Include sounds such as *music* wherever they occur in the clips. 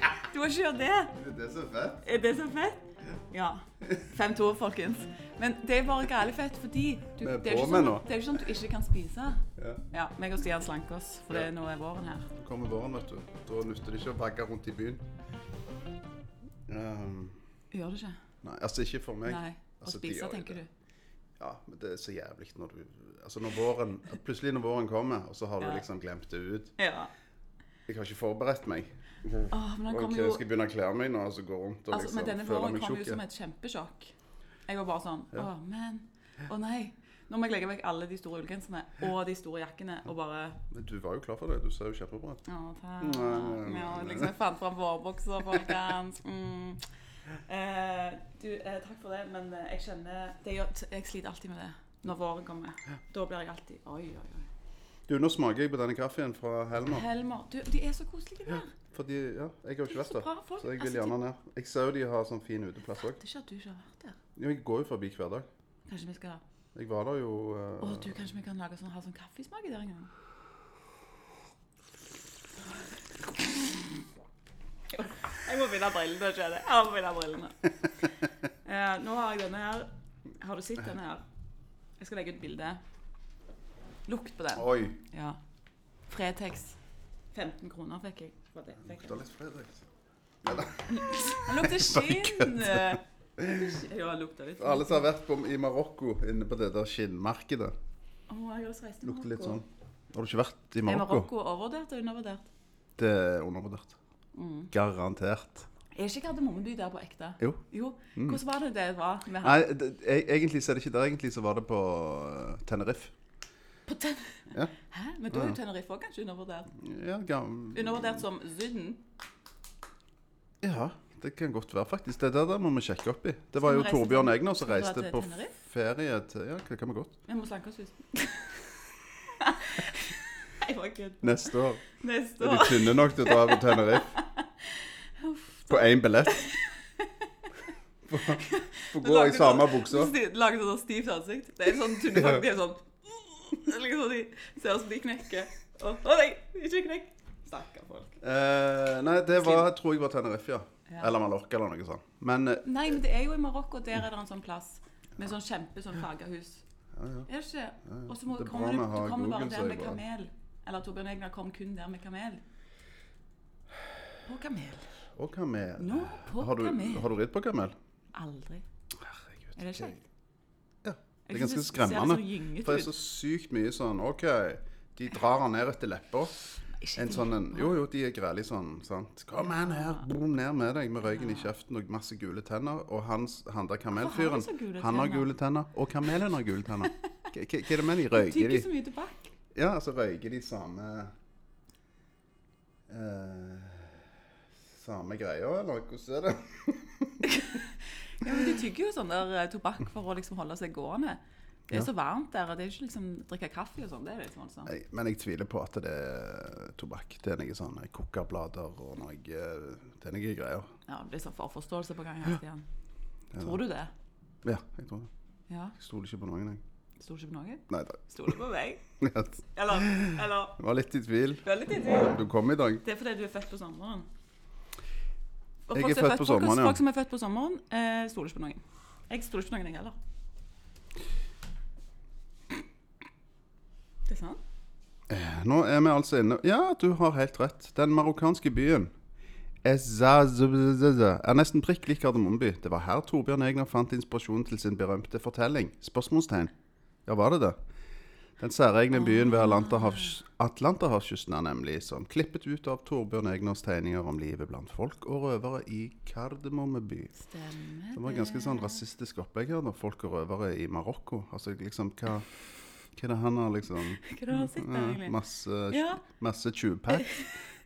gjør det? Det er så fett. Er det så fett? Ja. 5-2, folkens. Men det er bare gale fett fordi du, Vi er det, er på ikke sånn, med nå. det er ikke sånn at du ikke kan spise. Ja. Ja, meg og Stian slanker oss, for det Ja. er nå er våren her. Nå kommer våren, vet du. Da nytter det ikke å vagge rundt i byen. Ehm, Gjør det ikke? nei, altså ikke for meg. Nei. Å Altså, de gjør spise, jo tenker det. du. Ja, men det er så jævlig når du Altså når våren Plutselig når våren kommer, og så har du Ja. liksom glemt det ut. Ja. Jeg har ikke forberedt meg. Åh, men den Og Mhm. kommer jeg jo skal begynne å kle meg nå og så gå rundt og Altså, liksom men denne føle våren meg kom jo tjukk. som et kjempesjokk. Jeg var bare sånn Å, men. Å nei. Nå må jeg legge vekk alle de store ullgenserne og de store jakkene og bare Men du var jo klar for det. Du ser jo kjempebra ut. Å, takk. Nei, nei, nei, Ja, nei. liksom, jeg fant fram vårbukser, folkens. Mm. Eh, du, eh, takk for det, men eh, jeg kjenner det gjør, Jeg sliter alltid med det når våren kommer. Da blir jeg alltid Oi, oi, oi. Du, nå smaker jeg på denne kaffen fra Helmer. Helmer. Du, de er så koselige der. Fordi, ja, jeg har jo De ikke er vært så der. bra folk. Så jeg Altså, vil de- gjerne ned. Jeg ser jo de har sånn fin uteplass òg. Det er ikke at du ikke har vært der. Jo, jeg går jo forbi hver dag. Kanskje vi skal Jeg var der jo eh, Å, du, kanskje vi kan lage sånn, ha sånn kaffesmak i der en gang? Jeg må finne brillene, skjønner jeg. Jeg må finne *laughs* brillene. Eh, nå har jeg denne her. Har du sett denne her? Jeg skal legge ut bilde. Lukt på den. Oi! Ja. Fretex. 15 kroner fikk jeg. for det. Fikk Det jeg. er litt Fredrik. Den lukter skinn! Ja, den lukter litt. sånn Alle som har vært på, i Marokko inne på det der skinnmarkedet, Å, jeg har lyst til å reise til lukter litt Marokko. sånn. Har du ikke vært i Er Marokko? Marokko overvurdert og undervurdert? Det er undervurdert. Mm. Garantert. Er ikke Gardermommeby der på ekte? Jo. Mm. Jo. Hvordan var det det var med han? Nei, det, e- egentlig så er det ikke der. Egentlig så var det på eh, Tenerife. På ten Ja. Hæ? Men da er jo Tenerife også kanskje undervurdert? Ja, ga- Undervurdert som Syden? ja, det kan godt være, faktisk. Det der, der må vi sjekke opp i. Det var vi jo reise Torbjørn til- Egner som skal vi dra reiste til på Tenerife? ferie til Ja, det kan vi godt. Vi må slanke oss ut. Jeg var kødd. Neste år. Neste Er år. de tynne nok til å dra på Tenerife? På én *laughs* billett? Få gå i samme buksa? Lager sånn stivt ansikt. Det er sånn tynne folk. De er sånn Det er liksom De ser ut som de knekker. Å å nei, ikke knekk. Stakkar folk. Eh, nei, det var, tror jeg var Tenerife, ja. Ja. Eller Mallorca eller noe sånt. Men eh, Nei, men det er jo i Marokko. Der er det en sånn plass med sånn kjempe sånn fargehus. ja, ja. Er det ikke? ja. Og så må- Det er kommer bra du, vi har du kommer bare Google, så der jeg med bare- kamel. Eller Torbjørn Egner kom kun der med kamel. På kamel. Og kamel. Nå på Har du, kamel. har du ridd på kamel? Aldri. Herregud. Er det kjekt? Ja. Jeg Det er ganske synes det ser skremmende. så gyngete For det er ut. så sykt mye sånn OK, de drar han ned etter leppa. Ikke En det. sånn en Jo, jo, de er grelle sånn, sant. Kom an her, boom, ned med deg med røyken i kjeften og masse gule tenner. Og han, s- han der Hvorfor har de kamelfyren, så gule han har tenner? gule tenner. Og kamelen har *laughs* gule tenner. Hva hva- hva er det med de? Røyker Tygger de? så mye tobakk. Ja, altså røyker de samme eh, Samme greia, eller hvordan er det? Ja, men de tygger jo sånn der eh, tobakk for å liksom holde seg gående. Det er så varmt der, og det er ikke liksom drikke kaffe og sånn. Det er liksom altså. Nei, men jeg tviler på at det er tobakk. Det er noe sånn kokablader og noe eh, Det er noe greier. Ja, det blir sånn forforståelse på gang her, Stian. Ja. Tror du det? Ja, jeg tror det. Ja. Jeg stoler ikke på noen, jeg. Stoler ikke på noe? Nei da. *laughs* Stoler på meg? Jeg Eller, *laughs* eller var litt i tvil. Du er litt i tvil. Du kom i dag. Det er fordi du er født på sommeren. Og Jeg folk er som født på folk- sommeren, ja. Folk som er født på sommeren, eh, stoler ikke på noen. Jeg stoler ikke på noen, jeg heller. Det er sant? Nå er vi altså inne Ja, du har helt rett. Den marokkanske byen Ezazazaz er nesten prikk lik Gardermommeby. Det var her Torbjørn Egner fant inspirasjon til sin berømte fortelling. Spørsmålstegn. Ja, var det det? Den særegne byen ved Atlanterhavs- Atlanterhavskysten er nemlig som klippet ut av Torbjørn Egners tegninger om livet blant folk og røvere i Kardemommeby. Stemmer Det var et ganske sånn rasistisk opplegg her, da. Folk og røvere i Marokko. Altså liksom, hva, hva er det han har liksom Hva er det han sitter ja, egentlig? Masse, Ja. masse *laughs* tjuvpack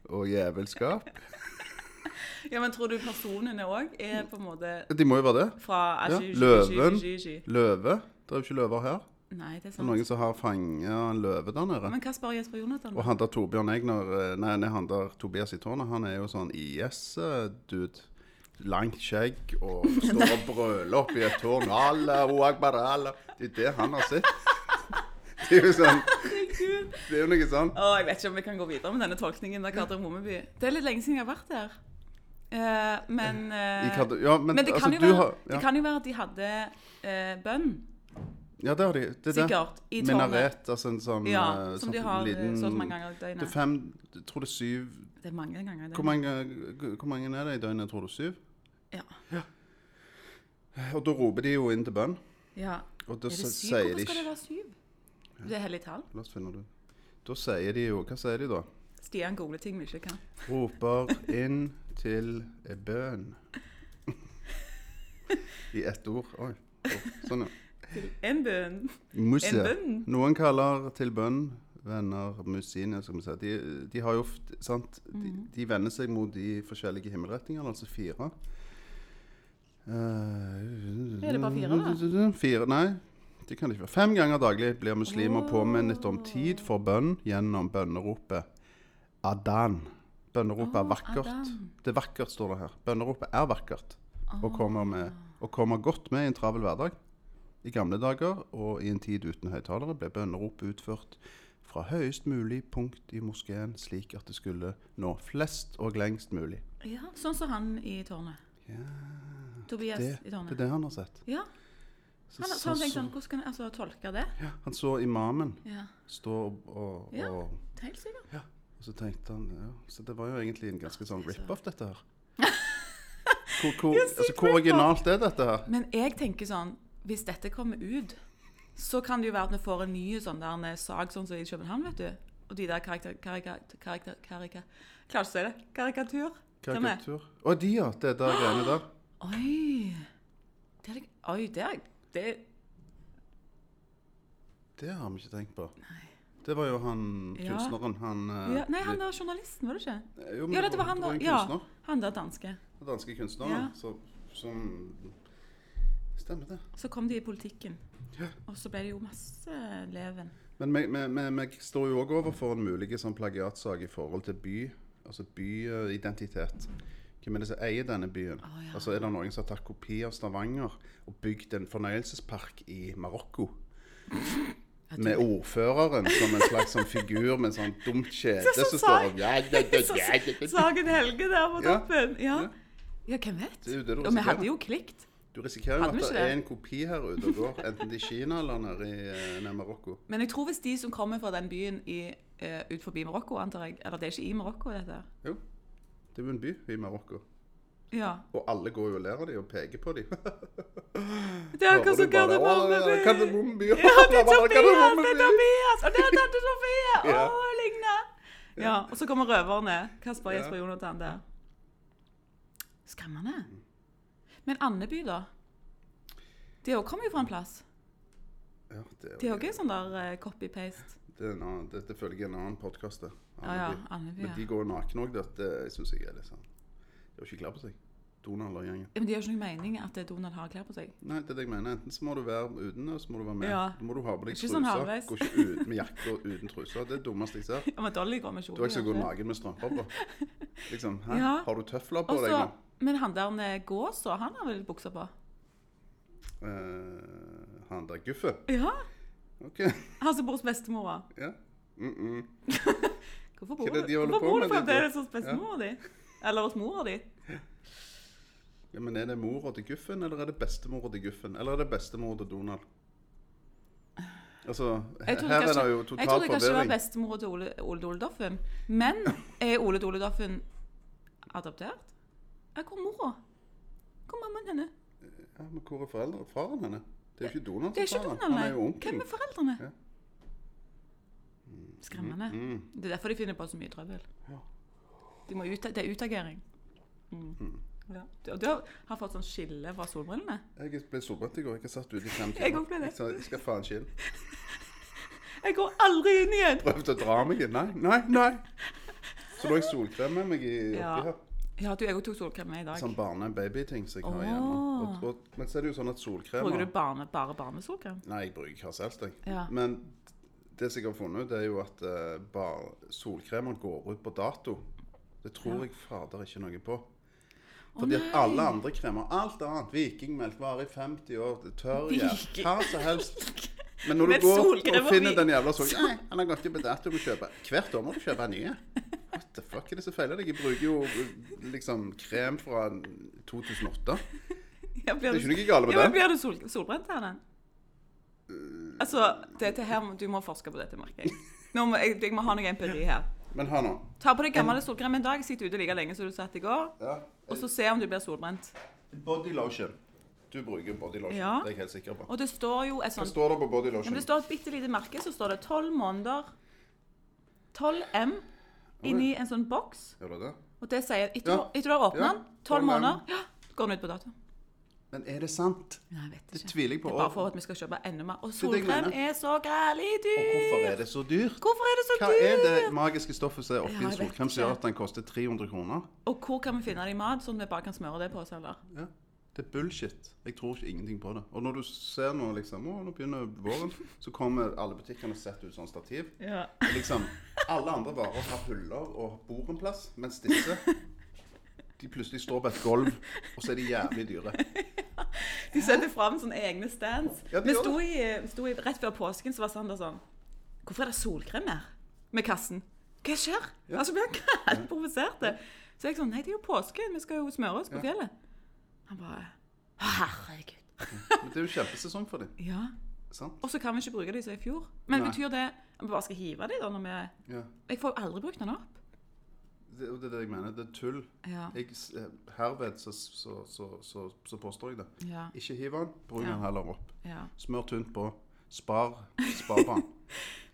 og jævelskap. Ja, men tror du personene òg er på en måte De må jo være det. fra altså, Ja, Ashy- løven. Ashy- Ashy- Ashy? Løve. Det er jo ikke løver her. Nei, det er Det er sant. noen som har fanga en løve der nede. Men hva spør Jesper Jonathan? Og han der Torbjørn Egner eh, Nei, nei han der Tobias i tårnet, han er jo sånn IS-dude. Langt skjegg og står og brøler oppi et tårn. Allahu akbar, Allah. Det er det han har sett. Det er jo sånn Herregud. Det er jo noe sånn. Å, jeg vet ikke om vi kan gå videre med denne tolkningen av Kardemommeby. Det er litt lenge siden jeg har vært der. Eh, men, eh, I Kard- ja, men, men det, kan jo altså, du være, har, ja. det kan jo være at de hadde eh, bønn, ja, det har de. Det er det. sikkert, i tårnet. Minaret, altså en sånn Ja, eh, som de sånn har eh, liten- så og så mange ganger i Det er døgnet. fem Jeg tror det er syv Det er mange ganger i Hvor døgnet. mange, hvor mange er det i døgnet, tror du? Syv? Ja. Og da roper de jo inn til bønn. ja. Og da Er det s- syv? sier Hvorfor de skal det ikke være syv? Det er hellig tall. La oss finne det ut. Da sier de jo Hva sier de da? Stian gode ting vi ikke *laughs* kan. Roper inn til *laughs* bønn. I ett ord. Oi. Oh, sånn, ja. En bønn. En Musse. bønn. Noen kaller til bønn venner musine, skal vi si. De, de har jo oft- sant? De, Mm. de vender seg mot de forskjellige himmelretningene, altså fire. Eh, Er det bare fire, Fire, nei. Det kan det ikke være. Fem ganger daglig blir muslimer Åh. påminnet om tid for bønn gjennom bønneropet adan. Bønneropet Åh, er vakkert. adan. Det er vakkert, står det her. Bønneropet er vakkert og kommer, med, og kommer godt med i en travel hverdag. I gamle dager og i en tid uten høyttalere ble bønnerop utført fra høyest mulig punkt i moskeen, slik at det skulle nå flest og lengst mulig. Ja, sånn som han i tårnet. Ja, Tobias det, i det tårnet. er det han har sett. Ja, Så, han, så han tenkte sånn, hvordan kan jeg altså tolke det? ja, han så imamen Ja, stå og, og, Ja. og helt sikkert. Og så tenkte han ja. Så det var jo egentlig en ganske sånn rip-off, *laughs* dette her. Hvor, hvor, Altså- Ja, sykt altså, hvor originalt er dette her? Men jeg tenker sånn, hvis dette kommer ut, så kan det jo være at vi får en ny sånn der en sag sånn som i København, vet du. Og de der karakter... karakter... karakter... karakter... Klarer ikke å si det. Karikatur. Hvem er? Ah! Karikatur. Å, de, ja. Det der greiene der. Oi. Det er det... Oi, det er... Det er... Det har vi ikke tenkt på. Det var jo han Ja. kunstneren. Han eh, Ja, nei, han der journalisten, var det ikke? jo, men Ja, dette var han det der. en Ja, kunstner. han der danske. Den danske kunstneren Ja. så, som Stemmer det. Så kom de i politikken. Ja. Og så ble det jo masse leven. Men vi- vi- vi vi står jo òg overfor en mulig sånn plagiatsak i forhold til by, altså byidentitet. Hvem er det som eier denne byen? Å, ja. Altså Er det noen som har tatt kopi av Stavanger og bygd en fornøyelsespark i Marokko? Med ordføreren som en slags sånn figur med en sånn dumt *laughs* kjede Det er så som står sag- og ja, ja, ja, *laughs* Så ja, ja, ja. Sagen Helge der på Ja. toppen. Ja, ja hvem vet? Det er jo det du Og vi risikerer. hadde jo klikt. Du risikerer jo Hadde vi at det ikke er det? en kopi her ute og går, enten det er i Kina eller nede i eh, nede i Marokko. Men jeg tror hvis de som kommer fra den byen i, eh, ut forbi Marokko, antar jeg Eller det er ikke i Marokko, dette. her. Jo, det er jo en by i Marokko. Ja. Og alle går jo og ler av dem og peker på *laughs* dem. Det er akkurat som Gardermommeby. Kardemommeby. Ja, *laughs* det er Tobias! Det er Tobias! Og der er tante Sofie! Ja. Å, ligne! Ja, og så kommer røverne. Kasper, Ja. Jesper og Jonathan der. Skremmende. Men Andeby, da? De òg kommer jo fra en plass. Ja, det, De er, er òg sånn der eh, copy-paste. det, er en annen, det, det følger en annen podkast, det. Ja, ja. Andeby. Andeby, Men ja. de går nakne òg, det det syns jeg er litt sånn De har ikke klær på seg. Donald-gjengen. Ja, Men det gjør ikke noen mening at eh, Donald har klær på seg. Nei, det er det jeg mener. Enten så må du være uten, eller så må du være med. Ja. Da må du ha på deg Ikke truser. sånn halvveis. Gå ikke ut med jakke og uten truser. Det er det dummeste jeg ser. Ja, men Dolly går med kjole. Du har ikke så god kanskje. naken med strømper på. Liksom, hæ? Ja. Har du tøfler på Og deg nå? så- Men han der med gåsa, han har vel bukser på? Eh, han der guffe? Ja. OK. *laughs* Han som bor hos bestemora. Ja. Mm -mm. Hvorfor Hva bor er det du de holder Hvorfor på bor med, du de to? fremdeles hos bestemora di? Eller hos mora di? Ja, men Er det mora til Guffen, eller er det bestemora til Guffen? Eller er det bestemora til Donald? Altså, her Jeg trodde her er kanskje- det jo Jeg total trodde kanskje det var forvirring. bestemora til Ole, Ole Dole Doffen. Men er Ole Dole Doffen adoptert? Ja, hvor er mora? Hvor er mammaen henne? Ja, men hvor er foreldre? faren henne? Det er jo ikke Donald Det er ikke faren. Donald, Han er jo nei. Hvem onkelen. er foreldrene? Ja. Skremmende. Mm. Det er derfor de finner på så mye trøbbel. Ja. De må ut, det er utagering. Mm. Ja. Du, og du har, har fått sånn skille fra solbrillene? Jeg ble solbrent i går. Jeg har satt ute i fem *laughs* timer. Jeg også ble det. sa, jeg skal faen ikke inn. Jeg går aldri inn igjen! Prøvde å dra meg inn. Nei, nei, nei. Så lå jeg solkrem med meg i Ja. oppi her. Ja, du, jeg også tok solkrem med i dag. Sånn barne-babyting som jeg har Åh. hjemme. Og, og, men så er det jo sånn at solkrem Bruker du barne, bare barnesolkrem? Nei, jeg bruker ikke Haselst, jeg. Ja. Men det som jeg har funnet ut, det er jo at eh, bar- solkremer går ut på dato. Det tror jeg fader ikke noe på. Fordi at nei. alle andre kremer, alt annet, vikingmelk varer i 50 år, det tørr Viking- gjær, hva som helst. Men når du Men går solkrem og og finner vi- *laughs* den jævla solkremen Nei, han har gått ut på dato, du må kjøpe Hvert år må du kjøpe nye. What the fuck er det som feiler deg? Jeg bruker jo eh, liksom krem fra 2008. *laughs* Ja, blir Det er du, ikke noe ja, galt med men det. Øh. blir du sol, solbrent av den? Altså, dette her, må- du må forske på dette, merker jeg. Nå må, jeg, jeg må ha noe empiri her. Men hør nå. Ta på deg gamle solkrem en dag, sitt ute like lenge som du satt i går, Ja. og så se om du blir solbrent. Body lotion. Du bruker body lotion, Ja. det er jeg helt sikker på. Og det står jo et Hva sånt står det på body ja, lotion? men Det står et bitte lite merke, så står det 12 måneder 12 M inni en sånn boks. Gjør det det? Og det sier Etter, Ja. etter du har åpna Ja. den, 12 12 M. måneder, ja, går den ut på dato. Men er det sant? Nei, jeg vet Det ikke. tviler jeg på. Det er bare for at vi skal kjøpe enda mer. Og er det jeg solkrem mener. er så grælig Og hvorfor er dyr! det så dyrt? Hvorfor er det så Hva er det dyrt? magiske stoffet som er oppi Ja, en jeg vet solkrem som gjør ikke. at den koster 300 kroner? Og hvor kan vi finne det i mat, sånn at vi bare kan smøre det på oss? eller? Ja. Det er bullshit. Jeg tror ikke ingenting på det. Og når du ser nå liksom, å, nå begynner våren, så kommer alle butikkene og setter ut sånn stativ. Ja. Og Liksom, alle andre varer har huller og bor en plass, mens disse de plutselig står på et gulv, og så er de jævlig dyre. De setter fram sånne egne stands. Ja, de vi gjør sto, i, vi sto i, rett før påsken, så var Sander sånn Hvorfor er det solkrem her? Med kassen. Hva skjer? Ja. Altså, blir han kaldt provosert? Så jeg sånn Nei, det er jo påske. Vi skal jo smøre oss på Ja. fjellet. Han bare «Å, Herregud. Men det er jo kjempesesong for dem. Ja. Sant? Og så kan vi ikke bruke de som i fjor. Men Nei. betyr det at vi bare skal hive de da når vi Ja. Jeg får jo aldri brukt den opp. Det, og det er det jeg mener. Det er tull. Ja. Jeg, s- eh, herved så, så, så, så, så påstår jeg det. Ja. Ikke hiv den, bruk Ja. den heller opp. ja. Smør tynt på. Spar, spar *laughs* på den.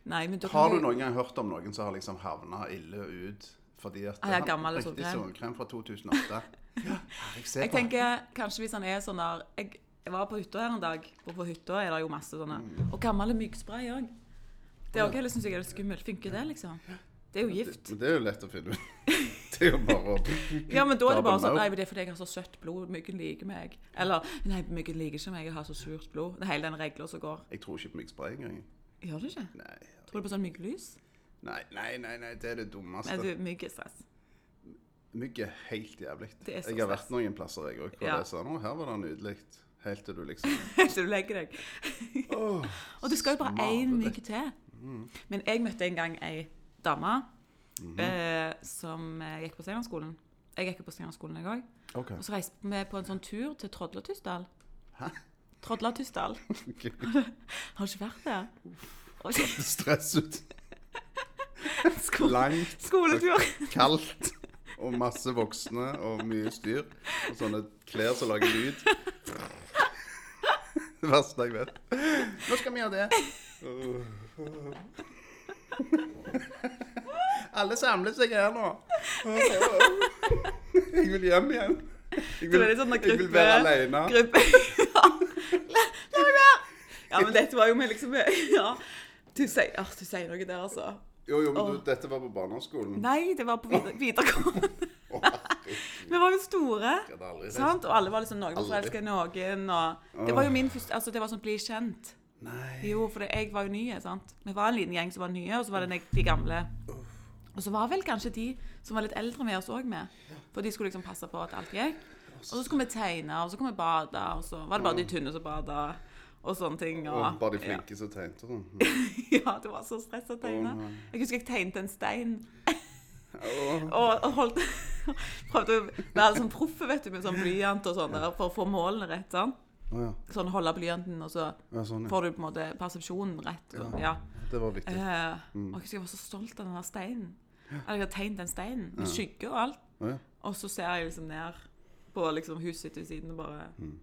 Nei, men da Har kan du vi- noen gang hørt om noen som har liksom havna ille ut fordi at Ah, ja, gammel riktig solkrem. solkrem fra *laughs* 2008? Ja, jeg ser Jeg på den. tenker kanskje hvis han er sånn der Jeg, jeg var på hytta her en dag, og på hytta er det jo masse sånne. Og gammel myggspray òg. Det er også, jeg synes jeg er litt skummelt. Funker det, liksom? Det er jo gift. Men det er jo lett å finne ut. *laughs* Det er jo bare å *laughs* Ja, men da er det bare sånn Double Nei, men det er fordi jeg har så søtt blod. Myggen liker meg. Eller Nei, myggen liker ikke meg. Jeg har så surt blod. Det er hele den regla som går. Jeg tror ikke på myggspray engang. Gjør du ikke? Nei, Tror du på sånn mygglys? nei, nei, nei, nei, det er det Nei, du, dummeste. mygg er stress. Mygg er helt jævlig. Det er så Jeg har stress. vært noen plasser, jeg òg, hvor Ja. det er sånn Å, her var det nydelig. Helt til du liksom *laughs* Så du legger deg. Åh, Og det skal jo bare én smaler mygg til. Men jeg møtte en gang ei dame eh, som eh, gikk på Steinerskolen. Jeg gikk jo på Steinerskolen, jeg òg. det. *laughs* OK. Og så reiste vi på en sånn tur til Trodlatysdal. Hæ? Trodlatysdal. Ok. Har du ikke vært der? Og Stress ut. sko Langt, skoletur. kaldt og masse voksne og mye styr. Og sånne klær som lager lyd. Det verste jeg vet. Nå skal vi gjøre det. Alle samler seg her nå. Jeg vil hjem igjen. Så Jeg vil, det er litt sånn at jeg vil gruppe- være alene. Gruppe Ja. La, la meg være! Ja, men dette var jo med liksom Ja. Du sier, ah, du sier noe der, altså. Jo, jo, men du, dette var på barneskolen. Nei, det var på vide- videregående. Å, herregud, Vi var jo store. jeg hadde aldri sett. Sant? Og alle var liksom noen Aldri. forelska i noen. Og det var jo min første Altså, det var sånn bli kjent. Nei. Jo, for det, jeg var jo nye, sant. Vi var en liten gjeng som var nye, og så var det nek- de gamle. Og så var vel kanskje de som var litt eldre med oss òg med. For de skulle liksom passe på at alt gikk. Og så skulle vi tegne, og så kunne vi bade, og så var det bare de tynne som bada. Og sånne ting. Og, Og bare de flinke som tegnet og sånn. *laughs* Ja, det var så stress å tegne. Å, nei. Jeg husker jeg tegnte en stein. Åh. Og, og holdt *laughs* Prøvde å være sånn proff, vet du, med sånn blyant og sånn der, for å få målene rett. sånn. Å ja. Sånn holde blyanten, og så ja. Sånn, ja. får du på en måte persepsjonen rett. Og, ja. Det var viktig. Eh, Mm. og jeg husker jeg var så stolt av den der steinen. Eller jeg har tegnet den steinen med skygge og alt. Å ja. Og så ser jeg liksom ned på liksom huset sitt ved siden og bare Mm.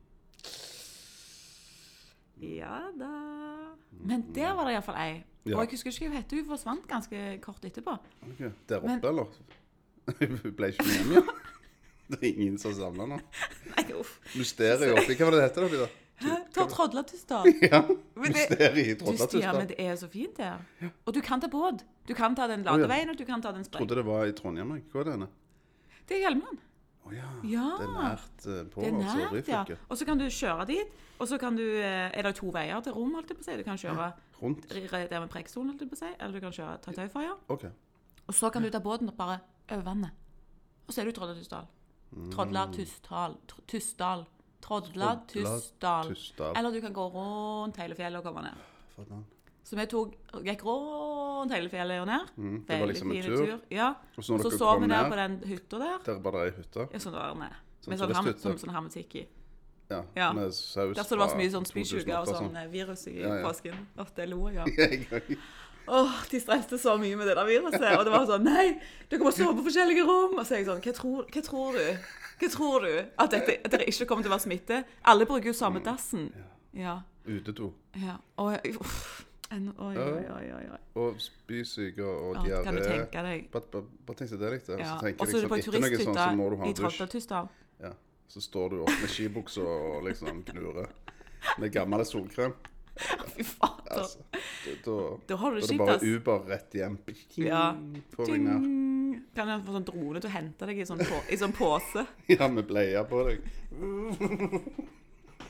Ja da. Men der var det iallfall ei. Mm. Ja. Og jeg husker ikke hva hun het. Hun forsvant ganske kort etterpå. *laughs* Ok, Der oppe, Men- eller? *laughs* Hun ble ikke med hjem igjen? Det er ingen som samler nå. Nei, uff. Mysteriet oppi Hva var det det heter da, Vidar? Hæ? Ta Trodlatysdal. *laughs* Ja, Men det- Mysteriet Du i Stia, men Troddatustad. det er så fint der. Og du kan ta båt. Du kan ta den ja. ladeveien, og du kan ta den spreng. Trodde det var i Trondheim. jeg. Hva er det henne? Det er Hjelmeland. Å ja. Ja. Det er nært eh, på Det er altså, nært, ja. Ryfylke. Og så kan du kjøre dit, og så kan du eh, Er det to veier til Rom, holdt jeg på å si? Du kan kjøre Rundt. r- r- der med Preikestolen, holdt jeg på å si, eller du kan kjøre ta tauferja. OK. Og så kan du ta båten og bare over vannet. Og så er du i Trodlatusdal. Mm. Trodlatusdal. Tr- Tusdal. Trodlatusdal. Tustad. Eller du kan gå rundt hele fjellet og komme ned. for et navn. Så vi tok, gikk rundt rundt hele fjellet og ned. Mm, det var liksom en tur. Ja. Og så når Så dere sov kom vi der på ned, den hytta der. der var det ei hytte Ja, sånn var det. Sånn Med sånn, ham, turisthytte. sånn, sånn hermetikk i. ja, Ja. med saus Der så det var så mye fra sånn spysjuke og 2008 sånn eh, virus i Ja, ja. påsken. Åh, det lo jeg av. *laughs* sånn. Åh, de strevde så mye med det der viruset. Og det var sånn Nei, dere må sove på forskjellige rom. Og så er jeg sånn Hva tror, hva tror du? Hva tror du? At, dette, at dere ikke kommer til å være smitte? Alle bruker jo Mm. samme dassen. Ja. Utedo. ja. Oi, uff. En- Oi, oi, oi, oi. oi. Og spysyke og Åh, diaré. kan du tenke deg? Bare- Bare bare tenk deg det, liksom. Ja. Så tenker Og så er jeg du på ei liksom, etter noe sånn, turisthytte så må du ha i en dusj. Trøndertysdal. Ja. Så står du opp med skibuksa og liksom gnurer med gammel solkrem. Fy fader. Altså, da, da, Da har du da det er det kjipt, bare ass. Uber rett hjem. Ja. Får Ding. ringer. Kan jeg få sånn drone til å hente deg i sånn, på, i sånn pose? *laughs* Ja, med bleie på deg.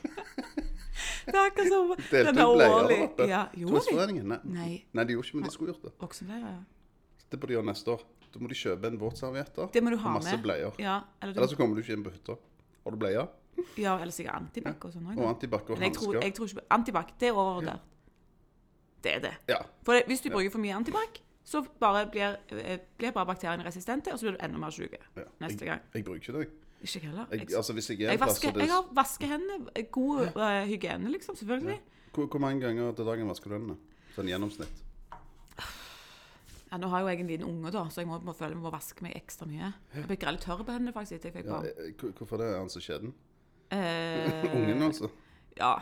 Det er akkurat som *laughs* Delte altså. den du der bleier der årlige oppe? ja, Gjorde de? Turistforeningen? Nei. Nei. Nei, de gjorde ikke men de skulle gjort det. Voksenbleier, ja. Det burde de gjøre neste år. Da må de kjøpe en våtservietter Det må du og ha masse med. bleier. Ja, eller, Ellers du, så kommer du ikke inn på hytta. Har du bleie ja, eller sikkert antibac og sånn og òg. antibac og Men jeg tror, hansker? jeg tror ikke Antibac, det er overvurdert. Det er det. Ja. For det, hvis du bruker for mye antibac, så bare blir, eh, blir bare bakteriene resistente, og så blir du enda mer syk ja. neste gang. Jeg, jeg bruker ikke det. jeg. Ikke jeg heller. Jeg, Jeg, altså, hvis jeg er jeg, en plass vasker, og det- jeg har vaskehendene, eh, god eh, hygiene, liksom, selvfølgelig. hvor, hvor mange ganger til dagen vasker du hendene? Sånn gjennomsnitt. Ja, nå har jo jeg en liten unge, da, så jeg må, må føle jeg må vaske meg ekstra mye. Jeg ble grell tørr på hendene faktisk etter jeg fikk Ja, barn. eh, hvor- hvorfor det? Er han så skjeden? Eh, Ungen, altså? ja.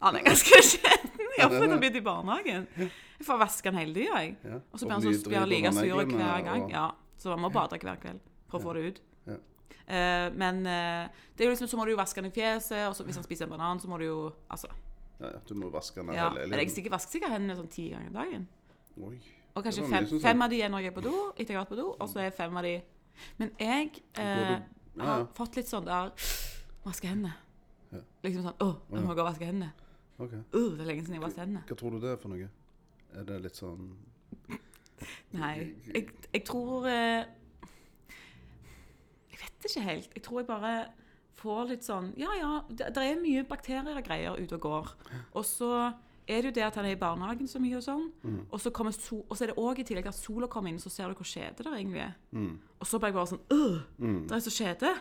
Han er ganske *laughs* skjeden. Ja, Iallfall det da er han begynte i barnehagen. Jeg får vaske han hele tida, jeg. Ja. Og så Og blir han så nydriver blir han like sur neglene, hver gang. og- Ja, så man må bade hver kveld for å få det ut. Ja. Eh, men eh, det er jo liksom, så må du jo vaske han i fjeset, og så hvis han spiser en banan, så må du jo Altså. Ja, ja, du må vaske henne Ja. hele Men jeg livet. sikkert vasker sikkert hendene sånn ti ganger om dagen. Oi. Og Det kanskje var mye fem, som sånn- sa- fem av de er når jeg er på do, etter jeg har vært på do, og så er fem av de Men jeg eh, Går du- ja, ja. har fått litt sånn der Vaske hendene. Ja. Liksom sånn Å, jeg må gå og vaske hendene. Ok. Uh, det er lenge siden jeg har vasket hendene. Hva tror du det er for noe? Er det litt sånn Nei. Jeg, jeg tror eh, Jeg vet ikke helt. Jeg tror jeg bare får litt sånn Ja, ja, det, det er mye bakterier og greier ute og går. Og så er det jo det at han er i barnehagen så mye og sånn. Og, så kommer sol, og så er det òg i tillegg at sola kommer inn, så ser du hvor kjedelig det egentlig er. Og så ble jeg bare sånn Øh! Det er så kjede.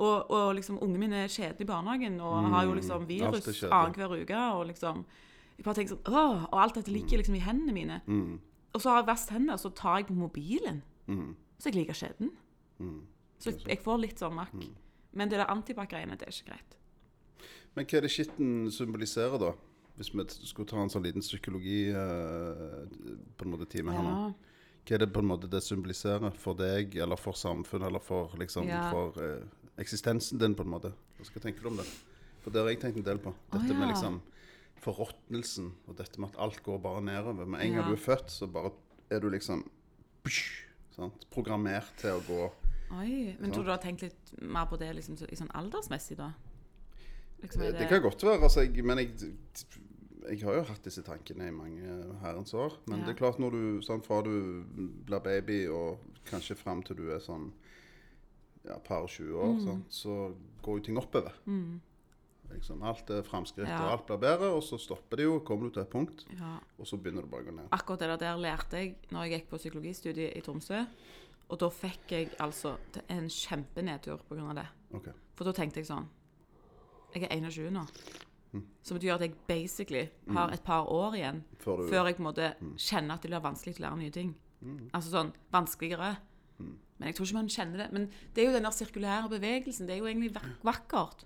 Og, og liksom, ungen min er kjedelig i barnehagen og har jo liksom Alt er virus kjedelig. annenhver uke. Og liksom Jeg bare tenker sånn Åh! Og alt dette Mm. ligger liksom i hendene mine. Og så har jeg vasket hendene, og så tar jeg på mobilen. Mm. Så jeg liker skjeden. Så jeg, jeg får litt sånn makk. Mm. Men det der antibac-greiene, det er ikke greit. Men hva er det skitten symboliserer, da? Hvis vi t- skulle ta en sånn liten psykologi eh, på en måte time her nå. Ja. Hva er det på en måte det symboliserer for deg, eller for samfunnet, eller for, liksom, Ja. for eh, eksistensen din, på en måte? Altså, Hva tenker du om det? For det har jeg tenkt en del på. Å, Dette med ja. liksom forråtnelsen, og dette med at alt går bare nedover. Med en gang Ja. du er født, så bare er du liksom psh, sant? programmert til å gå Oi, Men tror du du har tenkt litt mer på det liksom, så- i sånn aldersmessig, da? Liksom, er Det kan godt være. Altså, jeg, men jeg, jeg har jo hatt disse tankene i mange herrens år. Men Ja. det er klart, når du, sånn, fra du blir baby og kanskje fram til du er sånn ja, par 20 år, Mm. sånn, så går jo ting oppover. Liksom, alt er framskritt, Ja. og alt blir bedre, og så stopper det jo. Kommer du til et punkt, ja. og så begynner det bare å gå ned. Akkurat det der, der lærte jeg når jeg gikk på psykologistudiet i Tromsø. Og da fikk jeg altså t- en kjempenedtur på grunn av det. Ok. For da tenkte jeg sånn Jeg er 21 nå. Mm. Som betyr at jeg basically har et par år igjen Før Mm. du Mm. før jeg på en måte kjenner at det blir vanskelig å lære nye ting. Altså sånn vanskeligere. Mm. Men jeg tror ikke man kjenner det. Men det er jo den der sirkulære bevegelsen. Det er jo egentlig vak vakkert.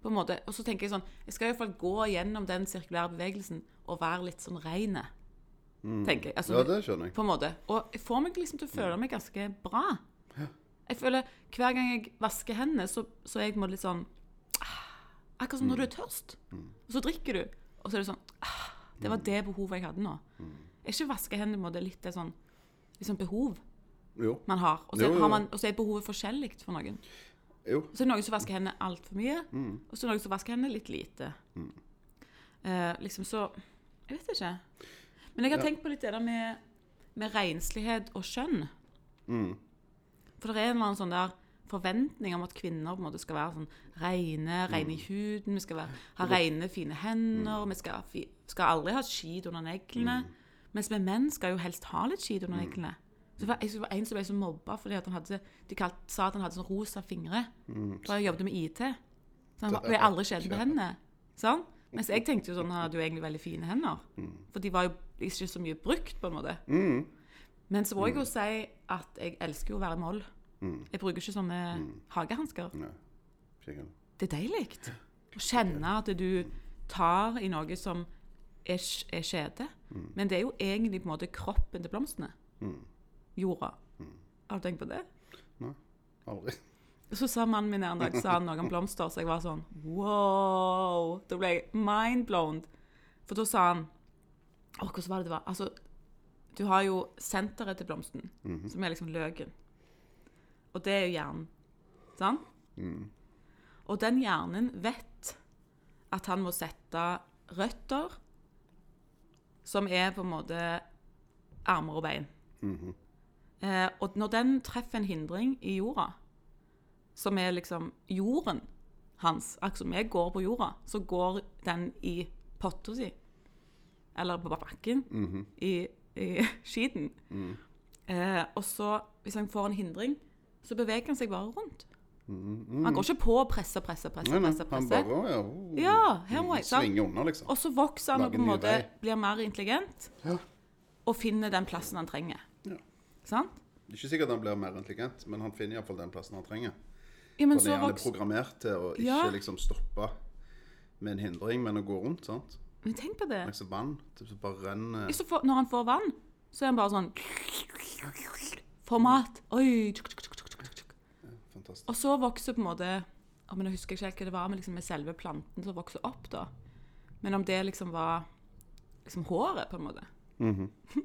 På en måte. Og så tenker jeg sånn Jeg skal iallfall gå gjennom den sirkulære bevegelsen og være litt sånn reine. Tenker jeg. Altså, Mm. Ja, det skjønner jeg. på en måte. Og jeg får meg liksom til å føle meg ganske bra. Jeg føler Hver gang jeg vasker hendene, så, så er jeg på en måte litt sånn ah, Akkurat som når du Mm. er tørst. Og så drikker du, og så er det sånn ah, Det Mm. var det behovet jeg hadde nå. Er ikke vaske hendene på en måte litt det sånn liksom behov Jo. man har? Og så, Jo, jo, jo. har man, og så er behovet forskjellig for noen. jo. Og så er det noen som vasker hendene altfor mye, og så er det noen som vasker hendene litt lite. Eh, liksom så Jeg vet ikke. Men jeg har tenkt på litt det der med, med renslighet og kjønn. For det er en eller annen sånn der forventning om at kvinner på en måte skal være sånn reine, reine i huden, vi skal være, ha reine, fine hender, vi skal, fi- skal aldri ha skit under neglene. Mens vi menn skal jo helst ha litt skit under neglene. Så det var, jeg husker det var en som ble så mobba fordi at han hadde, de kalt, sa at han hadde sånn rosa fingre. Da jeg jobbet med IT. Så han var- ble aldri skjelten på hendene. Sånn? Mens jeg tenkte jo sånn, han hadde jo egentlig veldig fine hender. For de var jo ikke så mye brukt, på en måte. Men så må jeg jo si at jeg elsker jo å være moll. Jeg bruker ikke sånne hagehansker. Nei. Skikkelig. Det er deilig. Å kjenne at du tar i noe som er, sk- er skjede. Men det er jo egentlig på en måte kroppen til blomstene. Jorda. Har du tenkt på det? Nei. Aldri. Så sa mannen min her en dag sa han noe om blomster, så jeg var sånn wow. Da ble jeg mindblown. For da sa han Å, hvordan var det det var? Altså, du har jo senteret til blomsten, som er liksom løken. Og det er jo hjernen. Sant? Og den hjernen vet at han må sette røtter som er på en måte armer og bein. Mhm. eh, og når den treffer en hindring i jorda, som er liksom jorden hans. Akkurat som jeg går på jorda, så går den i potta si. Eller på bakken. Mhm. I, i *laughs* skiten. Mm. Eh, og så, hvis han får en hindring, så beveger han seg bare rundt. Han går ikke på å presse, presse, presse. Mm, Nei, nei. presse, Han presse. bare å, ja, oh. Ja, her må jeg, sant? Svinge unna, liksom. Og så vokser han og Lage på en ny måte vei. blir mer intelligent, Ja. og finner den plassen han trenger. Ja. Sant? Det er Ikke sikkert han blir mer intelligent, men han finner iallfall den plassen han trenger. Ja, men Fordi så han er vokser programmert til å ikke Ja. liksom stoppe med en hindring, men å gå rundt. sant? Men tenk på det. Liksom vann. Det bare eh, renner Ja, så får- når han får vann, så er han bare sånn Format. Oi. tsk, tsk, tsk, tsk, tsk, tsk. Fantastisk. Og så vokser på en måte å, men Jeg husker ikke helt hva det var med, liksom, med selve planten som vokser opp, da. Men om det liksom var liksom håret, på en måte. Mhm. *laughs*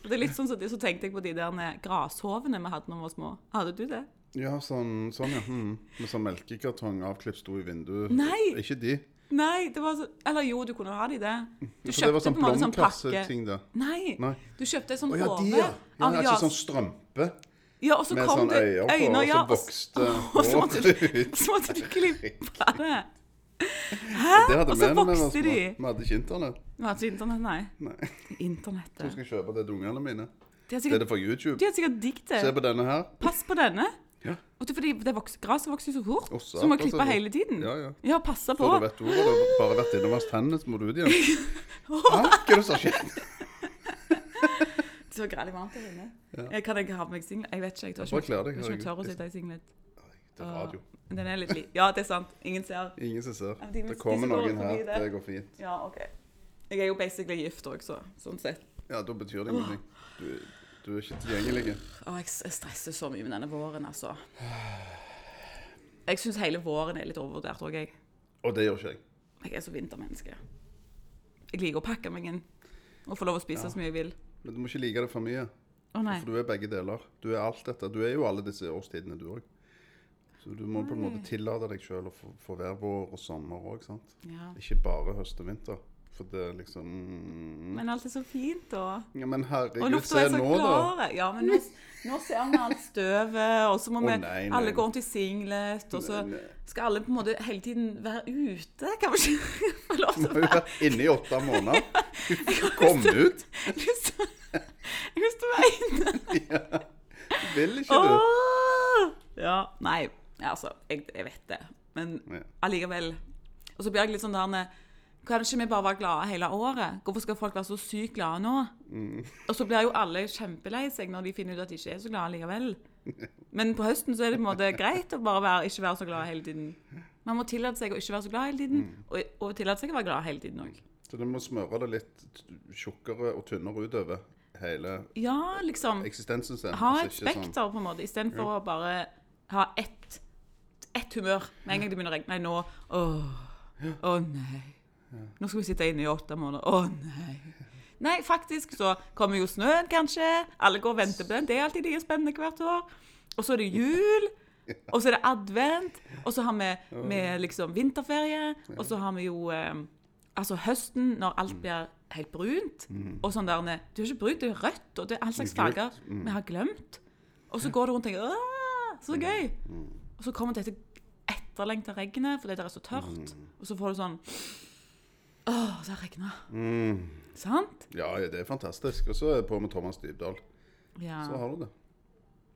Og det er litt sånn som det, så tenkte jeg på de der grashovene vi hadde når vi var små. Hadde du det? Ja, sånn, sånn ja. Mm. Med sånn melkekartong avklipp sto i vinduet. Nei! Ikke de. Nei, det var så Eller jo, du kunne ha de det. Du For det var sånn på en måte sånn pakke. blomkasseting, det. Nei, Nei. du kjøpte en sånn Å ja, de, håve ja. ja av ikke jas- sånn strømpe Ja, og så med kom sånn det øyne på, øyne, og ja, så vokste *laughs* og så måtte du, håret ut. så måtte du klippe det. Det hadde Og så vi når vi var vokste små. de. Vi hadde ikke internett. Det var ikke internett, nei. Nei. Jeg Internettet. skal kjøpe det til ungene De mine. har Det er det sikkert, fra YouTube. de har sikkert digg Se det. på denne her. Pass på denne. Ja. Og det er fordi det vokser, gresset vokser jo så fort, Og så du må satan, klippe så- hele tiden. Ja, ja. Ja, passe på. Før du vet ordet, har du bare vært inne og vasket hendene, så må du ut igjen. *laughs* Hæ? Hva er det som skjer? Det var grælig varmt her inne. Jeg kan ikke ha på meg singlet. Jeg vet ikke, jeg tør Bare ikke. kle deg, Jeg tror ikke jeg tør å herregud. sitte i singlet. Det er radio. Den er litt li... Ja, det er sant. Ingen ser. Ingen som ser. Ja, de- de Det som kommer går noen forbi her. det. Det går fint. Ja, OK. Jeg er jo basically gift òg, så sånn sett. Ja, da betyr det ingenting. Du, du er ikke tilgjengelig. Å, jeg s- jeg stresser så mye med denne våren, altså. Jeg syns hele våren er litt overvurdert òg, jeg. Og det gjør ikke jeg. Jeg er så vintermenneske. Jeg liker å pakke meg inn og få lov å spise så mye jeg vil. Men du må ikke like det for mye. Å nei. For du er begge deler. Du er alt dette. Du er jo alle disse årstidene, du òg. Så du må på en Mm. måte tillate deg sjøl å få, få være vår og sommer òg, sant. Ja. Ikke bare høst og vinter. For det er liksom Men alt er så fint, da. Ja, men Og herregud, lufta se er så nå, da. klar. Ja, men nå, nå ser vi alt støvet, og så må Å, vi nei, nei. alle gå rundt i singlet, og så Nei, nei. skal alle på en måte hele tiden være ute. Kan vi ikke *laughs* få lov til Du å har jo vært inne i åtte måneder. *laughs* Kom ut! *laughs* Jeg har lyst til jeg har lyst til å være inne. Vil ikke du? Åh! Ja, nei, altså, jeg, jeg vet det. Men Ja. allikevel. Og så blir jeg litt sånn der ne, Kan ikke vi bare være glade hele året? Hvorfor skal folk være så sykt glade nå? Mm. Og så blir jo alle kjempelei seg når de finner ut at de ikke er så glade likevel. *laughs* Men på høsten så er det på en måte greit å bare være, ikke være så glad hele tiden. Man må tillate seg å ikke være så glad hele tiden, Mm. og, og tillate seg å være glad hele tiden òg. Så du må smøre det litt t- tjukkere og tynnere utover hele Ja, liksom. eksistensen sin. Ha altså et ikke sånn- spekter, på en måte, istedenfor å bare ha ett, ett humør med en gang det begynner å regne. Nei, nå Åh, å nei. Nå skal vi sitte inne i åtte måneder. Å nei. Nei, faktisk så kommer jo snøen, kanskje. Alle går og venter på den. Det er alltid like spennende hvert år. Og så er det jul. Og så er det advent. Og så har vi, vi liksom vinterferie. Og så har vi jo eh, altså høsten, når alt blir helt brunt. Og sånn der Det er jo ikke brunt, det er rødt, og det er Mm. all slags Gult. farger vi har glemt. Og så går du rundt og tenker «Åh, Så gøy! Og så Mm. kommer dette etterlengta regnet fordi det er så tørt. Og så får du sånn Å, det har regna. Mm. Sant? Ja, ja, det er fantastisk. Og så er jeg på med Thomas Dybdahl. Ja. Så har du det.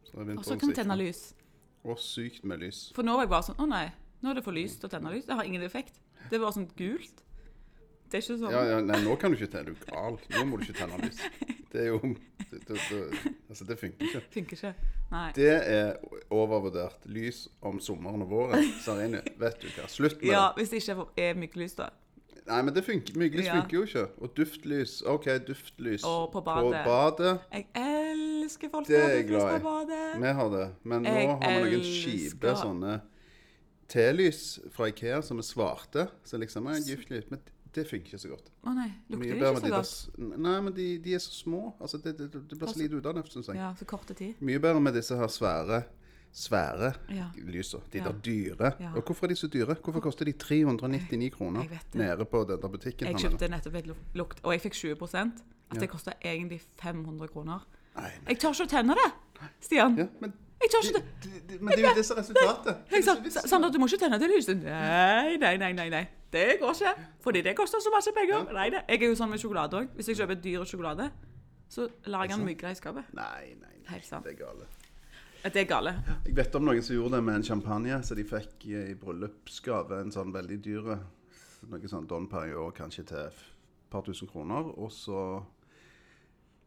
Så er Og så vinteren kan du tenne sikret. lys. Og sykt med lys. For nå var jeg bare sånn Å nei, nå er det for lyst å tenne lys. Det har ingen effekt. Det er bare sånn gult. Det er ikke sånn Ja, ja, nei, nå kan du ikke tenne. Du er gal. Nå må du ikke tenne lys. Det er jo det, det, det, Altså, det funker ikke. Funker ikke. Nei. Det er overvurdert. Lys om sommeren og våren. Serene, vet du hva. Slutt med Ja, det. hvis det ikke er myggelys, da. Nei, men det funker. Myggelys Ja. funker jo ikke. Og duftlys. OK, duftlys Og på badet. På badet. Jeg elsker folk Det er som har jeg glad i. på badet. Vi har det. Men nå Jeg har vi noen elsker- kjipe sånne telys fra Ikea som er svarte. Så liksom er giftlys. Men det funker ikke så godt. Å nei, Mye lukter det bedre ikke med så de der godt? s- Nei, men de, de er så små. Altså, det, det, det blir så lite ut av det, syns jeg. Ja, så korte tid. Mye bedre med disse her svære svære Ja. lysa. De Ja. der dyre. Ja. Og hvorfor er de så dyre? Hvorfor koster de 399 kroner Jeg vet det. nede på den der butikken? Jeg han er? kjøpte nettopp et luk- lukt, og jeg fikk 20 At Ja. det kosta egentlig 500 kroner. Nei, nei. Jeg tør ikke å tenne det, Stian. Ja, men, Jeg tør ikke det, det. det, det, men det er jo det som er resultatet. Det er Jeg sa, så visst. Sander, du må ikke tenne det lyset. Nei, nei, nei, nei, nei. Det går ikke. Fordi det koster så masse penger. Ja. Nei, det. Jeg er jo sånn med sjokolade òg. Hvis jeg kjøper dyr sjokolade, så lar jeg den mygge i skapet. Nei, nei, nei. Helt sant. Det er gale. Det er gale. Jeg vet om noen som gjorde det med en champagne, så de fikk eh, i i bryllupsgave en sånn veldig dyre, noe sånn Don Perignon, kanskje til et par tusen kroner, og så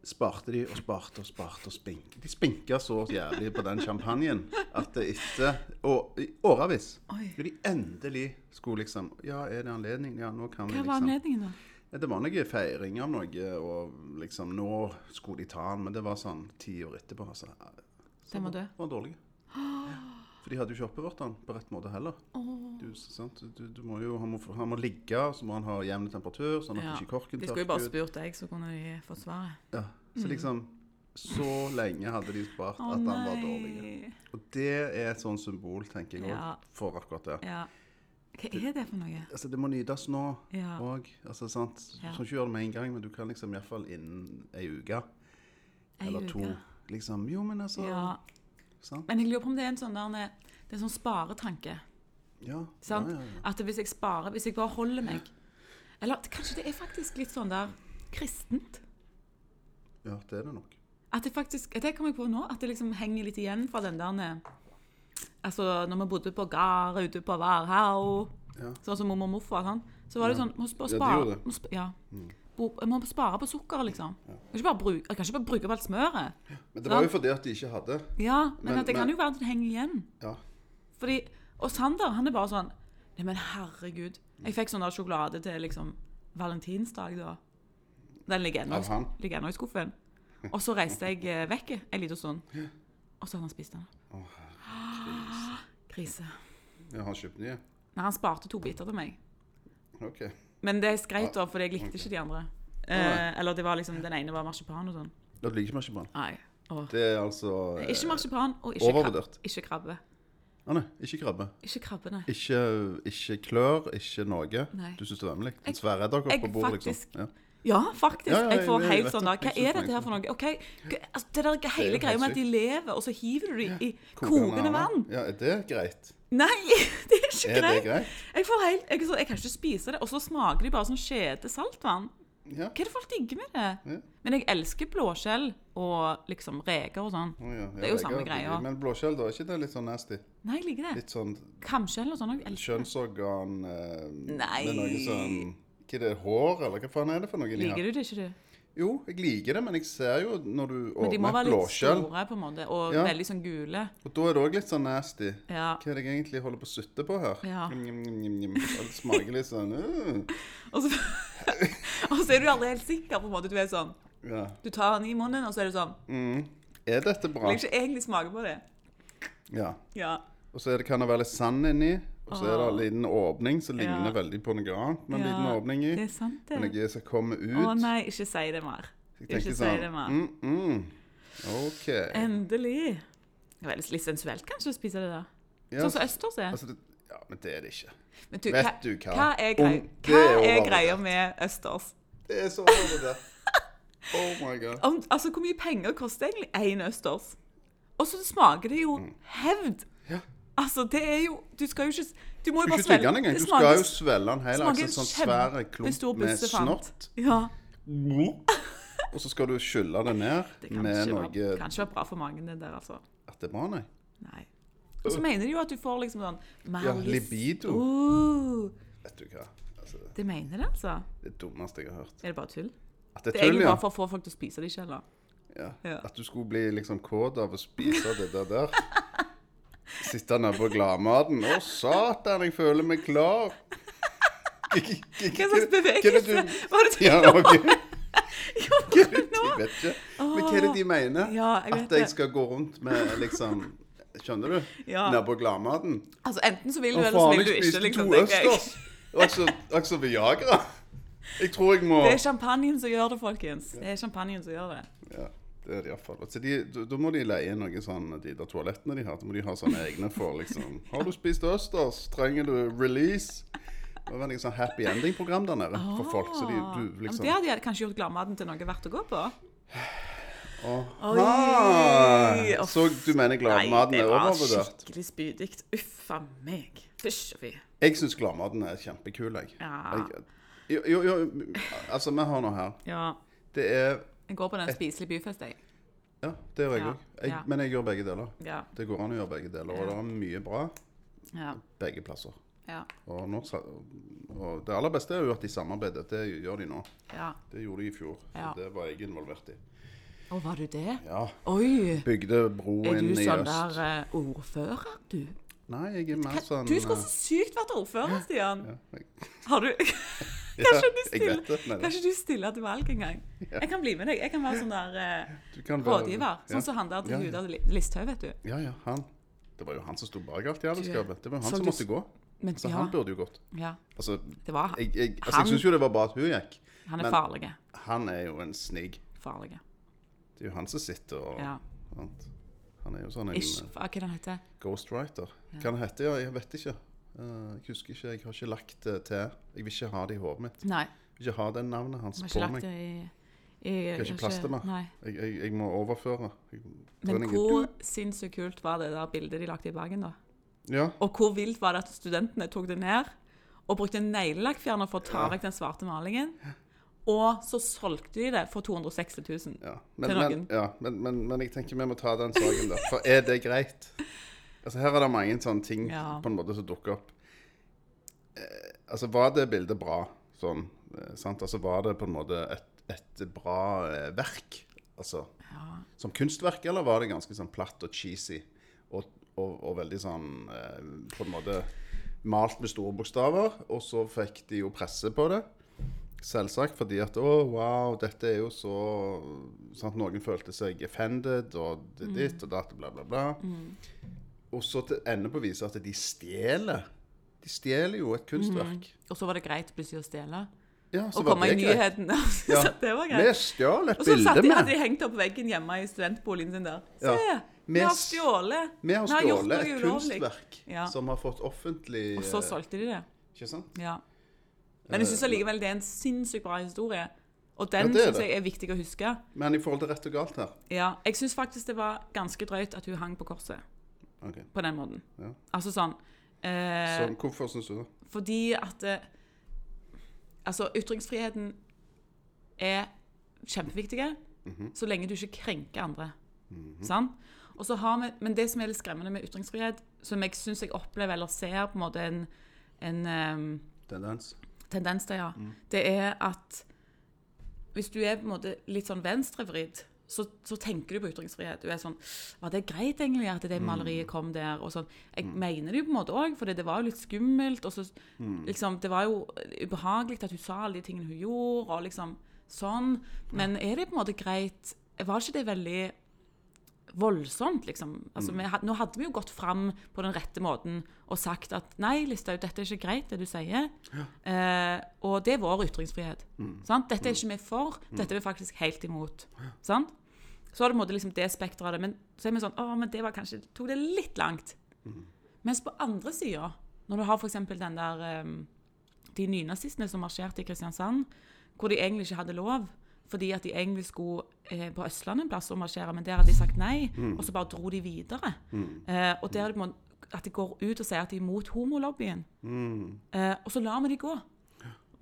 sparte de og sparte og sparte og spink. De spinka så jævlig på den champagnen at det etter og, i årevis Oi. når de endelig skulle liksom Ja, er det anledning? Ja, nå kan vi Hva liksom var anledningen, da? ja, Det var noe feiring av noe, og liksom Nå skulle de ta den, men det var sånn ti år etterpå. Altså. Så Den var død? Var *gasps* dårlig. For de hadde jo ikke oppbevart den på rett måte heller. Åh. Du, sant? Du, du må jo, han, må, han må ligge, og så må han ha jevn temperatur, sånn at Ja. ikke korken De skulle jo bare tørker ut. spurt deg, så kunne de fått svaret. Ja. Så liksom Så lenge hadde de spart Å at den var dårlig. nei. Og det er et sånt symbol, tenker jeg òg, Ja. for akkurat det. Ja. Hva er det for noe? Altså, det må nytes nå Ja. òg. Altså, sant? Du Ja. kan ikke gjøre det med en gang, men du kan liksom iallfall innen ei uke. Ei Eller to. uke. Liksom, jo, men altså Ja. Ja. Sant? Men jeg lurer på om det er en sånn der, det er en sånn sparetanke. Ja, Sant? Ja, ja, ja. At hvis jeg sparer, hvis jeg bare holder meg Eller det- kanskje det er faktisk litt sånn der kristent? ja, det er det nok. At det faktisk Det kom jeg på nå, at det liksom henger litt igjen fra den der eh, Altså, når vi bodde på gard ute på Varhaug, Ja. sånn som mormor og morfar, sånn, så var det Ja. sånn Må sp- Ja, de spare gjorde det. Mm. må sp ja. Bo- Jeg må spare på sukkeret, liksom. Jeg kan ikke bare bruke, jeg kan ikke bare bruke opp alt smøret. Men det var jo fordi at de ikke hadde Ja, men, Men- at det kan men- jo være at det henger igjen. Ja. Fordi, og Sander han er bare sånn Nei, men herregud. Jeg fikk sånn der sjokolade til liksom valentinsdag, da. Den ligger ennå Av han? ligger ennå i skuffen. Og så reiste jeg eh, vekk en liten stund, og så hadde han spist den. Å, herregud. Krise. Ja, han kjøpte nye? Nei, han sparte to biter til meg. OK. Men det skreit da, fordi jeg likte ikke de andre. Eh, Nei. eller det var liksom, den ene var marsipan og sånn. Da liker ikke marsipan. Nei. Åh. Det er altså eh, Ikke marsipan og ikke, krab overvurdert. ikke krabbe. Å nei, ikke krabbe. Ikke krabbe, nei. Ikke, ikke klør, ikke noe. Nei. Du syns det er vemmelig? Jeg- En svær edderkopp jeg på bordet, faktisk- liksom? Ja. Ja, faktisk. Ja, ja, jeg får jeg- jeg helt vet sånn da. Hva det. Jeg synes er dette det er her for noe? Ok, g- altså, Det der hele helt greia med at de sykt. lever, og så hiver du dem i kokende *gasps* Kokende vann. Ja, er det greit? Nei, *laughs* det er ikke Er det greit. greit? Jeg, får helt, jeg, er sånn, jeg kan ikke spise det. Og så smaker de bare sånn skjete saltvann. Ja. Hva er det folk digger med det? Ja. Men jeg elsker blåskjell og liksom reker og sånn. Å, ja. Det er jo samme greia. Men blåskjell, da? Er ikke det litt sånn nasty? Nei, jeg liker det. Litt sånn Kamskjell og sånn òg. kjønnsorgan eh, Nei. Med noe sånn Hva er det, hår, eller hva faen er det for noe? inni her? Liker du det ikke, du? Jo, jeg liker det, men jeg ser jo når du Men de må åpner et være litt blåskjell, store på en måte, og Ja. veldig sånn gule. og da er det òg litt sånn nasty. Ja. Hva er det jeg egentlig holder på å sutte på her? Ja. Njam, njam, njam, njam. Og Det smaker litt sånn uh. Og så, og så *laughs* er du aldri helt sikker, på en måte. Du er sånn ja. Du tar den i munnen, og så er det sånn mm. Er dette bra? Vil ikke egentlig smake på det. Ja. Ja. Og så er det, kan det være litt sand inni, og så er det en liten åpning som ligner Ja. veldig på noe annet med en Ja, liten åpning i. Det er sant, Men det. noe som kommer ut. Å nei, ikke si det mer. jeg Ikke si tenker sånn det Eh, mer. mm, mm. OK. Endelig. Det var litt sensuelt kanskje å spise det der. Ja, Sånn som østers er. altså, det, ja, men det er det ikke. Men du, vet du hva? Hva er, grei, Om- det hva er er overvurdert. greia med østers? Det er så overvurdert. *laughs* Oh my god. Om, altså, hvor mye penger koster egentlig én Mm. østers? Og så smaker det jo hevd. Ja. Altså, det er jo Du skal jo ikke s- Du må jo Du bare skal ikke tygge svelge. den engang. Det Du smaker- skal jo svelge den hele. Altså, smaker en sånn svær kjempestor klump med bussefant. snott. *laughs* Ja. Og så skal du skylle det ned Det kan med ikke, noe være, kan ikke være bra for magen, det der, altså. At det er bra, nei? Nei. Og så mener de jo at du får liksom sånn mer Ja, lyst. libido. Uh, Vet du hva. Altså, det mener det, altså. det dummeste jeg har hørt. Er det bare tull? At det Det er er tull, egentlig ja. bare for å få folk til å spise det ikke heller. ja. Ja. At du skulle bli liksom kåt av å spise det der *laughs* der. Sitte nede på gladmaten. Å, satan, jeg føler meg *laughs* klar. Hva slags *laughs* bevegelse du- var det du Ja, ok. gjorde nå? Jeg vet ikke. Men hva er det de mener? Ja, jeg vet At jeg det. skal gå rundt med liksom Skjønner du? Ja. Nede på gladmaten. Altså, enten så vil du, Å, eller så faen, vil du jeg ikke, spiste liksom, to tenker jeg. østers. Og så- og så Viagra. Jeg tror jeg må Det er champagnen som gjør det, folkens. Det er champagnen som gjør det. Ja, det er det iallfall. Så de, da- da må de leie inn noen sånne de der toalettene de har. Da må de ha sånne egne for liksom Har du spist østers? Trenger du release? Det var liksom happy ending-program der nede for folk. Så de, Ah, ja, du men liksom Det hadde jeg kanskje gjort gladmaten til noe verdt å gå på. Oi, ah, uff. Så du mener gladmaten er overvurdert? skikkelig spydig. Uff a meg. Fysj og fy. Jeg syns gladmaten er kjempekul, jeg. Ja. jeg jo, jo, jo, altså vi har noe her. Ja. Det er Jeg går på Eh. den spiselige byfest, jeg. Ja, det gjør jeg Ja, òg. Jeg, ja. Men jeg gjør begge deler. Ja. Det går an å gjøre begge deler, og det er mye bra Ja. begge plasser. Ja. Og, nå, sa- og det aller beste er jo at de samarbeider. Det gjør de nå. ja. Det gjorde de i fjor. Ja. så Det var jeg involvert i. Å, var du det? Ja. Oi! Bygde bro Er inn du i sånn øst. der eh, ordfører, du? Nei, jeg er mer sånn Du skulle eh, så sykt vært ordfører, Stian. ja, jeg- Har du *laughs* Ja, *laughs* Kanskje du jeg stiller, vet det, men- kanskje du stiller til valg en gang? Jeg kan bli med deg. Jeg kan være sånn der eh, du kan være- rådgiver. Ja. Sånn som han der til Ja, ja. Huda Listhaug, vet du. Ja, ja, han. Det var jo han som sto bak alt jævelskapet. Det var så jo han som du- måtte gå. Men Så ja, han burde jo gått. ja Altså, det var jeg, han. jeg, altså, jeg Han- syns jo det var bra at hun gikk. Han men- er farlig. Han er jo en snig. Farlig. Det er jo han som sitter og Ja. sant? Han er jo sånn en Ish, eh, hva er det han heter? ghostwriter. Hva han heter? Ja, jeg vet ikke. Eh, jeg husker ikke. Jeg har ikke lagt det til. Jeg vil ikke ha det i hodet mitt. Nei, Jeg vil ikke ha det navnet vi hans har på ikke lagt meg. det i, i Jeg kan ikke plaste meg. Nei. Jeg, jeg, jeg må overføre. Jeg, Men treningen- hvor sinnssykt kult var det der bildet de lagde i Bergen, da? Ja. Og hvor vilt var det at studentene tok det ned og brukte en neglelakkfjerner for å ta vekk den svarte malingen? Og så solgte de det for 260 000. ja. Men, Til men, noen. ja. Men, men, men jeg tenker vi må ta den saken, da. For er det greit? Altså, her er det mange sånne ting Ja. på en måte som dukker opp. Eh, altså, var det bildet bra? Sånn, eh, sant? Altså, var det på en måte et, et bra eh, verk? Altså, Ja. som kunstverk, eller var det ganske sånn platt og cheesy? Og, og, og veldig sånn eh, på en måte malt med store bokstaver, og så fikk de jo presse på det. Selvsagt, fordi at å, wow, dette er jo så sant, Noen følte seg offended, og det Mm. ditt og datt, og bla, bla, bla. Og så til ende på viset at de stjeler. De stjeler jo et kunstverk. Og så var det greit plutselig å stjele. Ja, Mm. så Og var komme i det greit. nyhetene. Ja. *laughs* så det var Vi greit. stjal et Og så satt bilde de, med. hadde de hengt opp veggen hjemme i studentboligen sin der. Se! Ja. Vi har Mens- stjålet. Vi har gjort stjålet noe et ulovlig. kunstverk Ja. som har fått offentlig Og så eh, solgte de det. Ikke sant? Ja. Men jeg syns allikevel det er en sinnssykt bra historie. Og den Eh, Ja, det er synes det. jeg er viktig å huske. Men i forhold til rett og galt her Ja, jeg syns faktisk det var ganske drøyt at hun hang på korset Ok. på den måten. Ja. Altså sånn eh, Så hvorfor syns du det? Fordi at eh, Altså, ytringsfriheten er kjempeviktig så lenge du ikke krenker andre. Sant? Og så har vi, Men det som er litt skremmende med ytringsfrihet, som jeg syns jeg opplever eller ser på en måte en, en ehm, Tendens? tendens til, ja. Det er at hvis du er på en måte litt sånn venstrevridd, så, så tenker du på ytringsfrihet. Du er sånn Var det greit egentlig at det maleriet kom der? Og sånn. Jeg mener det jo på en måte òg, for det var jo litt skummelt. Og så liksom Det var jo ubehagelig at hun sa alle de tingene hun gjorde, og liksom sånn. Men er det på en måte greit Var ikke det veldig voldsomt, liksom. Altså, vi had, nå hadde vi jo gått fram på den rette måten og sagt at nei, Listhaug, dette er ikke greit, det du sier. Eh, og det er vår ytringsfrihet. Sant? Dette er ikke vi for, dette er vi faktisk helt imot. Sant? Så er det på en måte liksom det spekteret av det. Men så er vi sånn Å, men det var kanskje Tok det litt langt. Mens på andre sida, når du har f.eks. den der eh, de nynazistene som marsjerte i Kristiansand, hvor de egentlig ikke hadde lov, fordi at de egentlig skulle eh, på Østlandet en plass og marsjere, men der hadde de sagt nei, og så bare dro de videre. Eh, og der er det på en måte at de går ut og sier at de er imot homolobbyen. Mm. Eh, og så lar vi de gå.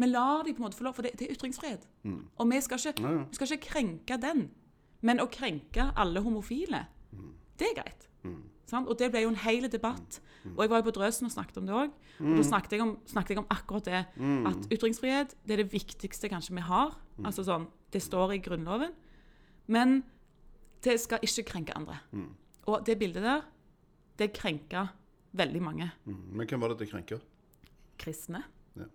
Vi lar de på en måte få lov, for det, det er ytringsfrihet. Og vi skal, ikke, Mm. Ja, ja. vi skal ikke krenke den. Men å krenke alle homofile, Mm. det er greit. Sant? Og det ble jo en hel debatt. Mm. Og jeg var jo på Drøsen og snakket om det òg. Og da snakket jeg, om, snakket jeg om akkurat det. Mm. At ytringsfrihet det er det viktigste kanskje vi har. Altså sånn, Det står i Grunnloven. Men det skal ikke krenke andre. Mm. Og det bildet der, det krenker veldig mange Mm. Men hvem var det det krenker? kristne. Ja. Mm.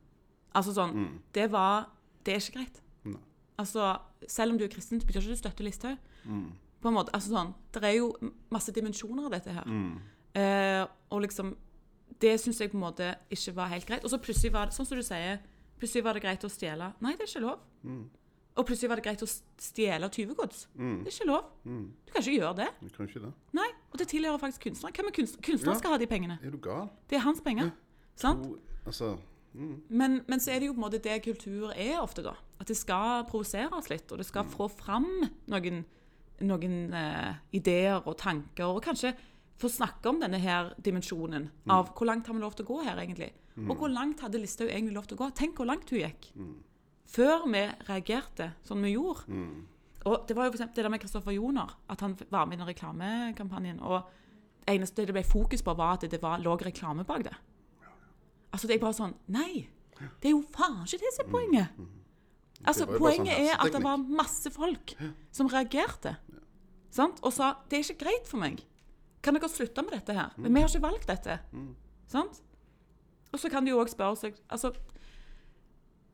Altså sånn, det var, det er ikke greit. Nei. Altså, selv om du er kristen, så betyr ikke det at du støtter Listhaug. Mm. På en måte, altså sånn, det er jo masse dimensjoner av dette her. Mm. Eh, og liksom, det synes jeg på en måte ikke var helt greit. Og så plutselig var det, sånn som du sier, plutselig var det greit å stjele. Nei, det er ikke lov. Mm. Og plutselig var det greit å stjele tyvegods. Det er ikke lov. Mm. Du kan ikke gjøre det. Du kan ikke det. Nei, og det tilhører faktisk kunstneren. Hvem er kunstneren? Kunstneren Ja. skal ha de pengene. Er du gal? Det er hans penger. Sant? Jo, altså Men, men så er det jo på en måte det kultur er ofte, da. At det skal provoseres litt, og det skal få fram noen, noen eh, ideer og tanker. Og kanskje få snakke om denne her dimensjonen av hvor langt har vi lov til å gå her, egentlig. Og hvor langt hadde Listhaug egentlig lov til å gå? Tenk hvor langt hun gikk. Før vi reagerte sånn vi gjorde. Mm. Og det var jo for eksempel det der med Kristoffer Joner, at han var med i den reklamekampanjen. Og det eneste det ble fokus på, var at det var, lå reklame bak det. Altså, det er bare sånn Nei! Det er jo faen ikke det som er poenget! Altså, Mm. Det var jo bare sånn Poenget er at det hersketeknikk. var masse folk som reagerte. Sant? Og sa 'Det er ikke greit for meg'. Kan dere slutte med dette Mm. her? Men vi har ikke valgt dette. Sant? Og så kan du jo òg spørre seg Altså,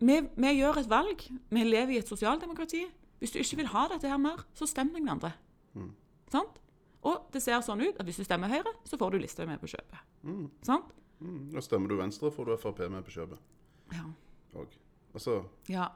vi, vi gjør et valg. Vi lever i et sosialdemokrati. Hvis du ikke vil ha dette her mer, så stem noen andre. Mm. Sant? Og det ser sånn ut at hvis du stemmer Høyre, så får du Listhaug med på kjøpet. Sant? mm, Da stemmer du Venstre, får du Frp med på kjøpet. Ja. Og, altså, ja.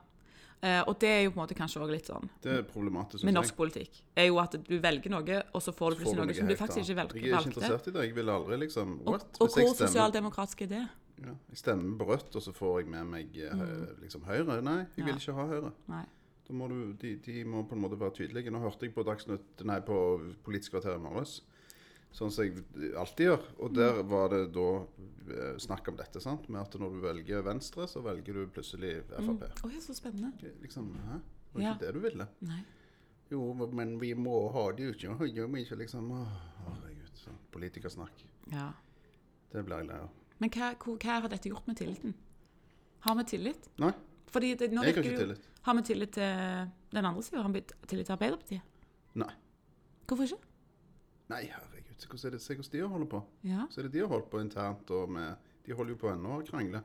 Eh, og det er jo på en måte kanskje også litt sånn det er problematisk. synes med jeg. norsk politikk. er jo at du velger noe, og så får du Får plutselig noe noe som du helt faktisk ikke annet. velg- Jeg er ikke valgte. interessert i det. Jeg vil aldri liksom What? Og Hvis jeg hvor stemmer, sosialdemokratisk er det? ja, jeg stemmer på Rødt, og så får jeg med meg eh, hø- liksom Høyre. Nei, jeg Mm. Ja. vil ikke ha Høyre. Nei. Da må du, de, de må på en måte være tydelige. Nå hørte jeg på Dagsnytt Nei, på Politisk kvarter i morges. Sånn som jeg alltid gjør. Mm. Og der var det da eh, snakk om dette, sant. Med at når du velger Venstre, så velger du plutselig Frp. Å ja, så spennende. Det er Liksom, hæ? Det var Mm. Ja. ikke det du ville. Nei. Jo, men vi må ha det jo ikke. Gjør vi ikke liksom Å, herregud. Sånn politikersnakk. Ja. Det blir jeg lei av. Men hva, hvor- hva har dette gjort med tilliten? Har vi tillit? Nei, Fordi det, nå jeg virker har ikke det jo- tillit. Har vi tillit til den andre sida? Har vi tillit til Arbeiderpartiet? Nei. Hvorfor ikke? Nei, herregud. Se hvordan er det- se hvordan de har holdt på. Ja. Så er det de har holdt på internt og med De holder jo på ennå og krangler.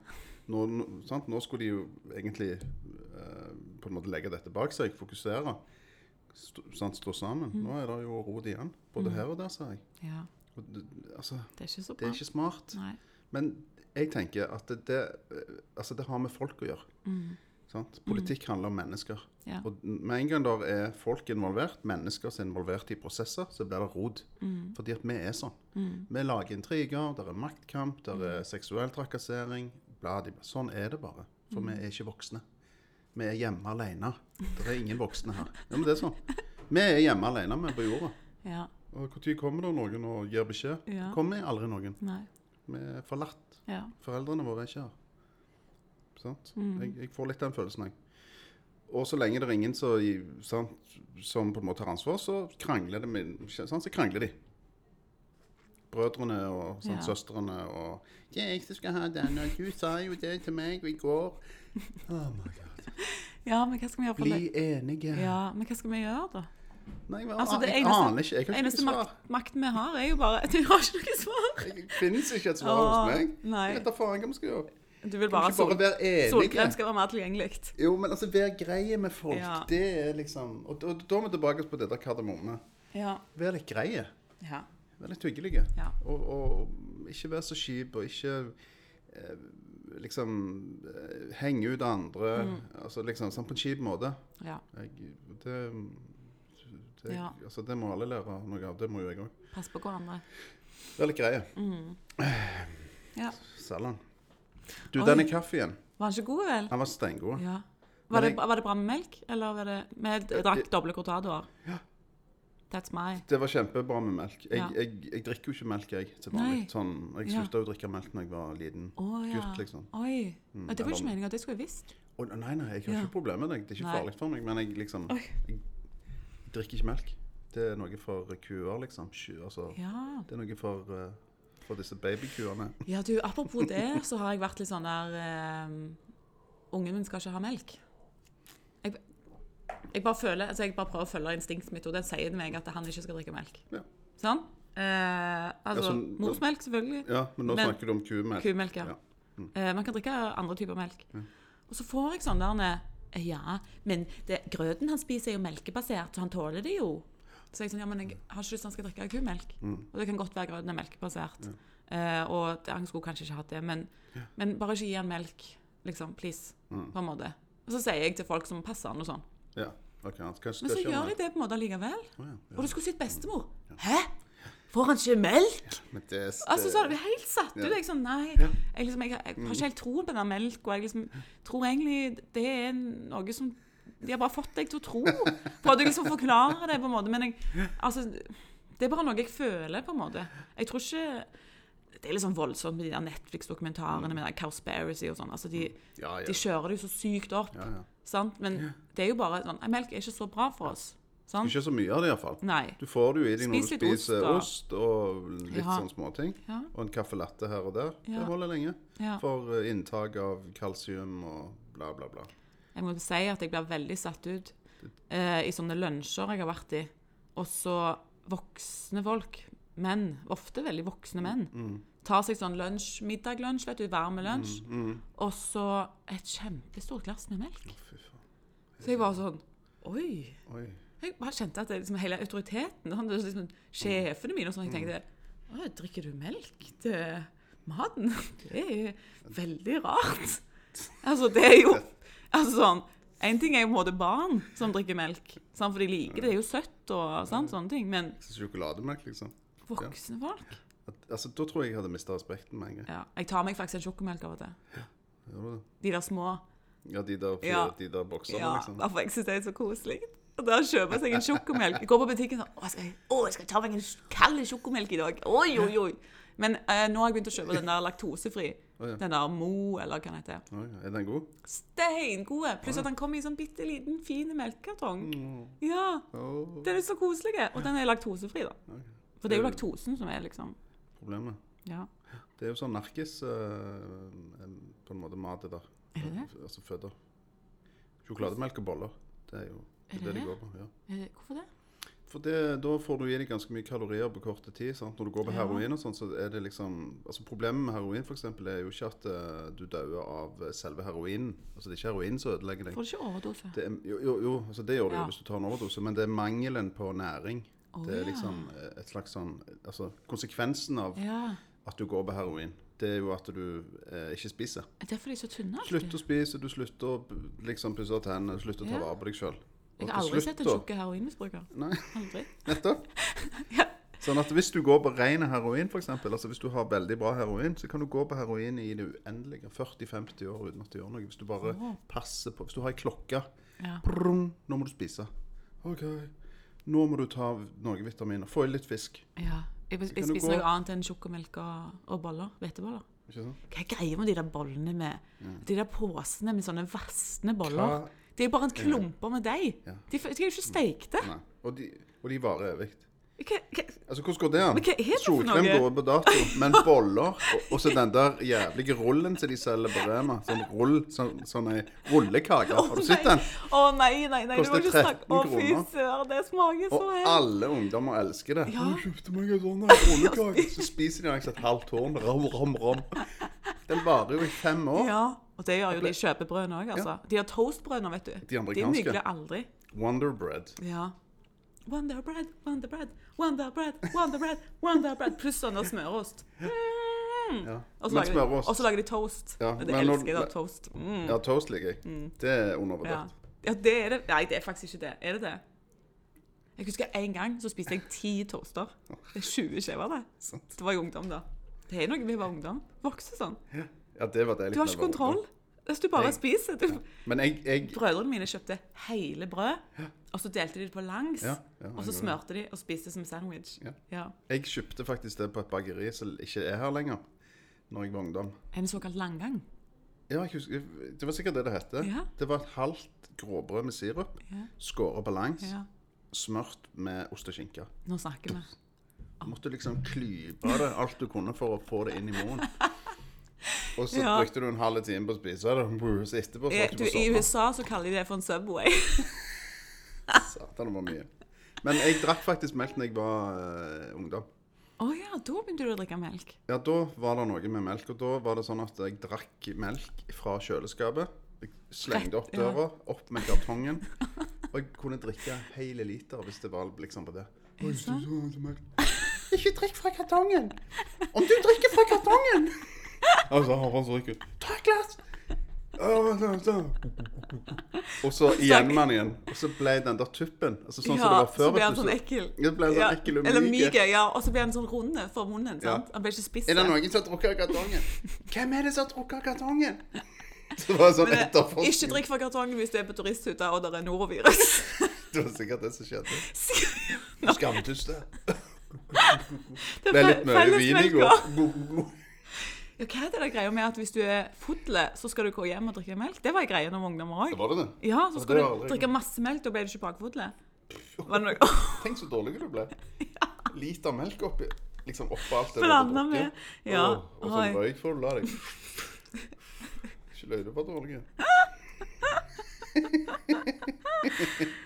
Nå, nå, sant? nå skulle de jo egentlig eh, på en måte legge dette bak seg, fokusere. Stå, sant? Stå sammen. Nå er det jo rot igjen. Både her og der, ser jeg. ja. Og, det- altså, Det er ikke så det bra. er ikke smart. Nei. Men jeg tenker at det, det, altså det har med folk å gjøre. Sant? Politikk handler om mennesker. Ja. Og med en gang der er folk involvert, mennesker som er involvert i prosesser, så blir det rod. Fordi at vi er sånn. Vi lager intriger, der er maktkamp, der er seksuell trakassering. Bla, de, bla. sånn er det bare. For vi er ikke voksne. Vi er hjemme alene. Det er ingen voksne her. Ja, men det er sånn. Vi er hjemme alene, vi på jorda. Ja. Og Når kommer det noen og gir beskjed? Ja. Det kommer aldri noen. Nei. Vi er forlatt. Ja. Foreldrene våre er ikke her. Sant? Mm. Jeg, jeg får litt den følelsen, jeg. Og så lenge det er ingen så, i- sant, som på en måte tar ansvar, så krangler, det med, sant, så krangler de. Brødrene og sant, Ja. søstrene og 'Det er jeg som skal ha denne. Du sa jo det til meg i går.' Oh my God. ja, men hva skal vi gjøre for det? Bli enige. Ja, men hva skal vi gjøre, da? Nei, jeg, Altså, det jeg eneste- aner ikke. Jeg har ikke Eneste noe svar. makt, makten vi har, er jo bare *laughs* Du har ikke noe svar! Det finnes ikke et svar Åh, hos meg. nei. Jeg vet da faen hva vi skal gjøre. Du vil Kan bare vi at ikke sol, bare være enige? solkrem skal være mer tilgjengelig. Jo, men altså, vær greie med folk. Ja. Det er liksom Og, da- da er vi tilbake på det der kardemomme. Ja. Vær litt greie. ja. Vær litt hyggelige. Ja. Og, og ikke vær så kjip, og ikke eh, liksom eh, henge ut andre. Mm. Altså liksom sånn på en kjip måte. ja. Jeg, det det, Ja. altså, det må alle lære noe av. Det må jo jeg òg. Pass på hverandre. Vær litt greie. Mm. Ja. Salan. Du, Oi. denne kaffen, Var den ikke god, vel? han var steingod. Ja. Men Var det, jeg- Eh, var det bra med melk, eller var det Vi drakk doble cortadoer. That's my. Det var kjempebra med melk. Jeg, Ja. jeg, jeg drikker jo ikke melk, jeg. til Nei. vanlig. Sånn, jeg Ja. slutta å drikke melk da jeg var liten Å ja. gutt, liksom. Oi. Ja, det var jo eller- ikke meninga, det skulle jeg visst. Å, nei, nei, jeg har Ja. ikke problemer med det. Det er ikke Nei. farlig for meg, men jeg liksom Oi. Jeg drikker ikke melk. Det er noe for kuer, liksom. Sky, altså. Ja. Det er noe for, eh, for disse babykuene. ja, du, apropos det, så har jeg vært litt sånn der ehm, Ungen min skal ikke ha melk. Jeg, jeg bare føler, altså jeg bare prøver å følge instinktet mitt, og det sier til meg at han ikke skal drikke melk. Ja. Sånn? Eh, altså sånn- morsmelk, selvfølgelig. Ja, men nå Men- snakker du om kumelk. Kumelk, ja. Ja. Mm. Eh, man kan drikke andre typer melk. Og så får jeg sånn der eh, Ja, men det, grøten han spiser, er jo melkebasert, så han tåler det jo. Så jeg sånn, ja, men jeg har ikke lyst til han skal drikke kumelk. Mm. Og det kan godt være grøten er melkebasert. Eh, og det, han skulle kanskje ikke hatt det, men, men bare ikke gi han melk, liksom. Please. Mm. På en måte. Og så sier jeg til folk som passer han og sånn. Ja, ok, han skal, Men så skal gjør ikke de det på en måte allikevel. ha melk. Å, ja. Og du skulle sett bestemor. Hæ? Får han ikke melk? Men det, Altså, så er det helt satt ut. Eh, Ja. Jeg, sånn, nei, Ja. Mm. jeg, liksom, jeg, jeg har ikke helt troen på den der melka. Jeg liksom, tror egentlig det er noe som De har bare fått deg til å tro. Prøvde liksom å forklare det, på en måte. Men jeg, altså, det er bare noe jeg føler, på en måte. Jeg tror ikke Det er litt sånn voldsomt med de der Netflix-dokumentarene med den der Cowspiracy og sånn. Altså, de, ja, Mm. ja. de kjører det jo så sykt opp. ja, ja. Sant? Men det er jo bare sånn «Nei, Melk er ikke så bra for oss. Sant? Ikke så mye av det, iallfall. Nei. Du får det jo i deg når du Spis litt spiser ost, ost, og litt Ja. sånn småting. Ja. Og en caffè latte her og der. Ja. Det holder lenge. Ja. For eh, inntak av kalsium og bla, bla, bla. Jeg må si at jeg blir veldig satt ut eh, i sånne lunsjer jeg har vært i. Og så voksne folk, menn, ofte veldig voksne menn, Mm, tar seg sånn lunsj, middag-lunsj, vet du, varme lunsj, og så et kjempestort glass med melk. mm. Fy faen. Så jeg var sånn Oi! Oi. Jeg bare kjente at det, liksom, hele autoriteten sånn, det er liksom, Sjefene mine og sånn. Jeg tenkte Å, drikker du melk til maten? *laughs* Det er jo veldig rart. Altså, det er jo altså, sånn, En ting er jo på en måte barn som drikker melk, sant, for de liker det. Det er jo søtt og sant, sånne ting. Men Så sjokolademelk, liksom. voksne folk At, altså, da tror jeg jeg hadde mista respekten med en gang. ja, Jeg tar meg faktisk en sjokomelk av og til. Gjorde du det? De der små. Ja, de der, fire, Ja. de der boksene, Ja, liksom. Derfor jeg synes det er så koselig. Og da kjøper jeg seg en sjokomelk. Jeg går på butikken sånn Å, jeg skal, å, jeg skal ta meg en sj- kald sjokomelk i dag. Oi, oi, oi. Men eh, nå har jeg begynt å kjøpe den der laktosefri. Å, ja. Den der Mo, eller hva den heter. Oi, er den god? Steingode. Pluss at den kommer i sånn bitte liten, fin melkekartong. Ja. Å, Den er så koselig. Og den er laktosefri, da. ok. For det er jo laktosen som er liksom Problemet. Ja. Det er jo sånn narkis eh, en- på en måte mat det der. Er det det? Altså føtter. Sjokolademelk og boller. Det er jo det, er det det de det? går på. ja. Eh, Hvorfor det? For det, da får du i deg ganske mye kalorier på kort tid. sant? Når du går på Ja. heroin og sånn, så er det liksom Altså Problemet med heroin for eksempel, er jo ikke at eh, du dauer av eh, selve heroinen. Altså Det er ikke heroin som ødelegger deg. Får du ikke overdose? Det er, jo, jo, jo altså det gjør du jo Ja. hvis du tar en overdose, men det er mangelen på næring. Å, det er ja. liksom eh, et slags sånn Altså konsekvensen av Ja. at du går på heroin, det er jo at du eh, ikke spiser. Det er derfor de er så tynne. alltid. Slutt å spise, du slutter å b- liksom pusse tennene, du slutter å Ja. ta vare på deg sjøl. Jeg har aldri sett en tjukk heroinmisbruker. Nei, Aldri. nettopp. Sånn at hvis du går på ren heroin, f.eks., altså hvis du har veldig bra heroin, så kan du gå på heroin i det uendelige, 40-50 år uten at du gjør noe. Hvis du bare Åh. passer på. Hvis du har ei klokke Ja. Brum, Nå må du spise. OK. Nå må du ta noen vitaminer. Få i litt fisk. Ja. Jeg, jeg, Kan du spiser gå- noe annet enn sjokomelk og, og boller. Hveteboller. Ikke sant? Hva er greia med de der bollene med De der posene med sånne vassende boller? Hva- Det er jo bare en klumper med deig. Ja. De, f- de er jo ikke stekte. Nei. Og de, og de varer evig. Hva, hva, Altså, Hvordan går det an? Men hva er det for Solkrem noe? går ut på dato, men boller og- Og så den der jævlige rullen som de selger på Rema. Sånn rull, sånn, sånn ei rullekake. Å Har du sett nei. den? Å nei, nei, nei, du Koster må ikke snakke 13 Å fy kroner. søren, det smaker så Og helt alle ungdommer elsker det. Ja. «Å, Jeg kjøpte meg *laughs* en sånn her rullekake. Så spiser de liksom et halvt tårn. Ram, ram, ram. Den varer jo i fem år. Ja. Og det gjør jo de kjøpebrødene òg, altså. De har toastbrødene, vet du. De amerikanske. nygler aldri. Wonder bread. Ja. Wonder bread, wonder bread, wonder bread, wonder bread, wonder bread. Pluss sånn der smørost. Mm. Ja. Og så Men lager de- smørost Og så lager de toast. Ja, Og det men når- elsker jeg da, toast. Mm. Ja, toast liker jeg. Det er Ja. undervurdert. ja, det er det. Nei, det er faktisk ikke det. Er det det? Jeg husker en gang så spiste jeg ti toaster. Det er 20 skjever, det. Sant. Det var jeg ungdom da. Det er noe med å være ungdom. Vokse sånn. Ja, det var deilig. Du har ikke når jeg var ungdom. kontroll. Hvis du bare Jeg- spiser du. Men jeg, jeg Brødrene mine kjøpte hele brød, og så delte de det på langs. Ja, ja, og så jeg gjorde smørte de og spiste som en sandwich. Ja. Ja. Jeg kjøpte faktisk det på et bakeri som ikke er her lenger, når jeg var ungdom. En såkalt langgang. Ja, jeg husker, Det var sikkert det det hette. Ja. Det var et halvt gråbrød med sirup, Ja. skåret på langs, ja. smørt med ost og skinke. Nå snakker vi. Du måtte liksom klype det alt du kunne for å få det inn i munnen. Og så Ja. brukte du en halv time på å spise det, og så etterpå så var Eh, Du, du på I sove. USA så kaller de det for en Subway. Satan, det var mye. Men jeg drakk faktisk melk da jeg var eh, ungdom. Å ja, da begynte du å drikke melk. Ja, da var det noe med melk, og da var det sånn at jeg drakk melk fra kjøleskapet. Jeg slengte opp Rett, ja. døra, opp med kartongen, og jeg kunne drikke hele liter hvis det var liksom på det. Oi, så- sant? så- så melk. Ikke drikk fra kartongen! Om du drikker fra kartongen! Altså, han så ikke ut. Ta et glass! Å, da, da. Og så igjen man igjen. Og så ble den der tuppen altså sånn ja, som det var før. så ble vet han du, sånn ekkel. Ja, det ble en sånn Ja, ekkel og Eller myk. myk, ja. Og så ble han sånn runde for munnen. sant? Han ble ikke spiss. Er det noen som har drukket av *laughs* kartongen? Hvem er det som har drukket av kartongen? Så var det sånn Men, eh, etterforskning. Ikke drikk fra kartongen hvis du er på turisthytta og det er norovirus. *laughs* Det var sikkert det *laughs* som skjedde. Nå, Skamtuste. det Ble fe- litt mye vin i fellesmelk går. også. Ja, hva er det der greia med at hvis du er fodle, så skal du gå hjem og drikke melk? Det var en greie når vi var ungdommer Det òg. var det det. Ja, så det skulle har du aldri- drikke masse melk, da ble du ikke bakfodle. Var *laughs* det noe Tenk så dårlig du ble. Liter melk oppi, liksom oppå alt det du hadde blanda med? drukket. Ja. Åh, Og oi. sånn røyk får du la deg. Ikke løy, du var dårlig.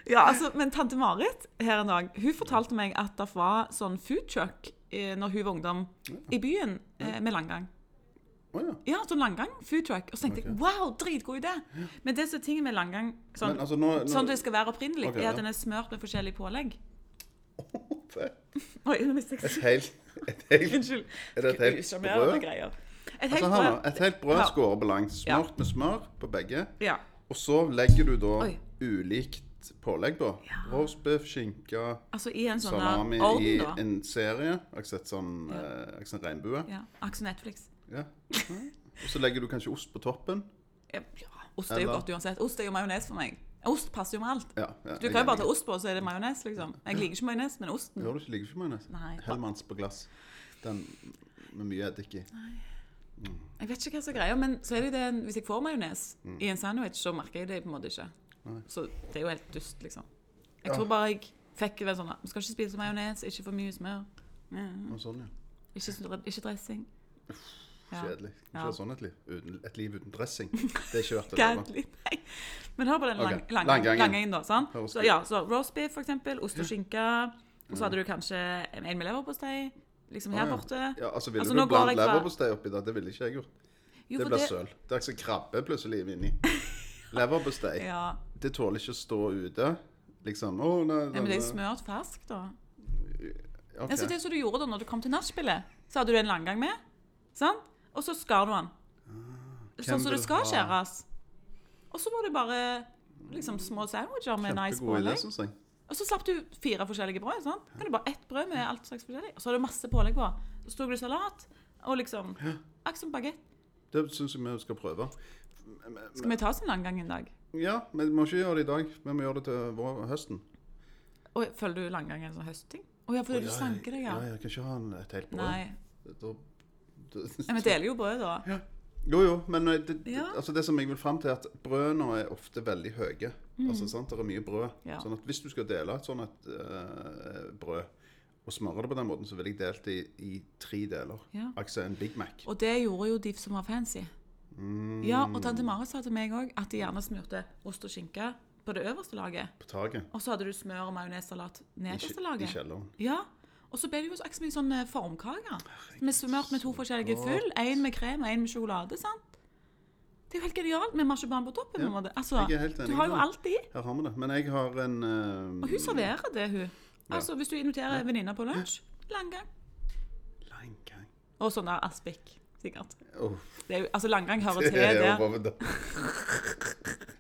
Ja, altså, men tante Marit her en dag, hun fortalte meg at det var sånn food truck eh, når hun var ungdom i byen eh, med langgang. Åja. Ja, sånn langgang, food truck. Og så tenkte Ok. jeg wow, dritgod idé! Men det som er tingen med langgang, sånn, Men altså nå... nå... sånn det skal være opprinnelig, Ok, er ja. at den er smørt med forskjellige pålegg. *laughs* Et Oi, nå mistet *laughs* jeg helt... *laughs* Et helt... Unnskyld. Er det et helt Usjarmerende brød? greier. Et helt Altså, her, nå, brød. et helt brød Ja. skåret på langs. Ja. Smørt med smør på begge. Ja. Og så legger du da Oi. ulikt pålegg på. Roastbiff, skinke, Altså i en sånn salami der ovn, i da. en serie. Jeg har sett sånn, eh, jeg har sett regnbue. Ja, Akse Netflix. Ja. Og så legger du kanskje ost på toppen. Ja, ost er jo Eller- godt uansett. Ost er jo majones for meg. Ost passer jo med alt. Ja, ja, Du kan jo bare ta ost på, så er det majones, liksom. Jeg liker ikke majones, men osten Gjør du ikke like for majones? Nei. Hellmanns på glass. Den med mye eddik i. Jeg vet ikke hva som er greia, men så er det jo det Hvis jeg får majones Mm. i en sandwich, så merker jeg det på en måte ikke. Så det er jo helt dust, liksom. Jeg Ja. tror bare jeg fikk det sånn Vi skal ikke spise majones, ikke for mye smør. Mm. Og sånn, ja. Ikke, sn- ikke dressing. Ja. Kjedelig. Ikke Ja. ha sånn et liv. Uten, et liv uten dressing. Det er ikke *laughs* verdt å leve. Gædelig. Nei. Men hør på den lang, Ok, lang, langgangen. langgangen, da. sant? Høres Så, godt. ja, så roast beef, for eksempel. Ost og skinke. Og så hadde du kanskje en med leverpostei. Liksom her Mm. ja. borte. Ja, altså, ville Altså, du nå går blande jeg fra- leverpostei oppi det? Det ville ikke jeg gjort. Jo, Det for blir søl. Det er ikke så krabbe plutselig *laughs* inni. Leverpostei. Ja. Det tåler ikke å stå ute. Liksom Å, nei, Nei, men det er denne- smørt ferskt, da. Ok. Ja, så det som du gjorde da når du kom til nachspielet, så hadde du en langgang med, sant? Og så skar du den. Sånn som Ah, vil det skal ha- skjæres. Og så var det bare liksom små sandwicher med nice Kjempegod idé, pålegg. syns jeg. Og så slapp du fire forskjellige brød. sant? Kan du bare ett brød med alt slags forskjellig. Og så har du masse pålegg på. Så tok du salat og liksom Akkurat som bagett. Det syns jeg vi skal prøve. Skal vi ta oss en langgang en dag? Ja, men vi må ikke gjøre det i dag. Vi må gjøre det til vår, høsten. Og føler du langgang en sånn høstting? Å ja, fordi du sanker deg, ja. ja. Jeg kan ikke ha en- et helt brød. Nei. Da, Nei, da, Vi deler jo brød, da. jo, jo, men det, det, Ja. altså det som jeg vil fram til, er at brødene er ofte veldig høye. Altså, sant? Det er mye Mm. brød. Ja. Sånn at hvis du skal dele et sånn et eh, brød og smøre det på den måten, så ville jeg delt det i, i tre deler. Ja. Altså en Big Mac. Og det gjorde jo de som var fancy. Mm. Ja, og tante Marit sa til meg òg at de gjerne smurte ost og skinke på det øverste laget. på taket. Og så hadde du smør og majonessalat I, nederste kje- I laget. kjelleren. Ja. Og så ble det jo så ekstra mye sånne formkaker. Med smørt med to forskjellige fyll. Én med krem og én med sjokolade. sant? Det er jo helt genialt med marsipan på toppen. på en måte. Altså, jeg er helt enig du har jo med deg. alt i. Her har vi det. Men jeg har en eh, Og hun serverer det, hun. Altså, Hvis du inviterer venninner på lunsj, langgang. Langgang. Og sånn der aspik, sikkert. Åh, Det er jo, altså, Langgang hører til *laughs* det er jo der. bare *laughs* da.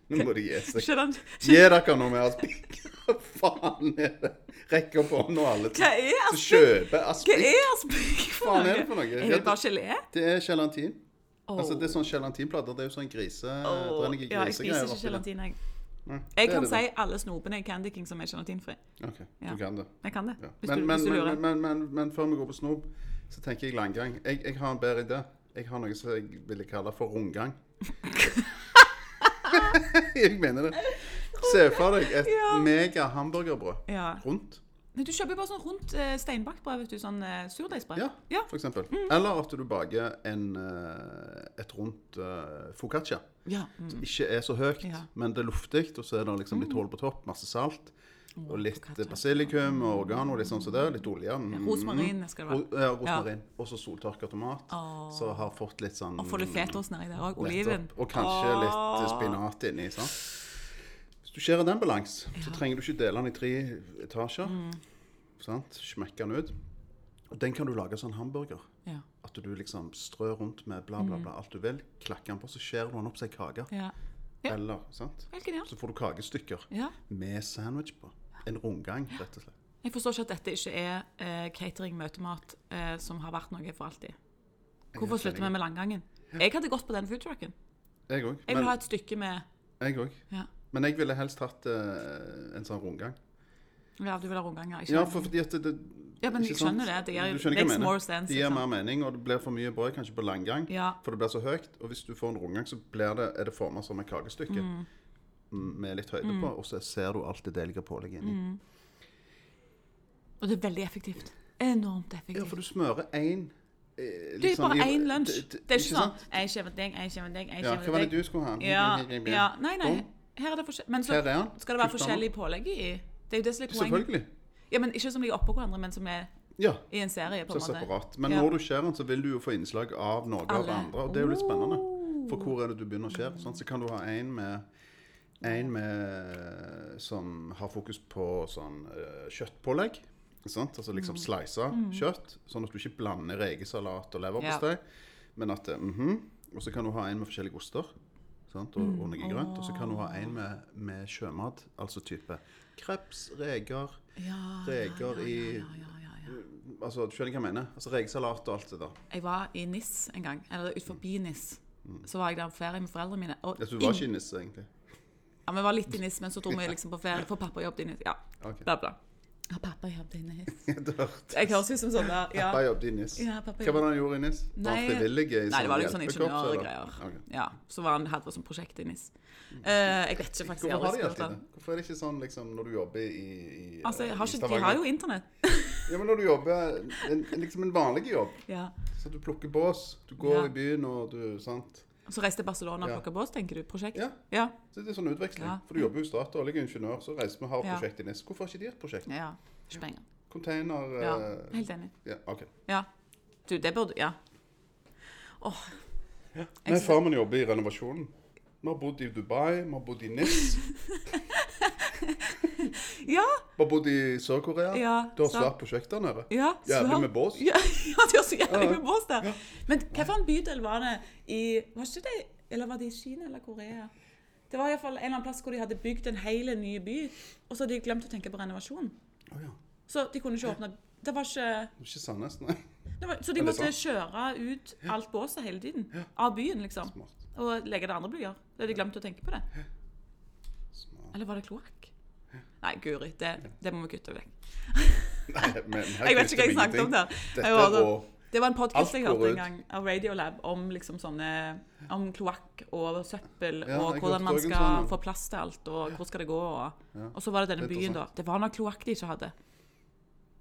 Nå må de gi seg. Skjønner du? Gi dere noe med aspik. Hva faen er det? Rekk opp hånden og alle Hva er som aspik? kjøper Hva aspik. er aspik for Faen noe? er det for noe? Er det bare gelé? Det er gelatin. Altså, det er sånn gelatinplater. Det er jo sånn grise... Åh, det er noen ja, jeg grisegreier spiser ikke oppi det. gelatin, jeg. Nei, Jeg det er kan det si alle snopene i Candy King som er gelatinfri. da. OK, Ja. du kan det. Jeg kan det. Ja. Hvis, Men, du, men, hvis du lurer. men, men, men, men før vi går på snop, så tenker jeg langgang. Jeg, jeg har en bedre idé. Jeg har noe som jeg ville kalle for rundgang. *laughs* jeg mener det. Se for deg et Ja. mega hamburgerbrød ja. rundt, Nei, du kjøper jo bare sånn rundt eh, steinbakt brød, vet du. Sånn eh, surdeigsbrød. Ja. for eksempel. Mm. Eller at du baker en, eh, et rundt uh, foccaccia. Ja, mm. Som ikke er så høyt, Ja. Mm. men det er luftig, og så er det liksom litt hull på topp, masse salt. Og litt foccaccia. basilikum og oregano, litt sånn som det. Litt olje. Mm. Rosmarin skal det være. Ro- ja, rosmarin. Og så soltørka tomat. Som har fått litt sånn Og får litt fetos nedi der òg. nettopp. Oliven. Og kanskje litt Åh. spinat inni. sant? Hvis du skjærer den balans, så trenger du ikke dele den i tre etasjer. Mm. Sant? Smekke den ut. Og den kan du lage sånn hamburger. Ja. At du liksom strør rundt med bla, bla, Mm. bla alt du vil. Klakker den på, så skjærer du den opp som ei kake. ja. Ja. Eller, sant? Helt genialt. Så får du kakestykker Ja. med sandwich på. En rundgang, rett og slett. Jeg forstår ikke at dette ikke er eh, catering-møtemat eh, som har vært noe for alltid. Hvorfor Jeg er slutter vi med langgangen? Jeg hadde gått på den foodtrucken. Jeg òg. Jeg vil ha et stykke med Jeg òg. Ja, Men jeg ville helst hatt eh, en sånn rundgang. ja du vil ha rundganger? Ikke Ja, langgang. for, fordi at det, det Ja, men ikke jeg skjønner det. sant? Det gjør- Du skjønner hva jeg makes mener. more sense, Det gir liksom. mer mening, og det blir for mye brød kanskje på langgang. Ja. For det blir så høyt. Og hvis du får en rundgang, så blir det, er det formet som et kakestykke Mm. m- med litt høyde på, og så ser du alt det deilige pålegget inni. Mm. Og det er veldig effektivt. Enormt Ja, effektivt. for du smører eh, én Det er jo sånn bare én lunsj. Det er ikke sånn Jeg skjever deg, jeg skjever deg, jeg Ja, hva skjever var det deg. du skulle ha? Ja, ja. Nei, nei. Boom. Her er det forskjell. Men så Her er den. skal det være Kult, forskjellig pålegg i. Det er jo det som er poenget. Selvfølgelig. Ja, men Ikke som ligger oppå hverandre, men som er Ja. i en serie, på Så en måte. separat. Men Ja. når du skjærer den, så vil du jo få innslag av noe av det Alle. Oh. andre. Og det er jo litt spennende. For hvor er det du begynner å skjære? Sånn, så kan du ha en med en med eh, som har fokus på sånn eh, kjøttpålegg. Sant? Altså Mm. liksom slice kjøtt, sånn at du ikke blander rekesalat og leverpostei. Men at eh, mhm. Og så kan du ha en med forskjellige oster sant? Mm. Og, og noe grønt. Og så kan du ha en med, med sjømat, altså type kreps, reker Ja, Reker ja, i- ja, ja, ja, ja. Altså, du skjønner hva jeg mener? Altså Rekesalat og alt det der. Jeg var i NIS en gang, eller ut forbi NIS. Så var jeg der på ferie med foreldrene mine. Og Altså, Mm. du var ingen- ikke i nisse, egentlig. Ja, vi var litt i NIS, men så dro vi liksom på ferie, for pappa jobbet i NIS. Ja, *laughs* Ok. bla, bla. Ja, pappa jobbet i NIS. Du hørte. Jeg høres ut som sånn der. Ja. Pappa jobbet i NIS. Ja, pappa Hva var det han gjorde i NIS? Var han Nei. frivillig i sånn Nei, det var liksom hjelpekorps, eller? ingeniørgreier. Ok. Mm. Ja, så var han, hadde vi som prosjekt i NIS. Eh, jeg vet ikke faktisk. jeg Hvorfor har de aldri spurt alltid det? han. Hvorfor er det ikke sånn liksom, når du jobber i, i eh, Altså, jeg har i ikke, de Stavanger? har jo internett. Ja, men når du jobber en, en- liksom en vanlig jobb, Ja. så du plukker bås, du går Ja. i byen og du Sant? Så reiste til Barcelona og Ja. plukket bås, tenker du, prosjekt? Ja. Ja. Så det er sånn utveksling. Ja. For du jobber jo i Statoil, jeg er ingeniør, så reiser vi og har Ja. prosjekt i NIS. Hvorfor har ikke de et prosjekt? Ja, ikke penger. Container Ja, eh, helt enig. ja, OK. Ja. Du, det burde, ja. Åh, Nei, far min jobber i renovasjonen. Vi har bodd i Dubai, vi har bodd i NIS, ja, vi har bodd i Sør-Korea. Ja, du har sant. svært prosjekt der nede. ja. Jævlig så- med bås. Ja, *laughs* ja de har så Ja, jævlig ja. med bås der. Men hva for en bydel var det i Var ikke det Eller var det i Kina eller Korea? Det var i hvert fall en eller annen plass hvor de hadde bygd en hel ny by, og så hadde de glemt å tenke på renovasjon. Å ja. Så de kunne ikke åpne Det var ikke Det er ikke Sandnes, nei. det var, Så de Er det måtte kjøre ut alt båset hele tiden. Av byen, liksom. Smart. Og legge det andre byer. Da hadde de glemt å tenke på det. Smart. Eller var det kloakk? Nei, guri, det, det må vi kutte vekk. Nei, men *laughs* her Jeg vet kutter ikke hva vi jeg snakket om ingenting. der. Dette Jeg var er sånn- rå. Det var en podkast Alt jeg går hørte ut. en gang av Radiolab om liksom sånne om kloakk og søppel Ja, og jeg hvordan hørte man også en skal sånn, ja. få plass til alt, og hvor skal det gå. Og, og så var det denne det er byen, da. Det var noe kloakk de ikke hadde.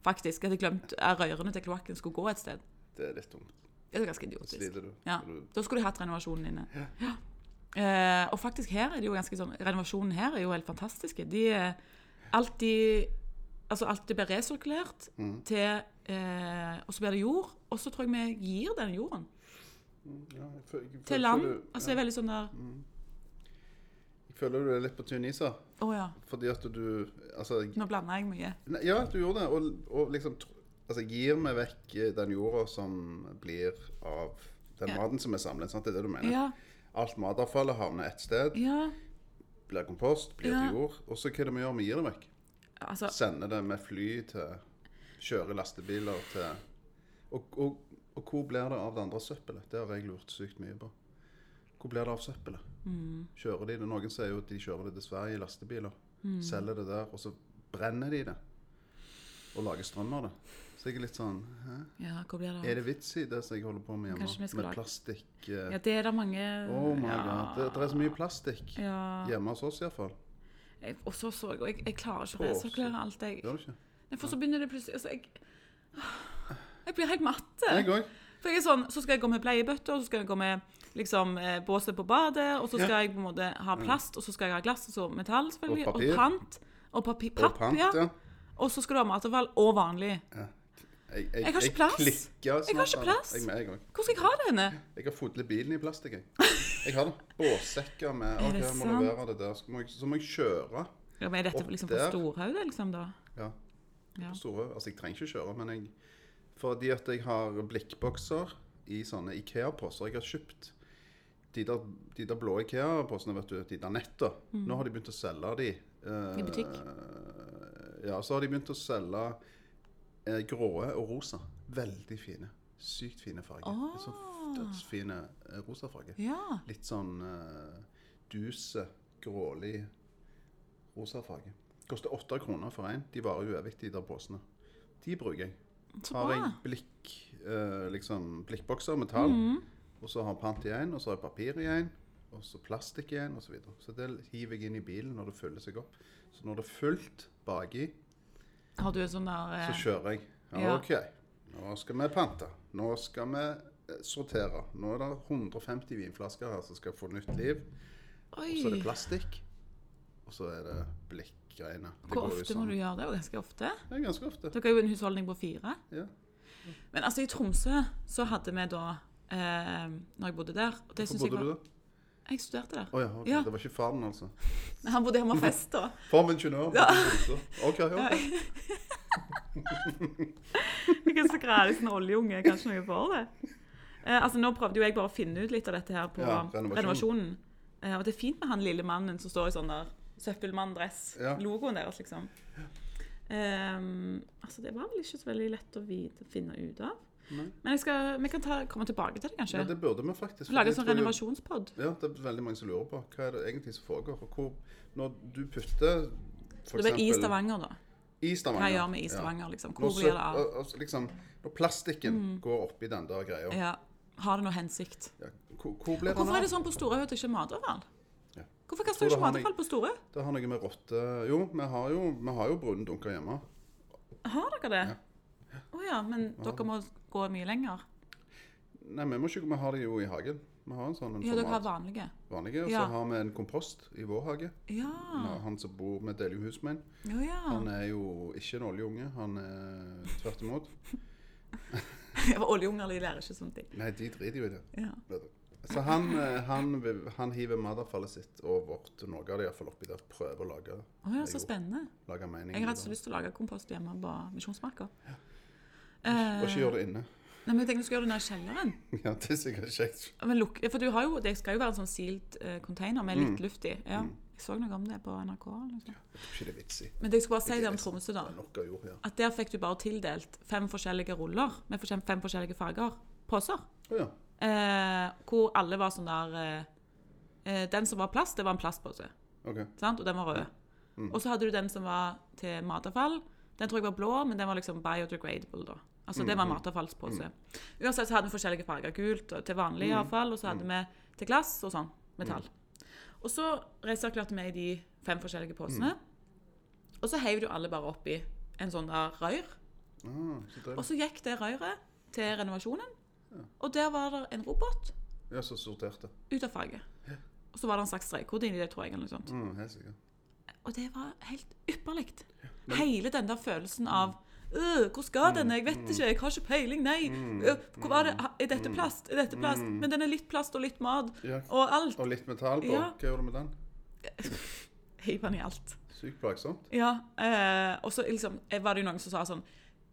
Faktisk. Jeg hadde glemt eh, rørene til kloakken skulle gå et sted. Det er litt tungt. Det er ganske Så idiotisk. sliter du. Ja. Så du- Da skulle de hatt renovasjonen inne. Ja. Eh, og faktisk her er det jo ganske sånn Renovasjonen her er jo helt fantastisk. De eh, Alt de Altså alt det blir resirkulert Mm. til eh, Og så blir det jord. Og så tror jeg vi gir den jorden Ja, jeg føl- jeg til føl- land. føler- Altså det er veldig sånn der Mm. Å Jeg føler du er litt på tynn is her. ja. Fordi at du Altså Nå blanda jeg mye. Nei, Ja, du gjorde det. Og, og liksom tr- altså, gir vi vekk eh, den jorda som blir av den Ja. maten som er samlet? Sant? Det er det du mener? Ja. Alt matavfallet havner ett sted, ja. blir kompost, blir Ja. til jord. Og så hva er det vi gjør? Vi gir det vekk. Altså Sender det med fly til Kjører lastebiler til Og, og, og hvor blir det av det andre søppelet? Det har jeg lurt sykt mye på. Hvor blir det av søppelet? Mm. Kjører de det? Noen sier jo at de kjører det til Sverige i lastebiler. Mm. Selger det der, og så brenner de det. Og lager strøm av det. Så jeg er litt sånn Hæ? Ja, hvor blir det Er av? det vits i det som jeg holder på med hjemme? Kanskje vi skal Med lage- plastikk eh, Ja, det er det mange Oh my ja. god. Det, det er så mye plastikk. Ja. Hjemme hos oss iallfall. Jeg- Og så så jeg og jeg, jeg klarer ikke å Å, resirkulere alt, jeg. Gjør du ikke? Nei, For så begynner det plutselig altså, jeg, Ah, jeg blir helt matt. Jeg òg. For jeg er sånn, Så skal jeg gå med bleiebøtter, og så skal jeg gå med liksom, eh, båset på badet, og så skal jeg på en måte ha plast, og så skal jeg ha glass, og så metall, selvfølgelig, Mm. Og og, papir. pant. Og papir, papp, Og pant, ja. ja. Og så skal du ha matavfall og vanlig. Jeg, Jeg har ikke plass. klikker Jeg har ikke snart, plass. Jeg, jeg, også. Hvor skal jeg ha det henne? jeg har fodlet bilen i *laughs* plastikk, jeg. Jeg har det. Båssekker med Er OK, det jeg må sant? levere det der. Så må jeg, så må jeg kjøre. Ja, men Er dette Opp liksom der. for storhaudet, liksom, da? Ja. Ja. På store, altså, jeg trenger ikke kjøre, men jeg Fordi at jeg har blikkbokser i sånne Ikea-poser jeg har kjøpt. De der, de der blå Ikea-posene, vet du. De der netta. Nå har de begynt å selge de. eh, Mm. I butikk? Ja, så har de begynt å selge eh, grå og rosa. Veldig fine. Sykt fine farger. Ah. Så f- dødsfine eh, rosa farger. Ja. Litt sånn uh, duse, grålig rosa farge. Koster åtte kroner for én. De varer uevig, de der posene. De bruker jeg. Så Har jeg bra. Mhm. blikk, eh, liksom blikkbokser med tall, og så har pant i én, og så har jeg papir i én, og så plastikk i én, osv. Så, videre. så det hiver jeg inn i bilen når det fyller seg opp. Så når det er fullt baki, Har du en sånn der så eh, kjører jeg. Ja, Ja. OK, nå skal vi pante. Nå skal vi eh, sortere. Nå er det 150 vinflasker her som skal få nytt liv. Og så er eh, det Oi! plastikk. Og så er det blikkgreiene. Det Hvor går jo ofte må sånn. du gjøre det? Og ganske ofte? Det er ganske ofte. Dere har jo en husholdning på fire. Ja. Men altså, i Tromsø så hadde vi da eh, Når jeg bodde der og det Hvor synes jeg bodde du var, da? Jeg studerte der. Å ja, ok. Ja. det var ikke faren, altså. Nei, Han bodde hjemme og fest, da. Formen ingeniør. Ja. OK, ja. *laughs* Ikke så grælig sånn oljeunge, kanskje noe for det. Eh, altså Nå prøvde jo jeg bare å finne ut litt av dette her på Ja, renovasjonen. renovasjonen. Eh, og det er fint med han lille mannen som står i sånn der søppelmann-dress. Ja. Logoen deres, liksom. Ehm, altså Det var vel ikke så veldig lett å vite, finne ut av. Nei. Men jeg skal, vi kan ta, komme tilbake til det, kanskje. ja. Det burde vi faktisk. for Lage jeg en sånn tror jo- renovasjonspod. Ja, det er veldig mange som lurer på hva er det egentlig som foregår. Og hvor, når du putter for Det var i eksempel- Stavanger, da. I Hva Stavanger. gjør vi i ja. Stavanger, liksom? Når, Hvor blir det av? Mm. sø- altså, liksom, når plastikken går oppi den der greia, Ja, Har det noe hensikt? ja. hvor, hvor blir den Hvorfor er det av? sånn på Storøy at det ikke er matavfall? Ja. Hvorfor kaster Tror du det ikke har noe- matavfall på Storøy? Det har noe med rotte Jo, vi har jo, vi har jo brune dunker hjemme. Har dere det? Å ja. men dere må gå mye lenger? Nei, vi må ikke, vi har det jo i hagen. Vi har en sånn en Ja, dere har format vanlige? vanlige, og ja. Ah. så har vi en kompost i vår hage. Ja. Nå, Han som bor med deler jo hus med en. Å ja. *laughs* Han er jo ikke en oljeunge, han er tvert imot. For Oljeunger de lærer ikke sånne ting. Nei, de driter jo i det. Ja. vet du. Så han, eh, han, vil- han hiver matavfallet sitt og vårt, noe av det iallfall, oppi der. Prøver å lage, Å ja, så spennende. lage mening. Jeg i har hatt det. så lyst til å lage kompost hjemme på Misjonsmarka. Og Eh, ikke gjøre det inne. *laughs* nei, men jeg tenkte du skulle gjøre det nede i kjelleren. Ja, det er sikkert kjekt. Men luk, for du har jo, det skal jo være en sånn sealed eh, container med litt luft i. Ja. Jeg så noe om det på NRK. Liksom. Jeg tror ikke det er vits i. Men det jeg skulle bare si Det det er om liksom- Tromsø, da. Det er nok av jord her. At der fikk du bare tildelt fem forskjellige ruller med for eksempel fem forskjellige farger. Poser. Å ja. Eh, hvor alle var sånn der eh, eh, Den som var plast, det var en plastpose. OK. Sant? Og den var rød. Og så hadde du den som var til matavfall. Den tror jeg var blå, men den var liksom biodegradable. da. Altså det var en matavfallspose. Uansett så hadde vi forskjellige farger. Gult og til vanlig avfall, og så hadde vi til glass og sånn. Metall. Og så resirkulerte vi i de fem forskjellige posene. Og så heiv du alle bare oppi en sånn der røyr. Ah, så Og deilig. så gikk det røret til renovasjonen, og der var det en robot Ja, så sorterte. ut av farge. Og så var det en slags strekkode inni det, tror jeg. eller noe sånt. Mm, helt sikkert. Og det var helt ypperlig. Hele den der følelsen av øh, Hvor skal denne? Jeg vet ikke. Jeg har ikke peiling. Nei. Øh, hvor var det? Ha- Er dette plast? Er dette plast? Men den er litt plast og litt mat Ja. og alt. Og litt metall på. Ja. Hva gjør du med den? Hiv den i alt. Sykt plagsomt. Ja. Eh, og så liksom, eh, var det jo noen som sa sånn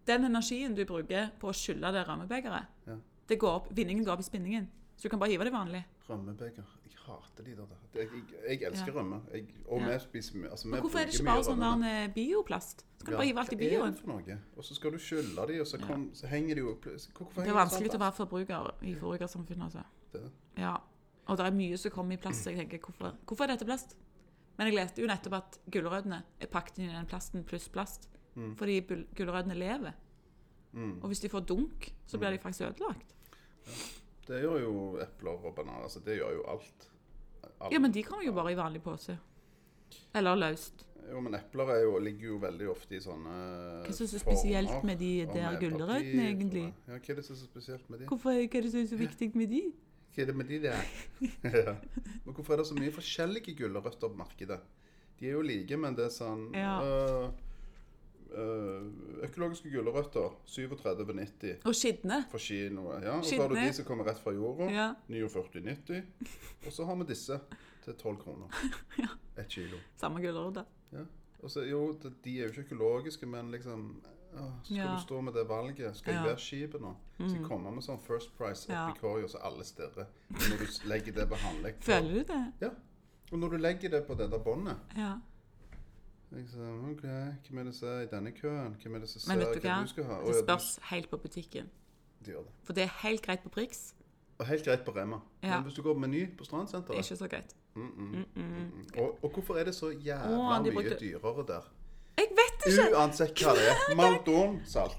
Den energien du bruker på å skylle det rammebegeret, Ja. det går opp, vinningen går opp i spinningen. Så du kan bare hive det vanlig. Rømmebeger. Jeg hater de der. Jeg, jeg, jeg elsker Ja. rømme. Jeg, og Ja. vi spiser mye altså, vi Men hvorfor er det bruker ikke mye bare sånn rømme. der eh, bioplast? Så kan du Ja, bare hive alt i hva er bioen. det for noe? Og så skal du skylle de, og så, kom, så henger de jo opp. Hvorfor Det er vanskelig sånn å være forbruker i forbrukersamfunnet, altså. Det. Ja. Og det er mye som kommer i plast, så jeg tenker hvorfor, hvorfor er dette plast? Men jeg leste jo nettopp at gulrøttene er pakket inn i den plasten pluss plast. Mm. Fordi bul- gulrøttene lever. Og hvis de får dunk, så Mm. blir de faktisk ødelagt. Det gjør jo epler og bananer. Altså, det gjør jo alt. alt. Ja, men de kommer jo bare i vanlig pose. Eller løst. Jo, men epler er jo, ligger jo veldig ofte i sånne Hva synes du er spesielt ah, med de og der med gulrøttene, papir og egentlig? med- Ja, hva er det som er så spesielt med de? Hvorfor er hva er det som er så viktig med de? Hva er det med de der? *laughs* Ja. men hvorfor er det så mye forskjellige gulrøtter på markedet? De er jo like, men det er sånn Ja. øh, øh, Økologiske gulrøtter 37,90 Og skitne. for kinoet. Ja. Og så har du Skitne. de som kommer rett fra jorda. Ja. 49,90. Og så har vi disse til 12 *laughs* kroner. Ett kilo. Samme gulrøtter. Ja. Og så, jo, de- de er jo ikke økologiske, men liksom åh, Skal Ja. du stå med det valget? Skal jeg Ja. være skipet nå? Mm. Skal jeg komme med sånn First Price Ja. Epicorio, så alle stirrer? Og Når du legger det på handlegg *laughs* Føler du det? Ja. Og når du legger det på det der båndet Ja. liksom, OK, hvem er det som er i denne køen? Hvem er det som ser Men vet du hva? hva du skal ha? Å, Det ja, du- spørs helt på butikken. De gjør det. For det er helt greit på Prix. Og helt greit på Rema. Ja. Men hvis du går på Meny på Det er Strandsenteret ikke så greit. og, og hvorfor er det så jævla Å, de mye brukte- dyrere der? Jeg vet ikke! Uansett hva det *laughs* er. Maldon-salt.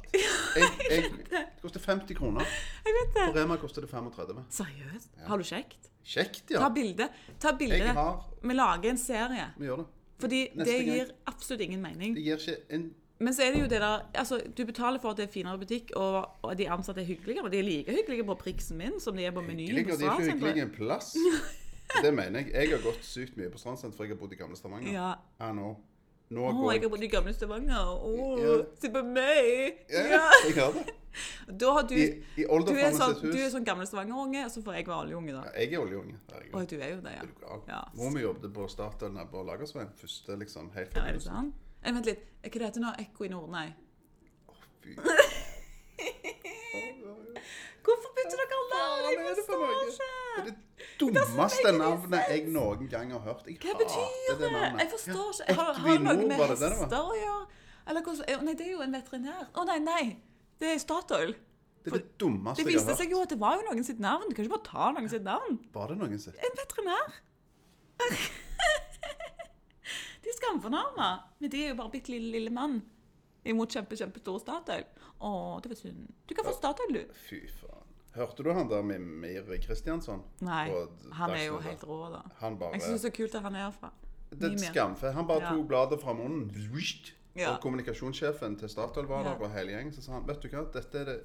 Jeg- jeg- Det koster 50 kroner. Jeg vet det. På Rema koster det 35. Seriøst? Har du kjekt? Kjekt, Ta ja. bilde. Ta Jeg bilde. har Vi lager en serie. Vi gjør det. Fordi Neste det gang. gir absolutt ingen mening. Det gir ikke en Men så er det jo det der Altså, du betaler for at det er finere butikk, og, og de ansatte er hyggeligere. Og de er like hyggelige på priksen min som de er på menyen. Ligger på de ikke Stradsenteret. hyggelige en *laughs* plass? Det mener jeg. Jeg har gått sykt mye på Strandsenteret, for jeg har bodd i gamle Stavanger. Ja. Ja, nå. Nå Å, går jeg jeg har bodd i gamle Stavanger. Å, Ja. se på meg! Ja, Ja. jeg gjør det. Da har du I, Du i er oldefarmen sånn, sitt du er hus sånn gamle Stavanger-unge, og så får jeg være oljeunge, da. Ja, Jeg er oljeunge. Herregud. Å, du er jo det, ja. Er du gal? Ja. Mor mi jobbet på Statoil nede på Lagersveien. Første, liksom, helt ja fra er det begynnelsen. sant? Eh, Vent litt. Hva heter det nå? Ekko i Nord? Nei. *laughs* Fy Hvorfor bytter dere navn? faen, Jeg er det for forstår noe? Det ikke. er det dummeste navnet jeg noen gang har hørt. Jeg Hva betyr det? Jeg forstår ikke. Jeg har, har det noe med hester å gjøre? Eller hvordan Å, Nei, det er jo en veterinær. Å nei, nei. Det er Statoil. Det er det dummeste Det jeg viste har seg hørt. jo at det var jo noen sitt navn. Du kan ikke bare ta noen sitt navn. Var det noen sitt? En veterinær. *laughs* De er skamfornærma. Men de er jo bare bitte lille, lille mann. Imot kjempe, kjempestore Statoil. Å, det var synd. Du kan få Statoil, du. Fy faen. Hørte du han der med Mir Kristiansson? Nei. På Han er jo Dagsnytt? helt rå, da. Han bare Jeg syns det er så kult at han er herfra. Det er et Mimir. skamfe. Han bare Ja. tok bladet fra munnen. Vrisht. Ja. Og kommunikasjonssjefen til Statoil var Ja. der, og hele gjengen. Så sa han vet du hva, dette er det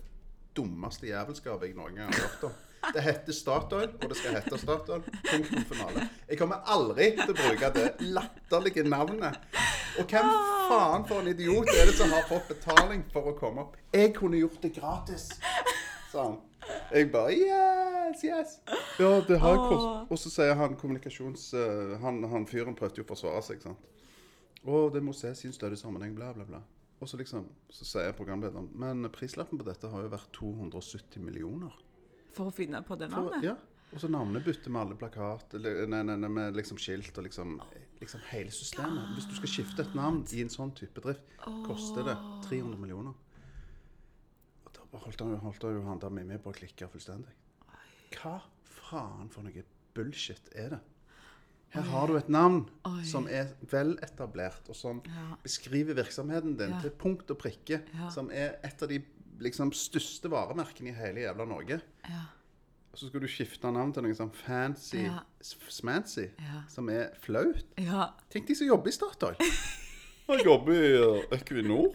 dummeste jævelskapet jeg noen gang har hørt om. Det heter Statoil, og det skal hete Statoil. Punktum finale. Jeg kommer aldri til å bruke det latterlige navnet. Og hvem faen for en idiot er det som har fått betaling for å komme opp? Jeg kunne gjort det gratis, sa han. Jeg bare Yes, yes. Ja, det har Åh. kost. Og så sier han kommunikasjons... eh, Han, han fyren prøvde jo å forsvare seg, sant. Å, det må ses i en større sammenheng, bla, bla, bla. Og så liksom, så sier programlederen Men prislappen på dette har jo vært 270 millioner. For å finne på det Og, navnet. ja. og så navnebytte med alle plakat, eller, nei, nei, nei, med liksom skilt og liksom, liksom hele Oh, systemet. Hvis du skal skifte et navn i en sånn type drift, koster det 300 millioner. Og da bare holdt han, holdt han jo han der med meg på å klikke fullstendig. Hva faen for noe bullshit er det? Her har du et navn Oi. som er veletablert, og som Ja. beskriver virksomheten din Ja. til punkt og prikke, Ja. som er et av de liksom, største varemerkene i hele jævla Norge. Ja. Og så skal du skifte navn til noe sånn fancy Ja. s- smancy, Ja. som er flaut. ja. Tenk de som jobber i *laughs* Statoil. Og jobber i eh, *laughs* Equinor.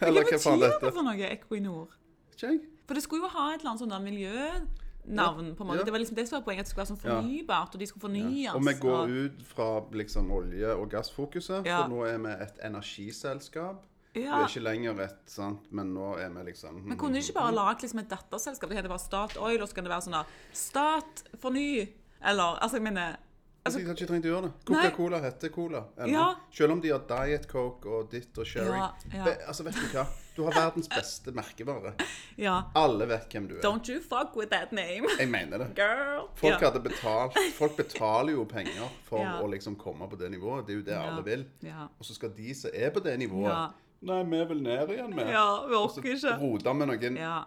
Hva Eller hva faen betyr det dette for noe, Equinor? Ikke jeg. For det skulle jo ha et eller annet sånt der miljønavn, på en måte. Ja. Det var liksom det som var poenget, at det skulle være sånn Ja. fornybart, og de skulle fornyes. Og vi går ut fra liksom, olje- og gassfokuset, Ja. for nå er vi et energiselskap. Vi Ja. er ikke lenger et, sant, men nå er vi liksom Men kunne de ikke bare lage liksom et datterselskap? Det heter bare Statoil, og så kan det være sånn der Stat, forny, eller Altså, jeg mener Altså, jeg hadde ikke trengt å gjøre det. Coca-Cola heter Cola. ennå. Ja. Selv om de har Diet Coke og ditt og Sherry. Ja, ja. Ve- Altså, vet du hva? Du har verdens beste merkevare. Ja. Alle vet hvem du er. Don't you fuck with that name, *laughs* Jeg mener det. girl. Folk, ja. hadde betalt, folk betaler jo penger for Ja. å liksom komme på det nivået. Det er jo det alle vil. Ja. Og så skal de som er på det nivået Ja. Nei, vi vil ned igjen, vi. Ja, vi Og så orker ikke. roter med noen ja.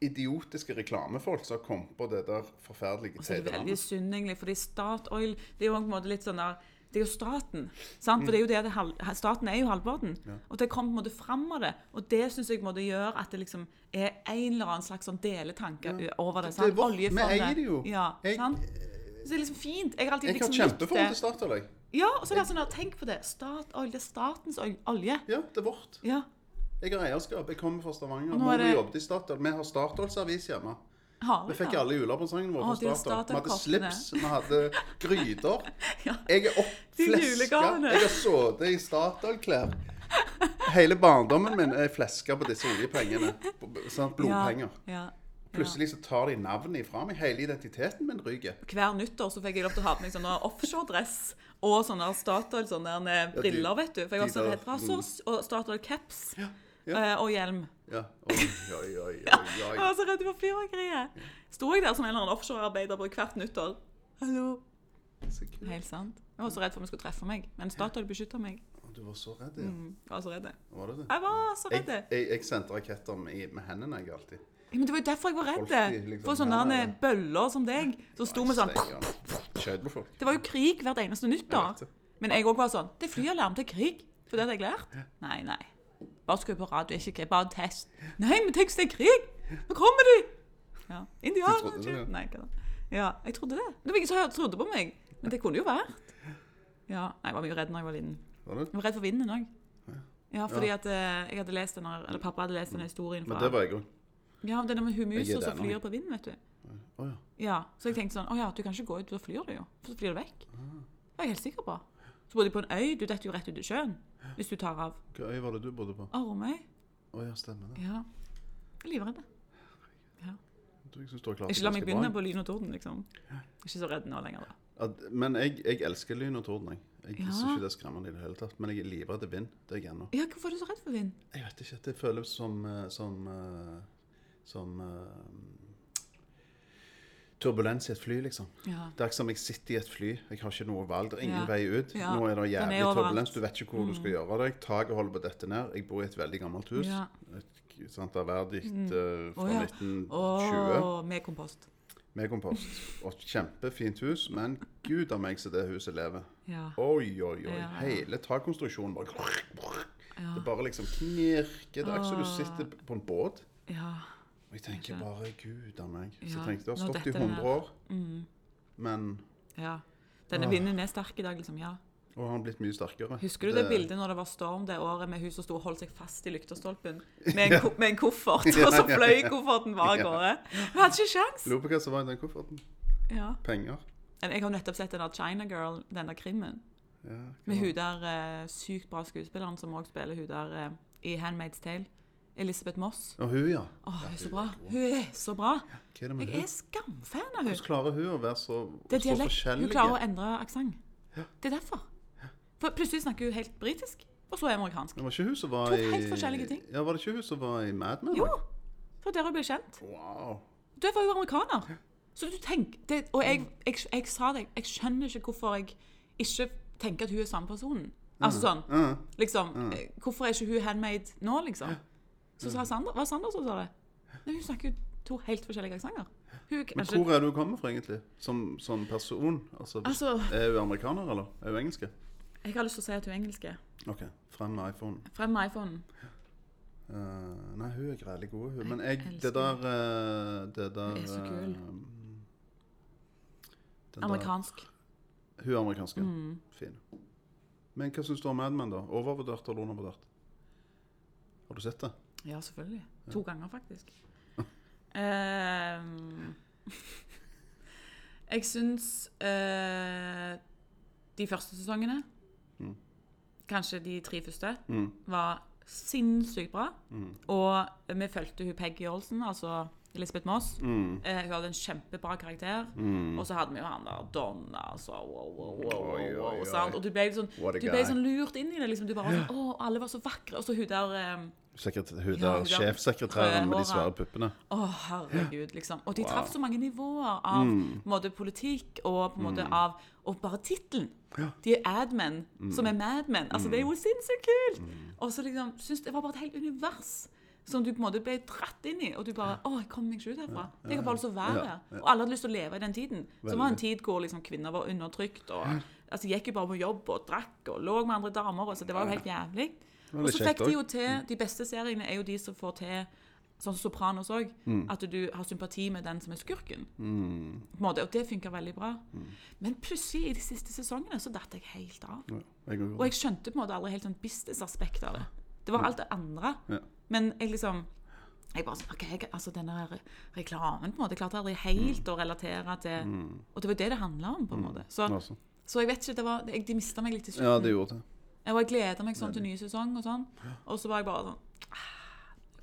idiotiske reklamefolk som har kommet på det der forferdelige Så er det veldig teilandet. synd, egentlig, fordi Statoil Det er jo på en måte litt sånn der Det er jo staten. sant? For det er jo det det hal- Staten er jo halvparten. Og det kom på en måte fram av det. Og det syns jeg på en måte gjør at det liksom er en eller annen slags sånn deletanke u- over det. Det er sant? vårt. Vi eier det jo. Ja, Jeg- sant? Så det er liksom fint. Jeg har alltid Jeg har liksom likt kjempeforhold til det. Statoil, jeg. Ja, og så er det sånn der, tenk på det. Statoil, det er statens ol- olje. Ja, det er vårt. Ja. Jeg har eierskap. Jeg kommer fra Stavanger. nå Mor er det- jobbet i Statoil. Vi har Statoil-servis hjemme. Har Vi *laughs* fikk alle julepresangen vår Å, fra det er Statoil. Vi hadde Statoil-koppene. slips, vi hadde *laughs* gryter. Ja. Jeg er De oppfleska. julegavene. Jeg har sittet i Statoil-klær. Hele barndommen min er fleska på disse oljepengene. på- sant, Blodpenger. Ja. ja. Plutselig så tar de navnet ifra meg. Hele identiteten min ryker. hver nyttår så fikk jeg lov til å ha på meg sånn offshore-dress og sånne Statoil sånne eh, de- briller, vet du. For jeg var de så der, mm. redd for Azors og Statoil caps ja. eh, og hjelm. Ja. Oi, oi, oi, oi, Jeg oi. var så redd for fyrverkeriet. Sto jeg der som en eller annen offshorearbeider på hvert nyttår. Hallo. Så kult. Helt sant. Jeg var så redd for om jeg skulle treffe meg, men Statoil beskytta meg. Å, Du var så redd, ja. Mm, Jeg var så redd. Var du det? Jeg var så Jeg, redd. jeg, jeg sendte raketter med, med hendene, jeg, alltid. Ja, Men det var jo derfor jeg var Alltid, redd. liksom, For sånne nei, eh, nei. bøller som deg, som sto med sånn Skjøt på folk. Det var jo krig hvert eneste Jeg vet nyttår. det. Men jeg òg var sånn Det er flyalarm til krig. For det hadde jeg lært. Nei, nei. Bare skru på radio, ikke krig. Bare test. Nei, men tenk hvis det er krig! Nå kommer de! Ja. Du trodde det, ja. Indianere Nei, hva da. Ja, jeg trodde det. Men det var ingen som hørte- trodde på meg. Men det kunne jo vært. Ja. Nei, jeg var mye redd når jeg var liten. Var det? Jeg var redd for vinden òg. Ja, fordi at eh, jeg hadde lest denne, eller pappa hadde lest denne historien Men fra det var jeg òg. Ja, det er noe med hun Jeg er musa der som nå. flyr på vinden, vet du. Å ja. Ja, så jeg tenkte sånn, å ja, du kan ikke gå ut, da flyr du jo. For så flyr du vekk. Det var jeg helt sikker på. Så bodde jeg på en øy, du detter jo rett ut i sjøen. Hvis du tar av Hvilken øy var det du bodde på? Armøy. Å ja, stemmer det. Ja. Jeg er livredd. Du, jeg synes du har klart det Ikke la meg ganske bra. begynne på lyn og torden, liksom. Ikke så redd nå lenger, da. At- Men jeg, jeg elsker lyn og torden, jeg. Jeg synes Ja. ikke det er skremmende i det hele tatt. Men jeg er livredd vind. Det er jeg ennå. Ja, hvorfor er du så redd for vind? Jeg vet ikke. Det føles som eh, Som, eh, som eh, Turbulens i et fly, liksom. Ja. Det er ikke som jeg sitter i et fly. Jeg har ikke noe valg. Det er Ja. ingen vei ut. Ja. Nå er det Den er jævlig overalt. Mm. turbulens. Du vet ikke hvor du skal gjøre av deg. Taket holder på å dette ned. Jeg bor i et veldig gammelt hus. Ja. Mm. Et sant, Ærverdig eh, fra Å, ja. 1920. Åh, med kompost. Med kompost. Og et kjempefint hus, men gud a meg så det huset lever. Ja. Oi, oi, oi. Ja. Hele takkonstruksjonen bare Ja. Det bare liksom knirker. Det er ikke som du sitter på en båt. Ja. Og jeg tenker bare gud a meg. Så Ja, jeg tenkte det nå har stått i detter det Mm. 100 år. Men ja. Denne vinden er sterk i dag, liksom. Ja. Og han har blitt mye sterkere. Husker du det, bildet når det var storm det året med hun som sto og holdt seg fast i *laughs* lyktestolpen med en, ko- med en koffert, og så Ja, ja, fløy ja. kofferten bare av Ja. gårde? Hun hadde ikke sjans! Lurer på hva som var i den kofferten. Ja. Penger. Men Jeg har nettopp sett den der China Girl, den der krimmen. Ja, Med hva- hun der eh, sykt bra skuespilleren som òg spiller hun der eh, i Handmaid's Tale. Elisabeth Moss. Og hun, ja. Å, hun er så bra. Hun er så bra. Hva er det med Jeg hun? er skamfan av Hvordan hun. klarer hun å være så, Det er så dialekt. Hun forskjellig? klarer å endre aksent. Det er derfor. For plutselig snakker hun helt britisk, og så er hun amerikansk. Det var ikke hun som var To i helt forskjellige ting. Ja, var det ikke hun som var i Mad Men? Jo! For der hun ble kjent. Wow. Du var jo amerikaner. Så du tenk, det, og jeg, jeg, jeg sa det, jeg skjønner ikke hvorfor jeg ikke tenker at hun er samme personen. Altså sånn, Ja. liksom, eh, hvorfor er ikke hun handmade nå, liksom? Så sa Sander, var det Sander som sa det? Nei, hun snakker jo to helt forskjellige aksanger. Hun altså, Men kanskje, hvor er du kommer fra, egentlig? Som, som person? Altså, altså, er hun amerikaner, eller? Er hun engelske? jeg har lyst til å si at hun er engelske. OK. Frem med iPhonen. Frem med iPhone. Eh, nei, hun er grælig god, hun. Men Jeg jeg, elsker det der eh, Det der Hun er så kul. eh, den Amerikansk. Der, hun er amerikansk, ja. Fin. Men hva syns du om Mad Men, da? Overvurdert eller undervurdert? Har du sett det? Ja, selvfølgelig. To ganger, faktisk. Eh, Ehm, *laughs* jeg syns eh, de første sesongene, kanskje de tre første, Mm. var Sinnssykt bra. Og vi fulgte hun Peggy Olsen, altså Elisabeth Moss. Mm. Eh, hun hadde en kjempebra karakter. Og så hadde vi jo han der Donna altså, wow, wow, wow, wow, Oi, oi, wow, oi. sant? Og du ble sånn, What a du ble guy. sånn lurt inn i det. Liksom. Du bare var sånn, Å, alle var så vakre. Og så hun der eh, Sekret hun Ja, der hun der sjefsekretæren med de rødhåra. svære puppene. Å, herregud, liksom. Og de traff så mange nivåer av på en måte, politikk og på en måte av Og bare tittelen. De er admen, som Mm. er madmen. Altså, det er jo sinnssykt kult! Og så liksom syns Det var bare et helt univers som du på en måte ble dratt inn i. Og du bare Å, jeg kommer meg ikke ut herfra. Jeg har bare lyst til å være Ja, her. Og alle hadde lyst til å leve i den tiden. Så det var en Veldig. tid hvor liksom kvinner var undertrykt og altså, gikk jo bare på jobb og drakk og lå med andre damer. Og så det var jo helt jævlig. var Og litt så kjekt fikk de også. Mm. jo til De beste seriene er jo de som får til Sånn som Sopranos òg. Mm. At du har sympati med den som er skurken. På en måte, og det funka veldig bra. Men plutselig, i de siste sesongene, så datt jeg helt av. Ja, jeg Og gjorde det. jeg skjønte på en måte aldri helt sånn businessaspektet av det. Det var alt det andre. Ja. Men jeg liksom jeg bare sånn, ok, jeg, altså Denne her re- reklamen på en måte, jeg klarte aldri helt å relatere til Og det var jo det det handla om. på en måte. Så, Altså. så jeg vet ikke, det var, det- jeg, de mista meg litt i Ja, slutten. det gjorde det. Og jeg gleda meg sånn til ny sesong, og sånn. Og så var jeg bare sånn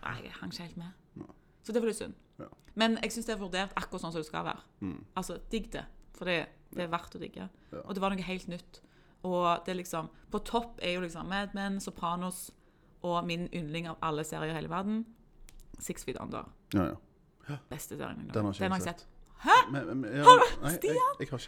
ah, Nei, jeg hang ikke helt med. Så det var litt synd. Ja. Mm. Men jeg syns det er vurdert akkurat sånn som det skal være. Altså, digg det. For det, det er verdt å digge. Ja. Og det var noe helt nytt. Og det er liksom På topp er jo liksom Mad Men, Sopranos og min yndling av alle serier i hele verden, Six Feet Under. Ja, ja. Beste serien min. Den har ikke jeg jeg sett. sett. Men, men, ja, Har du- nei, jeg, jeg, jeg har ikke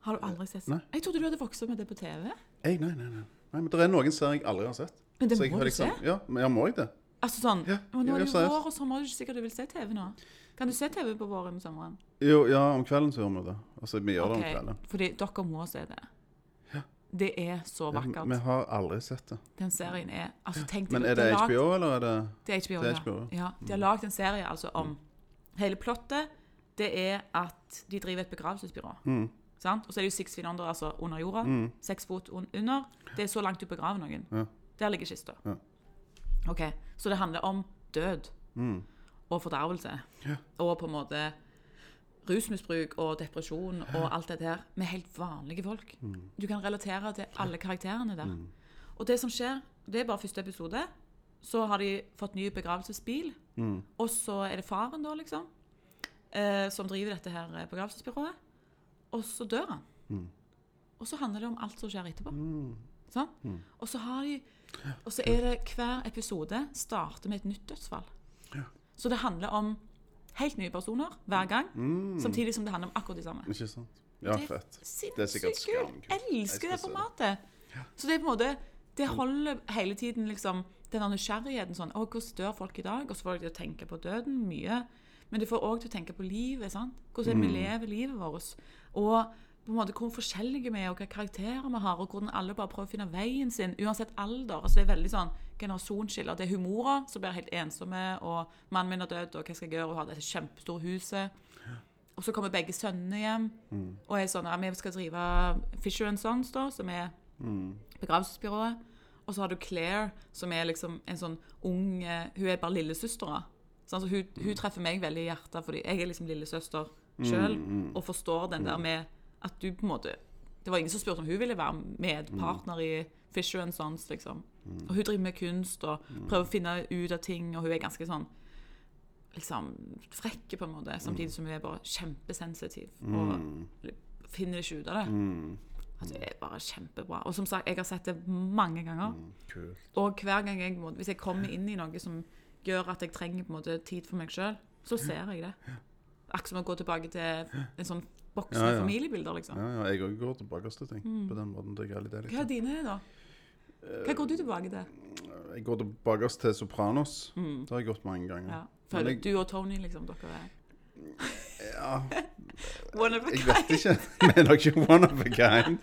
Har du aldri sett? Nei. Jeg trodde du hadde vokst opp med det på TV. jeg, Nei, nei, nei. nei men det er noen serier jeg aldri har sett. Men det Så jeg må har du liksom, se. Ja, men jeg må jeg det? Altså sånn Ja, men Nå ja, er det jo seriøst. vår, og sommer. Det er ikke sikkert du vil se TV nå. Kan du se TV på våren og sommeren? Jo, ja, om kvelden så gjør vi det. Altså, vi gjør det om Ok, kvelden. Fordi dere må se det. Det er så Vi- vakkert. Vi har aldri sett det. Den serien er Altså, tenk Men er det lagt- HBO, eller er det Det er HBO, Det er ja. HBO, ja. De har lagd en serie altså om Mm. Hele plottet det er at de driver et begravelsesbyrå. Mm. Sant? Og så er det jo seks feet under, altså under jorda. Seks fot un under. Det er så langt du begraver noen. Ja. Der ligger kista. Ja. Ok, Så det handler om død Hmm, og fordervelse. Ja. Og på en måte rusmisbruk og depresjon og alt det der med helt vanlige folk. Du kan relatere til alle karakterene der. Og det som skjer, det er bare første episode. Så har de fått ny begravelsesbil. Og så er det faren, da, liksom, eh, som driver dette her eh, begravelsesbyrået. Og så dør han. Og så handler det om alt som skjer etterpå. Sant? Og så har de Og så er det hver episode starter med et nytt dødsfall. Så det handler om helt nye personer hver gang, samtidig som det handler om akkurat de samme. Ikke sant? Ja, Det er fett. Det er sikkert Sinnssykt kult. skamkult. Jeg elsker skal det se formatet. Så det er på en måte Det holder hele tiden liksom den der nysgjerrigheten sånn Å, hvordan dør folk i dag? Og så får deg til å tenke på døden mye. Men du får òg til å tenke på livet. sant? Hvordan Mm. er det vi lever livet vårt. Og på en måte hvor forskjellige vi er, og hvilke karakterer vi har, og hvordan alle bare prøver å finne veien sin, uansett alder. altså Det er veldig sånn generasjonsskiller. Det er hun mora som blir helt ensomme, og mannen min er død, og hva skal jeg gjøre? Hun har dette kjempestore huset. Og så kommer begge sønnene hjem og er sånn ja, Vi skal drive Fisher Sons, da, som er begravelsesbyrået. Og så har du Claire, som er liksom en sånn ung eh, Hun er bare lillesøstera. Sånn, så hun, hun treffer meg veldig i hjertet, fordi jeg er liksom lillesøster Hmm, sjøl Mm. og forstår den der med at du på en måte Det var ingen som spurte om hun ville være medpartner i Fisher Sons, liksom. Og hun driver med kunst og prøver å finne ut av ting, og hun er ganske sånn liksom frekke på en måte, samtidig som hun er bare kjempesensitiv Mm. hmm, og finner ikke ut av det. Altså, det er bare kjempebra. Og som sagt, jeg har sett det mange ganger. Mm. Kult. Og hver gang jeg, på en måte- hvis jeg kommer inn i noe som gjør at jeg trenger på en måte tid for meg sjøl, så ser jeg det. Akkurat som å gå tilbake til en sånn boks med Ja, ja. familiebilder, liksom. Ja, ja, jeg òg går tilbake til ting Hmm. på den måten. Det er greit, det er Hva er litt. dine, da? Hva går du tilbake til? Jeg går tilbake til Sopranos. Det har jeg gått mange Hmm. ganger. Ja. Men Føler jeg- du og Tony, liksom, dere er Ja, One of a jeg kind. vet ikke. *laughs* Vi er nok ikke one of a kind.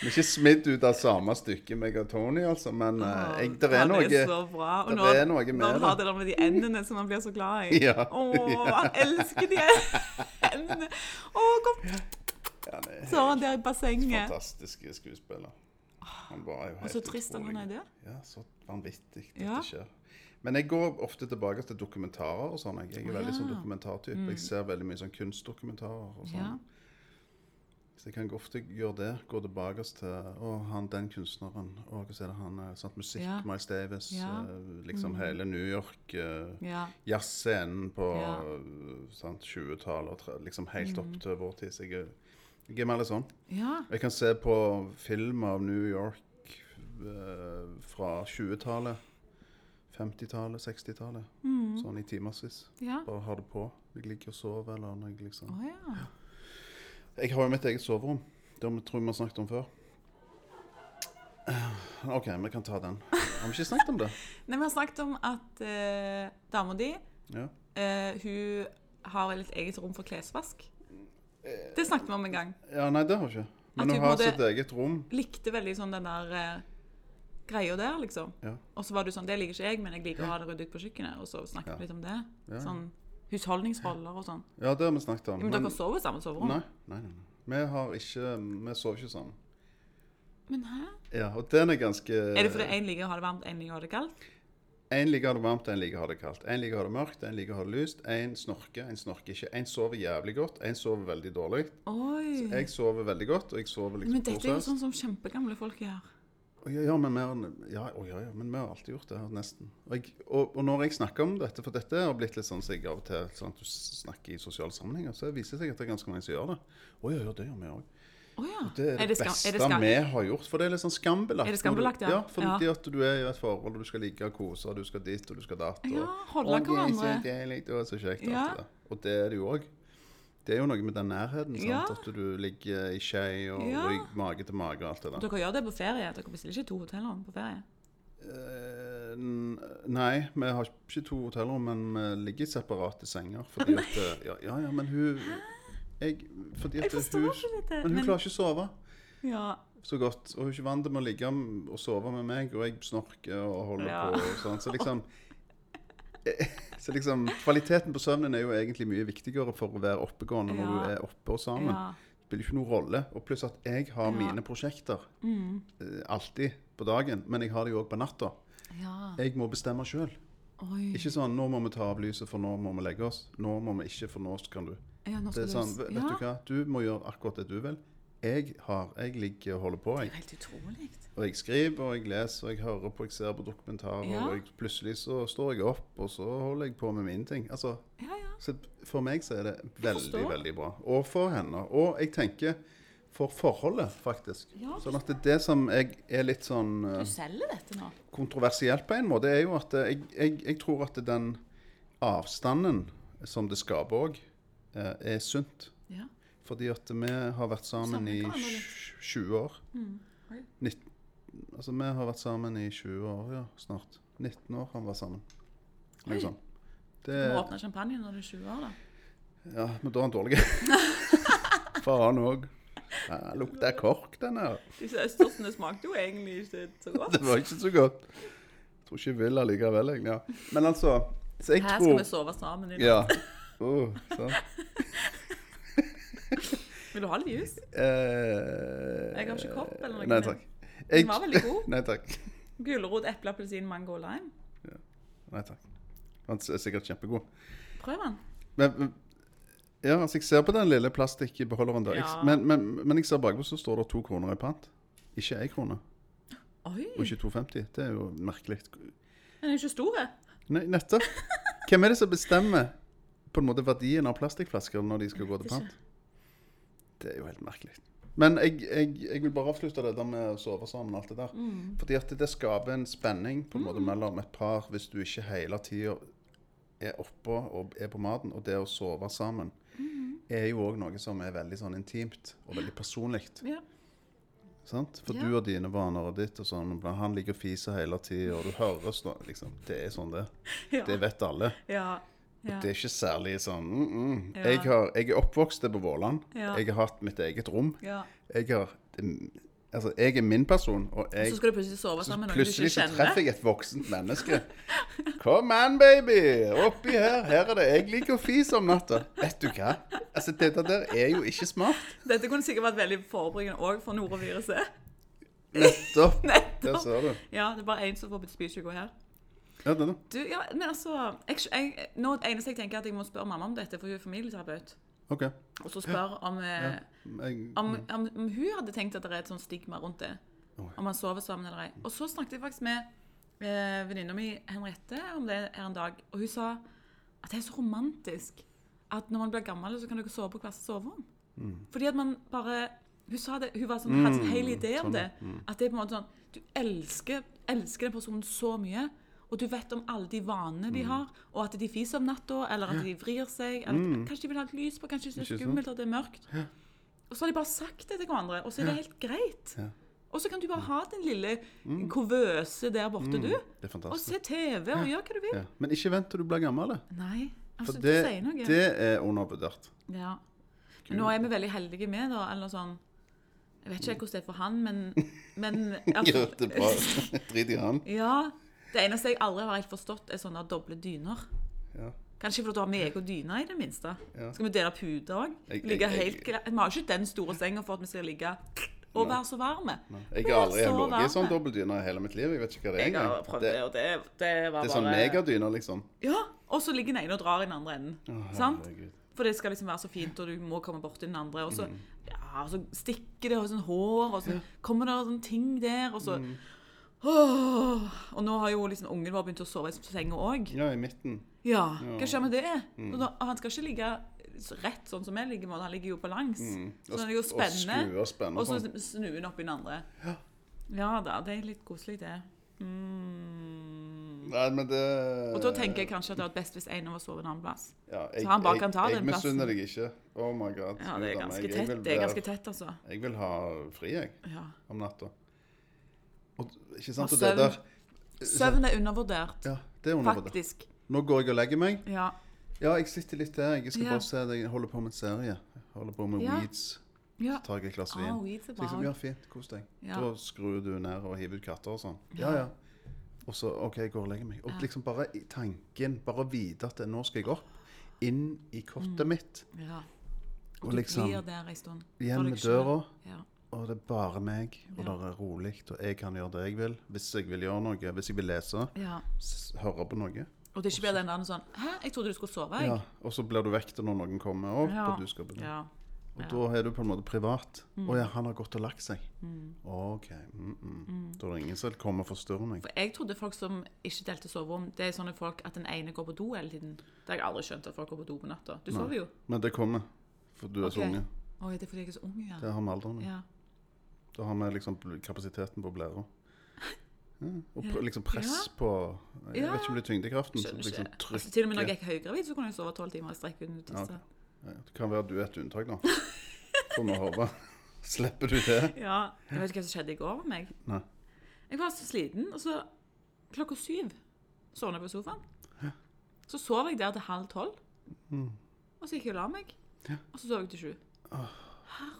Vi er ikke smidd ut av samme stykke, meg og Tony, altså, men eh, jeg, der er Han noe så bra. Og der når- er noe med når han har det. det der med de endene som han blir så glad i. *laughs* Ja, Å, han elsker *laughs* de endene. Å, kom ja, det er så han der i bassenget. Fantastiske skuespiller. Han var jo helt Og så trist at han er utrolig. død. Ja, så vanvittig dette Ja. skjer. Men jeg går ofte tilbake til dokumentarer og sånn. Jeg Jeg er Å, veldig sånn ja. Mm. dokumentartype. Jeg ser veldig mye sånn kunstdokumentarer og sånn. Ja. Så jeg kan ofte gjøre det. Gå tilbake til å, han den kunstneren. Og hva er det han eh, sant, Musikk, Ja. Miles Davis. Ja. Mm. eh, Liksom hele New York. eh, Ja. Jazzscenen på Ja. Mm. eh, sant, 20-tallet og tre- liksom helt opp til vår tid. Så jeg, er- jeg er mer litt sånn. ja. Jeg kan se på film av New York eh, fra 20-tallet, 50-tallet, 60-tallet. Mm. Sånn i timevis. Ja. Bare har det på. Jeg ligger og sover eller når jeg liksom Å ja. jeg har jo mitt eget soverom. Det har vi- tror jeg vi har snakket om før. Eh, OK, vi kan ta den. Har vi ikke snakket om det? Nei, vi har snakket om at eh, dama di Ja. eh, Hun har vel et eget rom for klesvask. Det snakket vi om en gang. ja nei, det har vi ikke. Men At hun vi har måtte- sitt eget rom. Likte veldig sånn den der eh, greia der, liksom. Ja. Og så var du sånn Det liker ikke jeg, men jeg liker å ha det ryddig på kjøkkenet. Og så snakket Ja. vi litt om det. Ja. Sånn husholdningsroller og sånn. Ja, det har vi snakket om. Men, dere sover i samme soverom? nei, nei, nei, nei. Vi har ikke Vi sover ikke sammen. Men hæ? Ja, og den er ganske Er det fordi én liker å ha det varmt, én liker å ha det kaldt? En liker å ha det varmt, en liker å ha det kaldt. En liker å ha det mørkt, en liker å ha det lyst. En snorker, en snorker ikke. En sover jævlig godt, en sover veldig dårlig. Oi. Jeg sover veldig godt, og jeg sover Mm. liksom Men dette er jo korsøst. sånn som kjempegamle folk gjør. Å, Ja, ja, men vi har- ja, å, ja, ja, men vi har alltid gjort det, nesten. Og, jeg, og, og når jeg snakker om dette, for dette har blitt litt sånn som jeg av og til sånn, at du snakker i sosiale sammenhenger, så viser det seg at det er ganske mange som gjør det. Å ja, ja, det gjør vi òg. Å ja. Det er det, skam- beste er det skam- vi har gjort, for det er litt sånn skambelagt. Er det skambelagt, når ja? du, ja? Fordi Ja. at du er i et forhold, og du skal like å kose, og du skal dit, og du skal datt. Og, Ja, holde «Å, det er så hverandre. deilig, det er så kjekt, og Ja. alt det der. Og det er det jo òg. Det er jo noe med den nærheten, sant? Ja. at du ligger i skje og Ja. rygg, mage til mage og alt det der. Dere gjør det på ferie. Dere bestiller ikke to hoteller på ferie. Eh, n- Nei, vi har ikke to hotellrom, men vi ligger i separate senger. Fordi at eh, Ja, ja, ja men hun jeg, fordi at Jeg forstår hun, ikke dette. Men hun men- klarer ikke å sove ja, så godt. Og hun er ikke vant til å ligge m- og sove med meg, og jeg snorker og holder Ja. på. Og sånn. Så liksom *laughs* eh, Så liksom Kvaliteten på søvnen er jo egentlig mye viktigere for å være oppegående når Ja. du er oppe og sammen. ja. Det spiller ikke noen rolle. Og pluss at jeg har Ja. Mm. mine prosjekter eh, alltid på dagen, men jeg har de òg på natta. ja. Jeg må bestemme sjøl. Oi. Ikke sånn 'nå må vi ta av lyset, for nå må vi legge oss'. 'Nå må vi ikke, for nå kan du'. Ja, nå Det skal er du- sånn, Vet ja. du hva, du må gjøre akkurat det du vil. Jeg har, jeg ligger og holder på, jeg. Helt utrolig. Og jeg skriver, og jeg leser, og jeg hører på, jeg ser på dokumentarer, Ja. og jeg, plutselig så står jeg opp, og så holder jeg på med min ting. Altså, Ja, ja. så for meg så er det Jeg veldig, forstår. veldig bra. Og for henne. Og jeg tenker for forholdet, faktisk. Ja, Sånn at det, er det som jeg er litt sånn eh, Du selger dette nå? kontroversielt på en måte, er jo at eh, jeg, jeg, jeg tror at den avstanden som det skaper òg, er sunt. Ja. Fordi at vi har vært sammen Savner i hverandre litt. tj- 20 år. Mm. Oi. Nitt- altså, vi har vært sammen i 20 år, ja, snart. 19 år har vi vært sammen. Noe Oi. sånt. Det, Du må åpne champagne når du er 20 år, da. ja, men da er *laughs* han dårlig. Faen òg. Ja, lukter kork, den her. Disse østersene smakte jo egentlig ikke så godt. Det var ikke så godt. Jeg tror ikke jeg vil allikevel, jeg. Ja. Men altså så jeg Her tror, skal vi sove sammen i natt. Ja. Uh, sant. Vil du ha litt jus? Eh, Jeg har ikke kopp eller noe, Nei men takk. Den var veldig god. *laughs* Nei takk. Gulrot, eple, appelsin, mango og lime. Nei takk. Han er sikkert kjempegod. Prøv den. Men, men- ja, altså jeg ser på den lille plastikkbeholderen der. Jeg- Ja. Men, men, men jeg ser bakpå så står det to kroner i pant. Ikke én krone, Oi, og ikke 2,50. Det er jo merkelig. den er jo ikke stor. jeg. Nei, nettopp. Hvem er det som bestemmer på en måte verdien av plastikkflasker når de skal gå til vet ikke. pant? Det er jo helt merkelig. Men jeg, jeg, jeg vil bare avslutte det der med å sove sammen og alt det der. Mm. Fordi at det skaper en spenning på en måte mellom et par hvis du ikke hele tida er oppå og er på maten. Og det å sove sammen Mm. er jo òg noe som er veldig sånn intimt og veldig personlig. Ja. Sant? For Ja. du og dine vaner og ditt og sånn. og Han ligger og fiser hele tida, og du høres nå liksom. Det er sånn det. Ja. Det vet alle. Ja. ja. Det er ikke særlig sånn mm, mm. Ja. Jeg, har, jeg er oppvokst på Våland. Ja. Jeg har hatt mitt eget rom. ja. Jeg, har, det- altså, jeg er min person, og Så jeg skal du plutselig sove sammen med noen du ikke Plutselig så kjenner. treffer jeg et voksent menneske. Kom an, baby! Oppi her. Her er det. Jeg liker å fise om natta. Vet du hva? Altså, Dette der er jo ikke smart. Dette kunne sikkert vært veldig forebyggende òg for noroviruset. Nettopp. Der *laughs* Nettopp. ser du. Ja, det er bare én som får spysjuke her. Ja, det, da. Du, ja, men altså jeg, skj- jeg, nå, Det eneste jeg tenker, er at jeg må spørre mamma om dette, for hun er familieterapeut. OK. Og så spør om, eh, Jeg, om, om, om hun hadde tenkt at det er et sånt stigma rundt det. Mm. Oi. Om han sover sammen eller ei. Og så snakket jeg faktisk med eh, venninna mi Henriette om det her en dag, og hun sa at det er så romantisk at når man blir gammel, så kan dere sove på hver sitt soverom. Mm. Fordi at man bare Hun sa det, hun var sånn, hadde en hel idé om sånn, det. At det er på en måte sånn Du elsker, elsker den personen så mye. Og du vet om alle de vanene Mm. de har, og at de fiser om natta, eller at de vrir seg. Eller at, Mm. Kanskje de vil ha et lys på, kanskje de synes det Ikke er sant? skummelt at det er mørkt. Og så har de bare sagt det til hverandre, og så er det helt greit. Ja. Og så kan du bare ha den lille kuvøse der borte, du. det er Og fantastisk. se TV og gjøre hva du vil. Ja. Men ikke vent til du blir gammel. Nei, For altså, det, du sier noe. det er undervurdert. Ja. Men nå er vi veldig heldige med, da, eller sånn Jeg vet ikke helt hvordan det er for han, men, *laughs* men Gjør det *laughs* bra. Drit i han. Ja. Det eneste jeg aldri har helt forstått, er sånne doble dyner. Ja. Kanskje fordi du har med egen dyne, i det minste. Ja. Skal vi dele pute òg? Jeg- jeg- Ligge jeg- helt kla- Vi har ikke den store senga for at vi skal ligge og være så varme. Jeg Vi har er aldri så ligget i sånn varme. dobbeltdyne hele mitt liv. Jeg vet ikke hva det er Jeg har engang. prøvd Det, det, og det, det var det bare er sånn megadyner, liksom. Ja, og så ligger den ene og drar i den andre enden. sant? herregud. For det skal liksom være så fint, og du må komme bort til den andre. Og så, Mm. ja, og så stikker det, og sånn hår, og så kommer det sånne ting der, og så Mm. Åh, og nå har jo liksom ungen vår begynt å sove i senga òg. Ja, i midten. Ja, Mm. hva skjer med det? Og da, han skal ikke ligge rett sånn som jeg ligger, med, han ligger jo på langs. Så han er jo Og skru spennende. og spenne Og så sånn. snur han opp i den andre. Ja da, det er litt koselig, det. Mm. Nei, men det Og da tenker jeg kanskje at det hadde vært best hvis en av oss sov en annen plass. ja, jeg, så han bare kan ta jeg, den jeg misunner plassen. deg ikke. Oh my god. Ja, det er Gud, Anne, ganske jeg- tett, jeg vil det er være- ganske tett altså. Jeg vil ha fri, jeg, Ja. om natta. Og, ikke sant, Og og søvn. det der Søvn er undervurdert, Ja, det er undervurdert. faktisk. Nå går jeg og legger meg. Ja. Ja, jeg sitter litt der. Jeg skal Ja. bare se at jeg holder på med en serie. Jeg Holder på med Ja. weeds. ja. Tar jeg et glass Ah, vin. weeds er Så liksom, bra. ja, fint. Kos deg. Ja. Da skrur du ned og hiver ut katter og sånn. Ja, ja. Og så OK, jeg går og legger meg. Og liksom bare i tanken, bare vite at nå skal jeg opp. Inn i kottet mitt. ja. Og Mm. Du liksom blir der en stund. for igjen deg med selv. døra. Ja. Og det er bare meg, og Ja. det er rolig, og jeg kan gjøre det jeg vil. Hvis jeg vil gjøre noe, hvis jeg vil lese, ja. s- høre på noe. Og det ikke blir den der sånn Hæ, jeg trodde du skulle sove, jeg. Ja, og så blir du vekket når noen kommer opp, Ja. og du skal begynne. Ja. Mm. Og da er du på en måte privat. Å ja, han har gått og lagt seg. OK. Mm -mm. Da er det ingen som kommer og forstyrrer meg. For jeg trodde folk som ikke delte soverom, det er sånne folk at den ene går på do hele tiden. Det har jeg aldri skjønt at folk går på do på natta. Du sover jo. Men det kommer, for du er så Ok. unge. Å, er det fordi jeg er så ung, ja. Det har vi alderen. Ja. ja. Da har vi liksom bl- kapasiteten på blæra. *laughs* Ja, og pr liksom press på Jeg Ja. vet ikke om det er tyngdekraften som Skjønner liksom ikke. Altså, til og med når trykker jeg gikk høygravid, så kunne jeg sove tolv timer i strekk uten å tisse. Ja, Det kan være du er et *laughs* unntak, da. Får vi håpe. *laughs* Slipper du det? Ja, jeg vet ikke hva som skjedde i går med meg. Nei. Jeg var så sliten, og så klokka syv sovna jeg på sofaen. Så sov jeg der til halv tolv. Og så gikk jeg og la meg. Mm. Ja. Og så sov jeg til sju.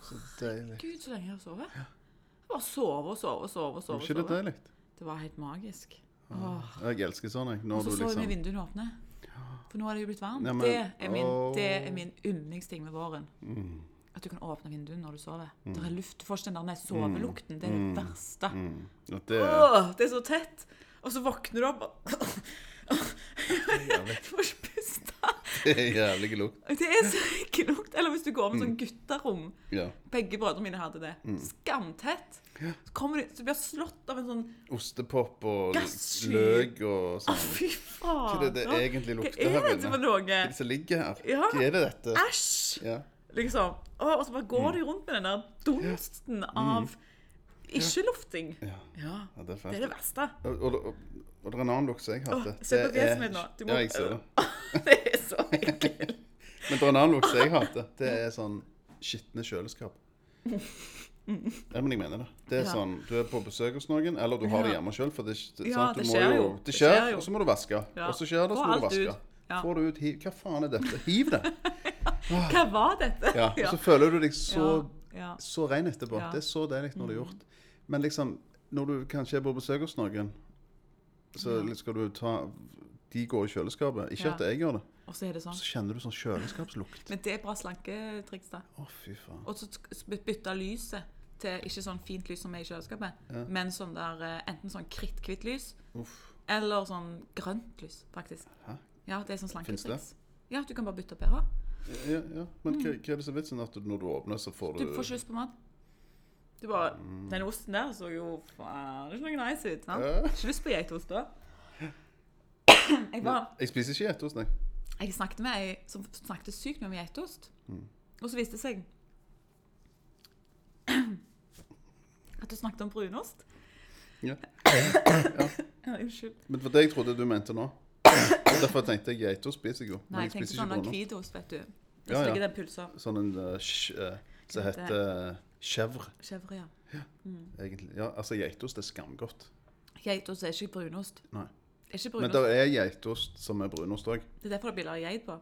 Så deilig. Gud, så lenge jeg har sovet. Jeg bare sove og sove og sove. og Er sove, ikke det sove. deilig? Det var helt magisk. Åh. Jeg elsker sånn, jeg. Når Og du så sov jeg med liksom vinduene åpne. For nå er det jo blitt varmt. Ja, men- det, er min, Åh. Mm. det er min yndlingsting med våren. At du kan åpne vinduene når du sover. Det er luft. Du får ikke den der sovelukten. Det er det verste. Mm. Ja, Det er Åh, det er så tett. Og så våkner du opp og jævlig, *laughs* får ikke puste. det er *laughs* jævlig lukt. Det er så ikke lukt. Eller hvis du går med Mm. sånn gutterom. Ja. Begge brødrene mine hadde det. Mm. Skamtett. Så kommer de, så blir jeg slått av en sånn Ostepop og Gassfyr. løk og Å, sånn. fy Hva faen. er det det egentlig lukter Hva her er det inne? for noe? Hva er det som ligger her? Ah, Ja. Ah. Hva er det dette? Æsj! Ja. Liksom. Å, og så bare går Mm. de rundt med den der dunsten av ikke-lufting. Ja. Ja. ja, det er Det fælt. er det verste. *laughs* Og, og, og, og det er en annen lukt som jeg hadde. Åh, se på Det er- fjeset mitt nå. Du må- Ja, jeg ser det. Det er så ekkelt. Men det er en annen lukt som jeg hater. Det er sånn skitne kjøleskap. Ja, men jeg mener det. Det er Ja. sånn, Du er på besøk hos noen, eller du har det Ja. hjemme sjøl. For det, det, Ja, sant? Du det må skjer jo, jo. det Det skjer, skjer jo. og så må du vaske. Ja. Og så skjer det, Få så må alt du vaske. ut. Ja. Får du ut hiv Hva faen er dette? Hiv det! *laughs* Hva var dette? Ja. Og så føler du deg så, ja. ja. så ren etterpå. Ja. Mm. Det er så deilig når det er gjort. Men liksom, når du kanskje er på besøk hos noen, så skal du ta De går i kjøleskapet. Ikke Ja. at jeg gjør det. Og så er det sånn. Så kjenner du sånn kjøleskapslukt. Men det er bra slanketriks, da. Å, fy faen. Og så sk- by- bytte lyset til ikke sånn fint lys som er i kjøleskapet, men sånn der eh, enten sånn kritthvitt lys Uff. eller sånn grønt lys, faktisk. Hæ? Ja, det er sånn Finnes det? slanketriks. Ja, du kan bare bytte pære. Ja, ja. Men hva, hva er det som er vitsen? At du, når du åpner, så får du Mm. Du får kyss på mat. Du bare Den osten der så jo faen det er ikke noe nice ut. sant? Mm. Ja. Ikke lyst på geitost da. Jeg, bare, Jeg spiser ikke geitost, nei. jeg snakket med ei som snakket sykt mye om geitost, Mm. og så viste det seg at du snakket om brunost. Ja. *coughs* Ja, Unnskyld. Men det var det jeg trodde du mente nå. *coughs* Derfor tenkte jeg geitost spiser jeg jo. Nei, Men jeg jeg tenkte spiser sånn ikke der brunost. hvitost, vet du. Ja, Hvis ja. ligger den pølsa Sånn en uh, sj, eh, som Heter- heter eh, chèvre, Chèvre, ja. egentlig. Ja, altså geitost er skamgodt. Geitost er ikke brunost. Nei. Det er ikke Men brunost. det er geitost som er brunost òg. Det er derfor det blir laget geit på. *laughs*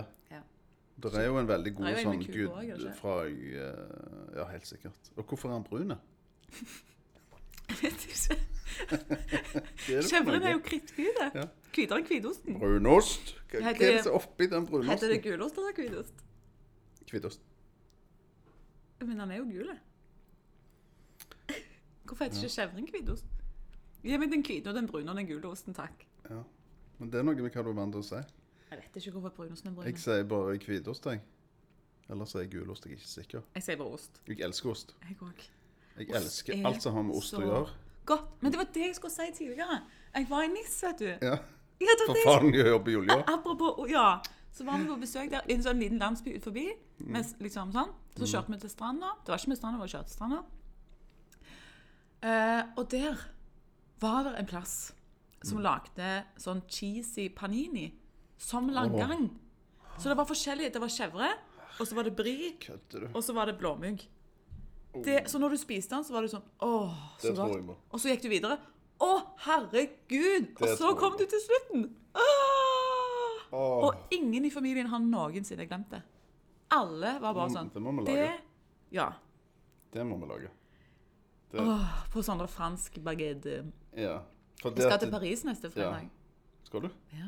Ja. Ja. Det er jo en veldig god Det er jo en sånn med kuk gud også, gjør det ikke? fra eh, Ja, helt sikkert. Og hvorfor er han brun? da? Vet ikke. Hva er det for Chèvren noe? er jo kritthvite. Ja. Hvitere enn hvitosten. Brunost? Hva, hva Heter er det det- som er oppi den Heter det brunosten? gulost eller hvitost? Hvitost. Men han er jo gul. *laughs* Hvorfor heter ikke chèvren hvitost? Gi meg den hvite og den brune og den gule osten, takk. Ja. Men det er noe med hva du er vant til å si. Jeg vet ikke hvorfor brunosten er brun. Jeg sier bare hvitost, jeg. Ellers er jeg gulost, jeg er ikke sikker. Jeg sier bare ost. Jeg elsker ost. Jeg òg. Jeg Ost elsker er alt som har med ost så- å gjøre. Godt. Men det var det jeg skulle si tidligere. Jeg var i NIS, vet du. *laughs* Ja, Ja, det var For det jeg faen, jeg jobber i olja. Apropos, ja. Så var vi på besøk der i en sånn liten landsby ut forbi. Mens, liksom, sånn. Så kjørte vi til stranda. Det var ikke mye stranda, vi kjørte til stranda. Eh, og der var det en plass som lagde sånn cheesy panini. Som langgang. Så det var forskjellig. Det var chèvre, og så var det brie, Kødder du? og så var det blåmugg. Det, så når du spiste den, så var du sånn Åh, så Oh. Det tror jeg godt. på. Og så gikk du videre. Å, herregud! Og Det så tror jeg kom på. du til slutten. Åh! Åh. Og ingen i familien har noensinne glemt det. Alle var bare Mm, sånn det må vi det, lage. Ja. Det må vi lage. Det, Åh, på sånn der fransk baguette. ja. For Jeg det skal at til det- Paris neste fredag. Skal du? Ja.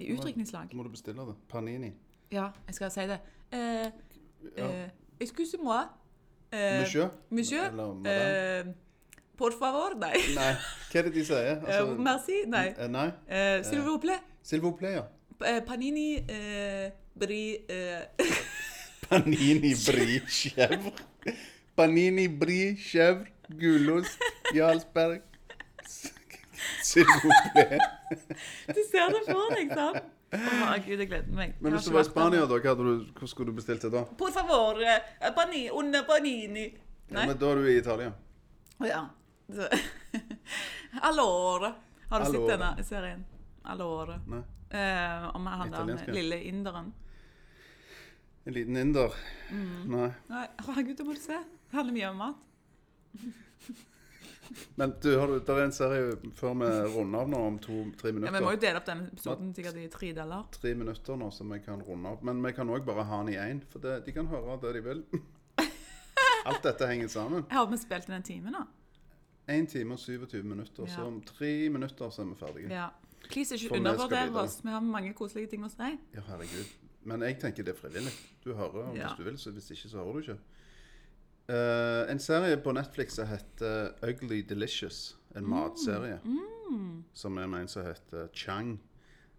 I utdrikningslag. Må du bestille det? Panini. Ja, jeg skal si det. Eh, Ja. eh, Excusez-moi. Eh, Monsieur? Monsieur? Eller madame? Eh, por favor? Nei. *laughs* Nei. Hva er det *laughs* de sier? Altså, Eh, merci? Nei. Eh, Nei. Eh, S'il vous plaît. S'il vous plaît, ja. P- eh, Panini eh, bri eh, *laughs* Panini brie chèvre. Panini brie chèvre. Gulost. Jarlsberg. *laughs* S'il vous plaît. Du ser det for deg, sant? Å, herregud, jeg gleder meg. Men Jeg hvis har du var ikke vært i der. Spania, da, hva hadde du, hva skulle du bestilt det da? Por favor, eh, pani, una panini. Ja, Nei? men da er du i Italia. Å ja. Så- *laughs* Allora. Har du sett Allora. denne serien? Allora. Nei. Eh, om han der Italiensk, med ja. lille inderen. En liten inder. Mm. Nei. Nei, herregud, det må du se. Det handler mye om mat. Men du, har du, der er en serie før vi runder av nå, om to-tre Ja, vi må minutter. jo dele opp denne episoden sikkert i tre deler. Tre minutter nå, så vi kan runde av. Men vi kan òg bare ha den i én, for det, de kan høre det de vil. *laughs* Alt dette henger sammen. Jeg har vi spilt inn en time nå. Én time og 27 minutter, Ja. så om tre minutter så er vi ferdige. Ja. Ja, Please, For ikke vi skal undervurder videre. oss. Vi har mange koselige ting å si. herregud. Men jeg tenker det er frivillig. Du hører om Ja. hvis du vil, så hvis ikke, så hører du ikke. Eh, en serie på Netflix som heter Ugly Delicious. En Mm. matserie. Som er med en som heter Chang.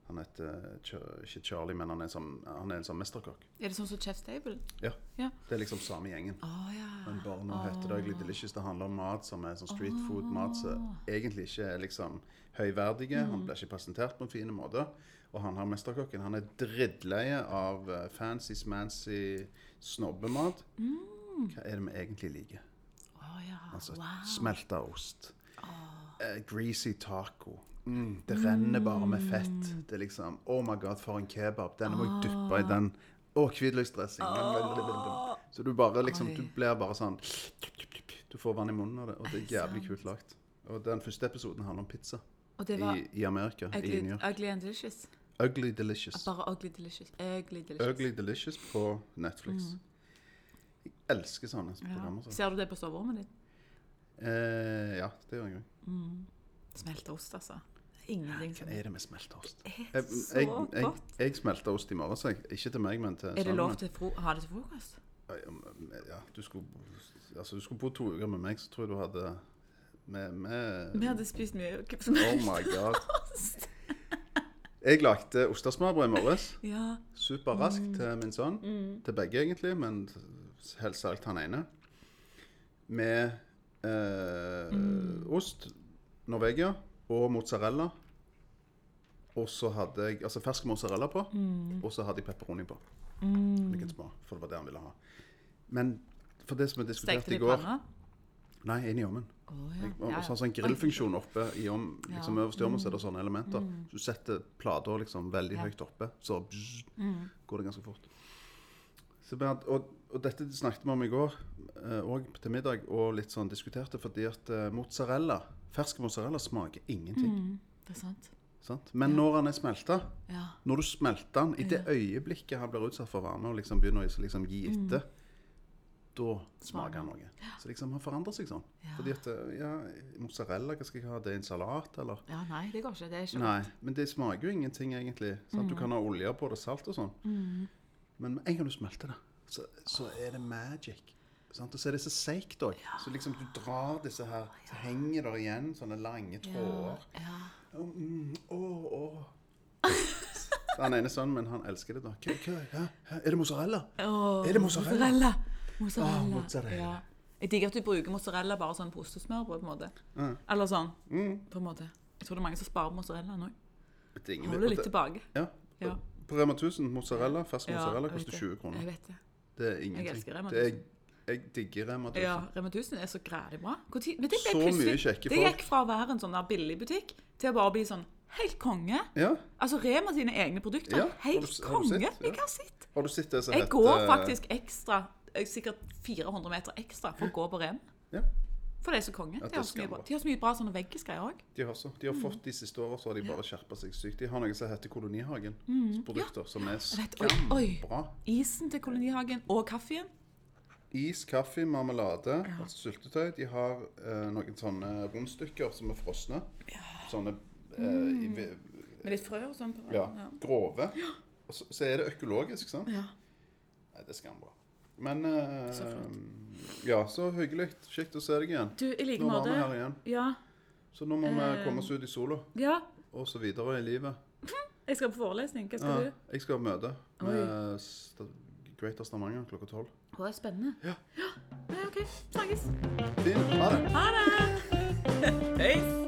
Han heter Ch ikke Charlie, men han er en sånn, han er en sånn mesterkokk. Er det sånn som Chef's Table? Ja. Ja. Det er liksom samme gjengen. Å ja. Men bare nå heter det Ugly Delicious. Det handler om mat som er sånn street food-mat som egentlig ikke er liksom høyverdige. Han blir ikke presentert på en fin måte. Og han her mesterkokken han er drittleie av eh, fancy, smancy snobbemat. Hva er det vi egentlig liker? Å ja. Altså Wow. Ah. smelta ost. eh, greasy taco. Mm, det renner bare med fett. Mm. Det er liksom Oh my god, for en kebab. Den må Ah. jeg dyppe i den. Og hvitløksdressing. Så du bare liksom Du Ah. Oi. blir bare sånn Du får vann i munnen av det, og det er jævlig kult lagt. Og den første episoden handler om pizza Og det var i, i Amerika. I New ugly, York. ugly and Delicious. Ugly Delicious. Bare Ugly Delicious. Ugly Delicious. Mm. Ugly Delicious på Netflix. Jeg elsker sånne programmer. altså. Ja. Så. Ser du det på soverommet ditt? Eh, ja, det gjør jeg òg. Smelta ost, altså. Det er sånn. Ingenting Hva som er det med smelteost? er Jeg, så jeg, jeg, godt. jeg smelta ost i morges, jeg. Ikke til meg, men til Er det sønnen lov min. til å fro- ha det til frokost? Ja, du skulle, altså, du skulle bo to uker med meg, så tror jeg du hadde med, med Vi hadde spist mye Oh my god. Jeg lagde ostesmørbrød i morges. *laughs* Ja. Mm. superraskt til min sønn. Til begge, egentlig, men helst særlig han ene. Med eh, Mm. ost, Norvegia og mozzarella. Og så hadde jeg altså fersk mozzarella på, Mm. og så hadde jeg pepperoni på. Like små, for det var det han ville ha. Men for det som vi Stekte diskuterte det i i går panna? Nei, inn i ovnen. Å ja. Og ja, så har ja. sånn grillfunksjon oppe i om, liksom Ja. Mm. Øverst i ovnen så er det sånne elementer. Så du setter plater liksom veldig Ja. Mm. høyt oppe, så bzz, går det ganske fort. Så, Bernt, og, og dette snakket vi om i går eh, og til middag, og litt sånn diskuterte, fordi at eh, mozzarella, fersk mozzarella smaker ingenting. Mm, det er sant. Sant? Men når den er smelta, Ja. når du smelter den, i det øyeblikket han blir utsatt for varme og liksom begynner å liksom gi etter, da smaker han noe. Så liksom han forandrer seg sånn. Ja. Fordi at ja, mozzarella, hva skal jeg ha? Det er en salat, eller? ja, nei, det går ikke. Det er ikke Nei, men det smaker jo ingenting egentlig. Sant? Du kan ha olje på det, salt og sånn. Men med en gang du smelter det, så, så er det magic. Sant? Og så er det så seigt òg. Så liksom du drar disse her, så henger der igjen sånne lange tråder. Ja. Åh, mm, åh, åh. Så *laughs* Han ene sønnen min, han elsker det da. Hva, hva, hæ? Hæ? Er det mozzarella? Åh, Er det mozzarella? Mozzarella. mozzarella. Åh, Ah, mozzarella. Ja. Jeg digger at du bruker mozzarella bare sånn på ostesmørbrød, på en måte. Ja. Mm. Eller sånn, på en måte. Jeg tror det er mange som sparer mozzarella nå. Det er ingen- Holder litt det- tilbake. Ja. Ja. På Rema 1000, mozzarella, fersk Ja, mozzarella jeg koster vet det. 20 kroner. Jeg vet det. Det er ingenting. elsker Rema Det er, jeg digger Rema 1000. Ja, Rema 1000 er så grædig bra. Hvor tid- Men det ble Så mye plutselig- kjekke Det folk. gikk fra å være en sånn der billig butikk til å bare bli sånn helt konge. Ja. Altså Rema sine egne produkter. Ja, har du- helt har konge. du sett? Ja. Jeg har sett. Har du sett det som Jeg heter- går faktisk ekstra, eh, sikkert 400 meter ekstra, for å gå på Rema. Ja, For det er så konge. det de, har så skal mye han bra. være. de har så mye bra sånne veggisgreier òg. de har, så. De har fått de siste årene, så har de bare skjerpet seg sykt. De har noe som heter Kolonihagen. Produkter som er Mm. vet. Oi, oi. skambra. Isen til kolonihagen og kaffen. Is, kaffe, marmelade, altså syltetøy. De har eh, noen sånne rundstykker som er frosne. Sånne eh, i, ve- Med litt frø og sånn. på ja, grove. Og så, så er det økologisk, sant? Ja. Nei, det er skambra. Men eh, Så Ja, så hyggelig. Kjekt å se deg igjen. Du, i like Nå var vi måte. her igjen. Ja. Så nå må vi Eh. komme oss ut i sola ja. og så videre i livet. Jeg skal på forelesning. Hva Ja, skal du? jeg skal ha møte Oi. med Sta- Greater Stavanger klokka tolv. Å, det er spennende. Ja. Nei, OK. Snakkes. Fint. Ha det. Ha det. Hei.